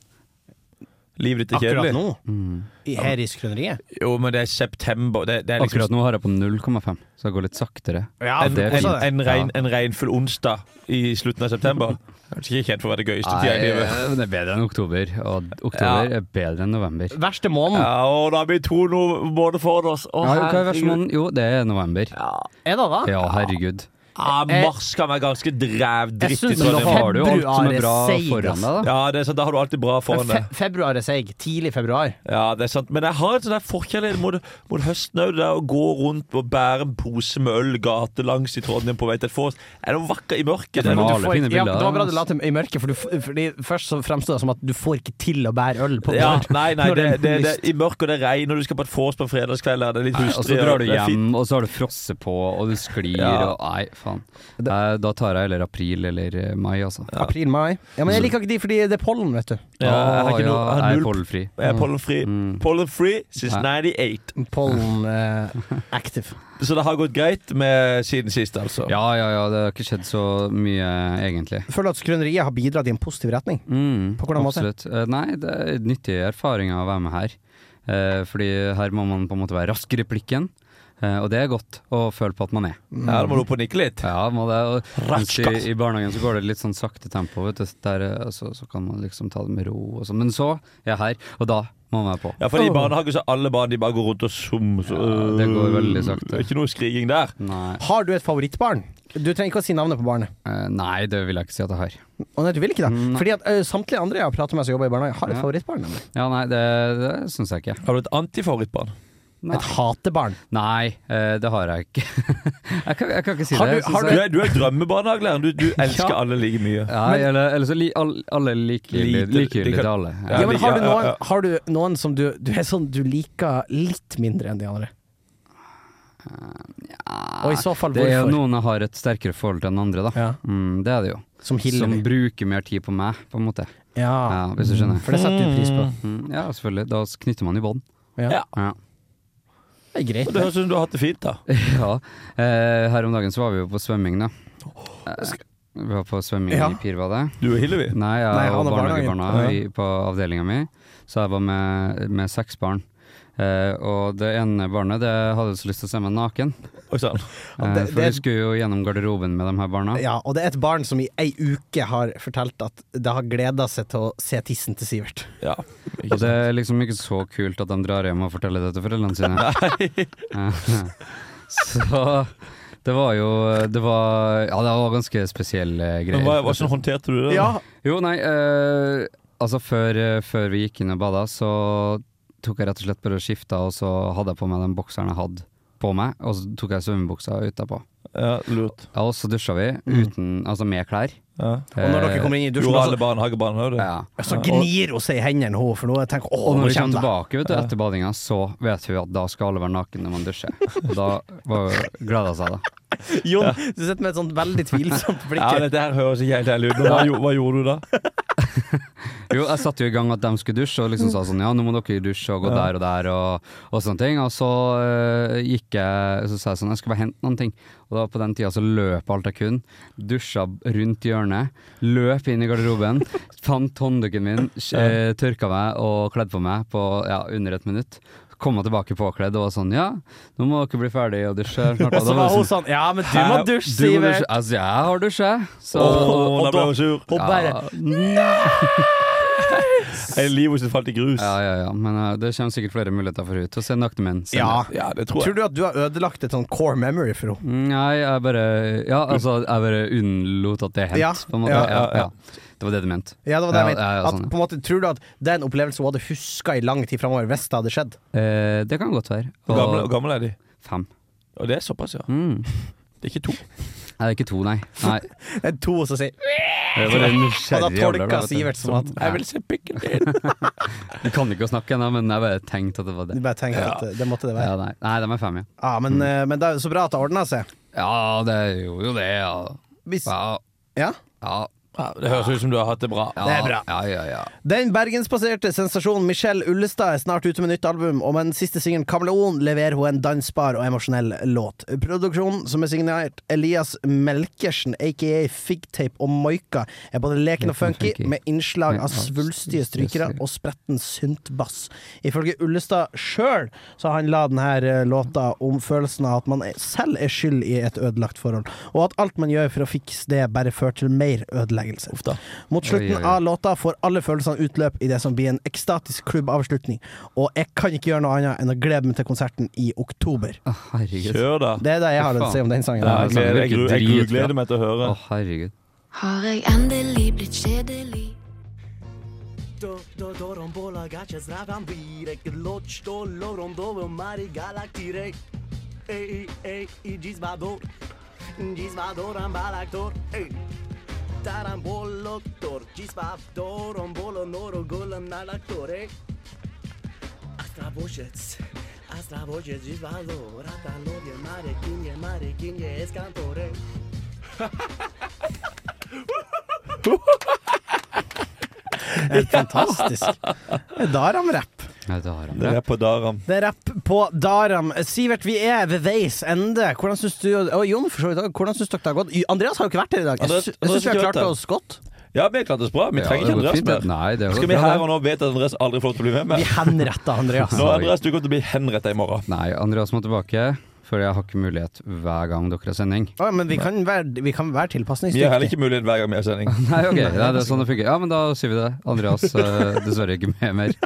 Speaker 3: Livet ditt er
Speaker 4: Akkurat
Speaker 3: kjedelig.
Speaker 4: nå,
Speaker 5: Mm.
Speaker 4: i- her i Skrøneriet.
Speaker 3: Jo, men det er september. Det, det er liksom
Speaker 5: Akkurat nå har jeg på 0,5, så det går litt saktere.
Speaker 4: Ja,
Speaker 5: det er
Speaker 4: også
Speaker 3: en,
Speaker 5: fint.
Speaker 3: en, regn, en regnfull onsdag i slutten av september. Kanskje ikke kjent for å være det gøyeste tida i
Speaker 5: Nei,
Speaker 3: livet.
Speaker 5: eh, det er bedre enn oktober, og oktober er bedre enn november.
Speaker 4: Verste måneden.
Speaker 3: Ja, og da blir to no måneder foran oss. Å,
Speaker 5: Ja, hva er verste
Speaker 3: herregud.
Speaker 5: måneden? Jo, det er november.
Speaker 4: Er det da?
Speaker 5: Ja, herregud.
Speaker 3: Ja, mars kan være ganske
Speaker 4: Eh, Jeg
Speaker 3: drevdritt. i
Speaker 4: synes det
Speaker 5: Men da
Speaker 3: Trondheim.
Speaker 5: har du jo alt
Speaker 4: Februar
Speaker 5: som
Speaker 4: er
Speaker 5: er bra
Speaker 4: seig,
Speaker 5: foran
Speaker 4: ass.
Speaker 5: deg, da.
Speaker 3: Ja, det er sant, da har du alltid bra
Speaker 4: Men
Speaker 3: foran
Speaker 4: fe
Speaker 3: deg.
Speaker 4: februar er seig. Tidlig februar.
Speaker 3: Ja, det er sant. Men jeg har en sånn der forkjærlighet mot, mot høsten òg. Det der å gå rundt og bære en pose med øl gatelangs i Trondheim på vei til et vors. Er det noe vakkert i mørket? Det er noe
Speaker 5: Maler
Speaker 3: du
Speaker 5: fine
Speaker 4: Ja,
Speaker 5: bilder.
Speaker 4: det var bra du
Speaker 5: ass.
Speaker 4: la til i mørket, for du, f- fordi først så fremstod det som at du får ikke til å bære øl på
Speaker 3: får- ja,
Speaker 4: vår.
Speaker 3: nei, nei,
Speaker 4: Når
Speaker 3: det,
Speaker 4: det er
Speaker 3: det, det,
Speaker 4: lyst.
Speaker 3: I mørket, og det er regn, og du skal på et vors på en fredagskveld, og det er litt
Speaker 5: Nei,
Speaker 3: hustrig
Speaker 5: og så drar du
Speaker 3: det er fint.
Speaker 5: hjem, og så har du frosset på, og du sklir,
Speaker 3: Ja.
Speaker 5: og nei, faen. Eh, Da tar jeg heller april eller eh, mai, altså.
Speaker 4: April-mai. Ja, men jeg liker ikke de fordi det er pollen, vet du.
Speaker 3: Ja, jeg har ikke noe, jeg har
Speaker 5: jeg er
Speaker 3: null
Speaker 5: pollenfri.
Speaker 3: jeg er pollenfri. Pollenfri since
Speaker 5: Ja.
Speaker 3: 98.
Speaker 4: Pollen eh, active.
Speaker 3: Så det har gått greit med siden sist, altså.
Speaker 5: Mm. Ja, ja, ja, det har ikke skjedd så mye, egentlig.
Speaker 4: Jeg føler at skrøneriet har bidratt i en positiv retning.
Speaker 5: Mm,
Speaker 4: På hvordan måte?
Speaker 5: Absolutt. Eh, Nei, det er nyttige erfaringer å være med her. Eh, Fordi her må man på en måte være rask i replikken, eh, og det er godt å føle på at man er.
Speaker 3: Ja, da må du opp og nikke litt.
Speaker 5: Ja, må det. Og mens
Speaker 3: Raska.
Speaker 5: i, I barnehagen så går det litt sånn sakte tempo, vet du. Der, eh, altså, så kan man liksom ta det med ro og sånn. Men så er jeg her, og da må man være på.
Speaker 3: Ja, for i barnehagen så er alle barn de bare går rundt og sum. Så,
Speaker 5: Ja, det går veldig sakte.
Speaker 3: Det er Ikke noe skriking der.
Speaker 5: Nei,
Speaker 4: Har du et favorittbarn? Du trenger ikke å si navnet på barnet.
Speaker 5: eh, nei, det vil jeg ikke si at jeg har.
Speaker 4: Å nei, du vil ikke det?
Speaker 5: Mm, Nei.
Speaker 4: Fordi at ø, samtlige andre jeg har pratet med som jobber i barnehage, har et
Speaker 5: Ja.
Speaker 4: favorittbarn. Nemlig.
Speaker 5: Ja, nei, det, det syns jeg ikke.
Speaker 3: Har du et antifavorittbarn?
Speaker 5: Nei.
Speaker 4: Et hatebarn.
Speaker 5: Nei, eh, det har jeg ikke. jeg, kan, jeg kan ikke si
Speaker 4: Har
Speaker 5: det.
Speaker 4: du-
Speaker 5: synes
Speaker 4: har
Speaker 3: Du
Speaker 5: jeg.
Speaker 3: er, du er drømmebarnehagelæreren. Du, du elsker
Speaker 4: Ja.
Speaker 3: alle like mye.
Speaker 5: Ja, eller, eller så li, all, alle er likegyldige
Speaker 3: Lite-
Speaker 5: likegyldige
Speaker 3: de kan-
Speaker 5: til alle.
Speaker 3: Ja,
Speaker 4: Ja, men har du
Speaker 3: ja, ja,
Speaker 4: noen,
Speaker 3: ja.
Speaker 4: har du noen som du, du er sånn du liker litt mindre enn de andre? Og i så fall,
Speaker 5: Det er jo
Speaker 4: hvorfor?
Speaker 5: noen jeg har et sterkere forhold til enn andre, da.
Speaker 4: Ja.
Speaker 5: Mm, det er det jo.
Speaker 4: Som
Speaker 5: Som
Speaker 4: Hillevi.
Speaker 5: bruker mer tid på meg, på en måte.
Speaker 4: Ja.
Speaker 5: Ja, hvis du skjønner.
Speaker 4: For det setter du pris på.
Speaker 5: Mm, ja, selvfølgelig. Da knytter man i bånd.
Speaker 4: Ja.
Speaker 5: Ja.
Speaker 4: Det er greit.
Speaker 3: Det høres ut som du har hatt det fint, da.
Speaker 5: ja. Eh, her om dagen så var vi jo på svømming, da. Eh, vi var på svømming
Speaker 4: Ja.
Speaker 5: i Pirbadet.
Speaker 3: Du og Hillevi.
Speaker 5: Nei, jeg
Speaker 4: Nei,
Speaker 5: var
Speaker 4: han og
Speaker 5: barnehagebarna
Speaker 4: barnehagen.
Speaker 5: i- på avdelinga mi, så jeg var med, med seks barn. Eh, og det ene barnet det hadde så lyst til å se meg naken,
Speaker 3: Oi sann.
Speaker 5: eh,
Speaker 4: det-
Speaker 5: for
Speaker 4: det-
Speaker 5: vi skulle jo gjennom garderoben med de her barna.
Speaker 4: Ja, og det er et barn som i ei uke har fortalt at det har gleda seg til å se tissen til Sivert.
Speaker 3: Ja.
Speaker 5: Og det er liksom ikke så kult at de drar hjem og forteller det til foreldrene sine. så det var jo Det var, ja, det var ganske spesielle
Speaker 3: Men hva,
Speaker 5: greier.
Speaker 3: hvordan håndterte du det? da?
Speaker 5: Jo, nei, eh, altså før, eh, før vi gikk inn og bada, så tok jeg rett og slett bare og skifta, og så hadde jeg på meg den bokseren jeg hadde på meg, og så tok jeg svømmebuksa utapå.
Speaker 3: Ja, lurt.
Speaker 5: Ja, og så dusja vi uten, altså med klær. Eh,
Speaker 3: Ja.
Speaker 4: Og når dere kommer inn i dusjen,
Speaker 3: Gjorde alle
Speaker 4: så,
Speaker 3: barnehagebarn òg det?
Speaker 5: Ja.
Speaker 4: så gnir hun seg i hendene, hun, for nå tenker hun
Speaker 5: Og
Speaker 4: å, nå
Speaker 5: når vi kommer
Speaker 4: kommer det.
Speaker 5: tilbake vet du, etter badinga, så vet hun at da skal alle være nakne når man dusjer. Og Da var- gleda hun seg, da.
Speaker 4: Jon, du sitter med et sånt veldig tvilsomt blikk.
Speaker 3: Ja, dette her høres ikke helt ærlig ut. Men Hva, gjo- hva gjorde du da?
Speaker 5: Jo, jeg satte jo i gang at de skulle dusje, og liksom sa sånn ja, nå må dere dusje og gå der og der og, og sånne ting. Og så eh, gikk jeg så sa jeg sånn jeg skal bare hente noen ting. Og da på den tida så løp alt jeg kunne. Dusja rundt hjørnet, løp inn i garderoben, eh, fant håndduken min, uh, tørka meg og kledde på meg på ja, under et minutt. kom hun tilbake påkledd og var sånn Ja, nå må dere bli ferdig og dusje snart.
Speaker 4: Og
Speaker 5: da
Speaker 4: så var
Speaker 5: jeg
Speaker 4: hun sånn Ja, men du
Speaker 5: «Hæ?
Speaker 4: må dusje,
Speaker 5: Du må
Speaker 4: Sivert.
Speaker 5: dusje.» Altså, jeg har dusja. Så
Speaker 3: Åh, da ble hun sur.
Speaker 4: Hun bare
Speaker 5: Ja.
Speaker 3: Nei! Livet hennes falt i grus.
Speaker 5: Ja, ja, ja. Men eh, det kommer sikkert flere muligheter for henne til å se nakne menn. senere.
Speaker 4: Ja.
Speaker 3: det
Speaker 4: Tror du at du har ødelagt et sånn core memory for henne?
Speaker 5: Mm, Nei, jeg bare Ja, altså, jeg bare unnlot at det hendte,
Speaker 4: Ja,
Speaker 5: på en måte.
Speaker 4: ja,
Speaker 5: Ja,
Speaker 4: ja,
Speaker 5: ja, Det var det du mente.
Speaker 4: Ja, det var det jeg mente.
Speaker 5: Ja, ja,
Speaker 4: At
Speaker 5: sånn, ja.
Speaker 4: på en måte, tror du at det er en opplevelse hun hadde huska i lang tid framover, hvis det hadde skjedd?
Speaker 5: Eh, det kan godt være.
Speaker 3: Hvor gammel, hvor gammel er de?
Speaker 5: Fem.
Speaker 3: Og det er såpass, ja.
Speaker 5: Mm.
Speaker 3: Det er ikke to.
Speaker 5: Nei, det er ikke to, nei. nei.
Speaker 4: Det er to som sier
Speaker 5: Det
Speaker 4: Og
Speaker 5: var den
Speaker 4: da
Speaker 5: nysgjerrige jævla, sånn.
Speaker 4: tolka
Speaker 5: vet du.
Speaker 4: Sivert som at
Speaker 3: Jeg vil se pikken din!
Speaker 5: Vi kan ikke snakke ennå, men jeg bare tenkte at det var
Speaker 4: Du
Speaker 5: det.
Speaker 4: bare tenker
Speaker 3: Ja.
Speaker 4: at det- det måtte det
Speaker 5: Ja,
Speaker 4: være.
Speaker 5: Mm. nei. nei, de er fem, ja.
Speaker 4: Ja, men, eh, men det er jo så bra at det ordna seg.
Speaker 5: Ja, det gjorde jo det, ja.
Speaker 4: Hvis,
Speaker 5: Ja,
Speaker 4: ja.
Speaker 5: ja.
Speaker 3: Ja, det høres ut som du har hatt det bra.
Speaker 5: ja.
Speaker 4: Det er bra.
Speaker 5: Ja, ja, ja.
Speaker 4: Den bergensbaserte sensasjonen Michelle Ullestad er snart ute med nytt album, og med den siste singelen 'Kameleon' leverer hun en dansbar og emosjonell låt. Produksjonen, som er signert Elias Melkersen, aka Figtape og Moika, er både leken og funky, med innslag av svulstige strykere og spretten syntbass. Ifølge Ullestad sjøl så handla denne eh, låta om følelsen av at man er- selv er skyld i et ødelagt forhold, og at alt man gjør for å fikse det, bare fører til mer ødeleggelse. Mot slutten
Speaker 5: Oi, oi, oi.
Speaker 4: av låta får alle følelsene utløp i det som blir en ekstatisk klubbavslutning, og jeg kan ikke gjøre noe annet enn å glede meg til konserten i oktober.
Speaker 5: Å, herregud.
Speaker 3: Kjør, da.
Speaker 4: Det er det jeg har å
Speaker 5: Faen.
Speaker 4: si om den sangen.
Speaker 3: Ja, jeg, gleder, jeg, gru- jeg gru-
Speaker 5: Dritbra.
Speaker 3: gleder meg til å
Speaker 5: Å,
Speaker 3: høre.
Speaker 5: herregud.
Speaker 12: Har jeg endelig blitt kjedelig?
Speaker 4: Helt fantastisk. Det er Daram-rapp.
Speaker 5: Ja, det har han.
Speaker 3: Det er på Daram.
Speaker 4: Det er rapp på Daram. Sivert, vi er ved veis ende. Hvordan syns du Og Jon, for så vidt. Hvordan syns dere det har gått? Andreas har jo ikke vært her i dag. Jeg
Speaker 3: Andreas-
Speaker 4: sy- jeg syns vi
Speaker 3: Andreas har
Speaker 4: har
Speaker 3: ikke vært
Speaker 4: klart
Speaker 3: her.
Speaker 4: oss godt.
Speaker 3: Ja, vi har klart oss bra. Vi
Speaker 5: Ja,
Speaker 3: trenger
Speaker 5: det
Speaker 3: ikke
Speaker 5: går
Speaker 3: Andreas
Speaker 5: fint, det.
Speaker 3: mer.
Speaker 5: Nei, det går
Speaker 3: Skal vi
Speaker 5: bra, det.
Speaker 3: her og nå vite at Andreas aldri får lov til å bli med?
Speaker 4: Vi
Speaker 3: mer?
Speaker 4: henretta Andreas.
Speaker 3: Nå, Andreas, du kommer til å bli henrettet i morgen.
Speaker 5: Nei, Andreas må tilbake, for jeg har ikke mulighet hver gang dere har sending.
Speaker 4: Å, men vi kan være, vi kan være
Speaker 3: Vi har heller
Speaker 4: tilpasningsdyktige.
Speaker 3: ikke mulighet hver gang vi har sending.
Speaker 5: Nei, ok, Nei, det er sånn det funker. Ja, men da sier vi det. Andreas eh, dessverre ikke med mer.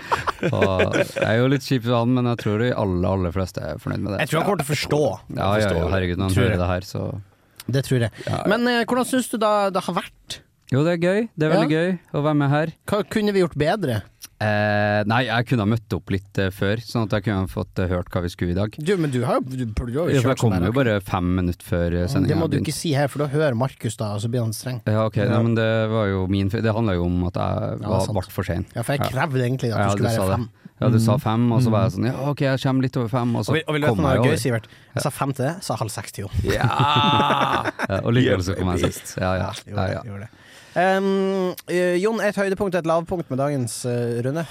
Speaker 5: Og jeg er jo litt kjip for han, men jeg tror de aller, aller fleste er fornøyd med det.
Speaker 4: Jeg tror han kommer til å forstå.
Speaker 5: Ja, ja, ja, herregud, når han
Speaker 4: Tror jeg.
Speaker 5: hører det her, så
Speaker 4: Det tror jeg. Men eh, hvordan syns du da det har vært?
Speaker 5: Jo, det er gøy. Det er veldig gøy å være med her.
Speaker 4: Hva kunne vi gjort bedre?
Speaker 5: Eh, nei, jeg kunne ha møtt opp litt eh, før, sånn at jeg kunne ha fått eh, hørt hva vi skulle i dag.
Speaker 4: Du, men du har jo du burde jo
Speaker 5: Ja, for
Speaker 4: kjørt
Speaker 5: jeg kom
Speaker 4: sånn her.
Speaker 5: jo bare fem minutter før eh, sendinga.
Speaker 4: Det må du ikke si her, for da hører Markus da, og så blir han streng.
Speaker 5: Ja, ok, nei, men det var jo min feil. Det handla jo om at jeg
Speaker 4: Ja,
Speaker 5: var,
Speaker 4: sant.
Speaker 5: ble for sein.
Speaker 4: Ja, for jeg krevde egentlig at
Speaker 5: Ja,
Speaker 4: du skulle
Speaker 5: du sa
Speaker 4: være
Speaker 5: det.
Speaker 4: fem. Mm.
Speaker 5: Ja, du sa fem, og så var jeg sånn ja, ok, jeg kommer litt over fem, og
Speaker 4: Og
Speaker 5: så
Speaker 4: vi, og vi løp
Speaker 5: kom jeg
Speaker 4: noe gøy,
Speaker 5: over.
Speaker 4: Sivert. Jeg sa fem til det, sa halv seks til jo.
Speaker 3: Ja!
Speaker 5: Ja, og likevel så kom jeg sist. Ja, ja.
Speaker 4: gjorde
Speaker 5: ja,
Speaker 4: det,
Speaker 5: ja.
Speaker 4: gjorde det. Um, eh, Jon, et høydepunkt og et lavpunkt med dagens eh, runde.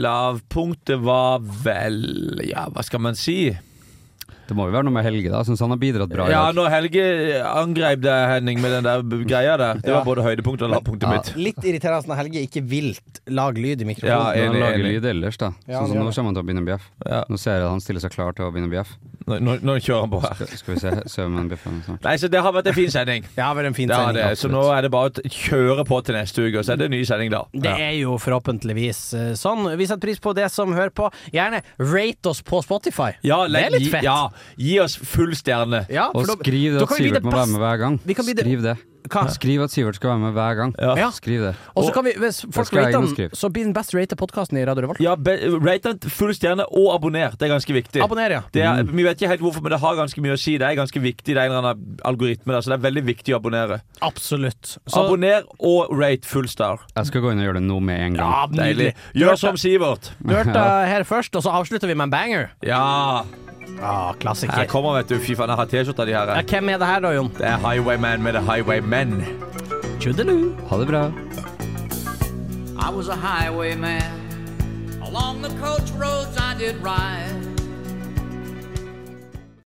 Speaker 3: Lavpunktet var vel Ja, hva skal man si?
Speaker 5: Det må jo være noe med Helge, da. Jeg syns han har bidratt bra. i
Speaker 3: Ja,
Speaker 5: dag.
Speaker 3: når Helge angrep deg, Henning, med den der b- greia der. Det
Speaker 4: Ja.
Speaker 3: var både høydepunktet og lavpunktet
Speaker 5: Ja.
Speaker 3: mitt.
Speaker 4: Litt irriterende når Helge ikke vilt lager lyd i
Speaker 5: Men
Speaker 3: Ja,
Speaker 4: mikrofonen.
Speaker 5: han
Speaker 3: enig,
Speaker 5: lager
Speaker 3: enig.
Speaker 5: lyd ellers, da.
Speaker 4: Ja, han
Speaker 5: sånn som
Speaker 4: gjør
Speaker 5: nå
Speaker 4: det.
Speaker 5: kommer han til å begynne å bjeffe.
Speaker 3: Ja.
Speaker 5: Nå ser jeg at han stiller seg klar til å begynne å bjeffe.
Speaker 3: Nå, nå, nå kjører han
Speaker 4: Ah.
Speaker 3: på her.
Speaker 5: Skal, skal vi se, se om han bjeffer nå snart.
Speaker 3: Nei, så det har vært en fin sending.
Speaker 4: Det har vært en fin
Speaker 3: Det har
Speaker 4: sending.
Speaker 3: det. Så nå er det bare å kjøre på til neste uke, og så er det en ny sending da.
Speaker 4: Det er jo forhåpentligvis eh, sånn. Vi setter pris på det som hører på. Gjerne rate oss på Spotify.
Speaker 3: Ja,
Speaker 4: det
Speaker 3: legg-
Speaker 4: er litt fett.
Speaker 3: Ja, gi oss full stjerne.
Speaker 4: Ja, for
Speaker 5: Og
Speaker 4: da-
Speaker 5: skriv det
Speaker 4: da
Speaker 5: at
Speaker 4: kan vi bli det
Speaker 5: Sivert må være
Speaker 4: best-
Speaker 5: med hver gang.
Speaker 4: Vi kan bli det-
Speaker 5: Skriv det.
Speaker 4: Hva?
Speaker 5: Skriv at Sivert skal være med hver gang.
Speaker 4: Ja.
Speaker 5: Skriv det.
Speaker 4: Og så kan vi, hvis folk
Speaker 5: skal jeg
Speaker 4: rater
Speaker 5: inn og
Speaker 4: den,
Speaker 5: skrive.
Speaker 4: så blir den best rated podkasten i Radio Revolt.
Speaker 3: Ja, be- Rate den full stjerne og abonner. Det er ganske viktig.
Speaker 4: Abonner, Mm. ja.
Speaker 3: Det er, vi vet ikke helt hvorfor, men det har ganske mye å si. Det er ganske viktig, det er en eller annen algoritme der, så det er veldig viktig å abonnere.
Speaker 4: Absolutt. Så,
Speaker 3: Abonner og rate full star.
Speaker 5: Jeg skal gå inn og gjøre det nå med en gang.
Speaker 4: ja,
Speaker 3: Deilig.
Speaker 4: nydelig.
Speaker 3: Gjør som Sivert.
Speaker 4: Du hørte det her først, og så avslutter vi med en banger.
Speaker 3: Ja.
Speaker 4: Ah, klassiker.
Speaker 3: Her kommer, vet du. Fy faen, jeg har T-skjorta di her.
Speaker 4: Ja,
Speaker 3: jeg.
Speaker 4: hvem er det her da, Jon?
Speaker 3: Det er Highwayman med The Highwaymen.
Speaker 4: Tjudelu.
Speaker 5: Ha det bra.
Speaker 13: I was a highwayman. Along the coach roads I did ride.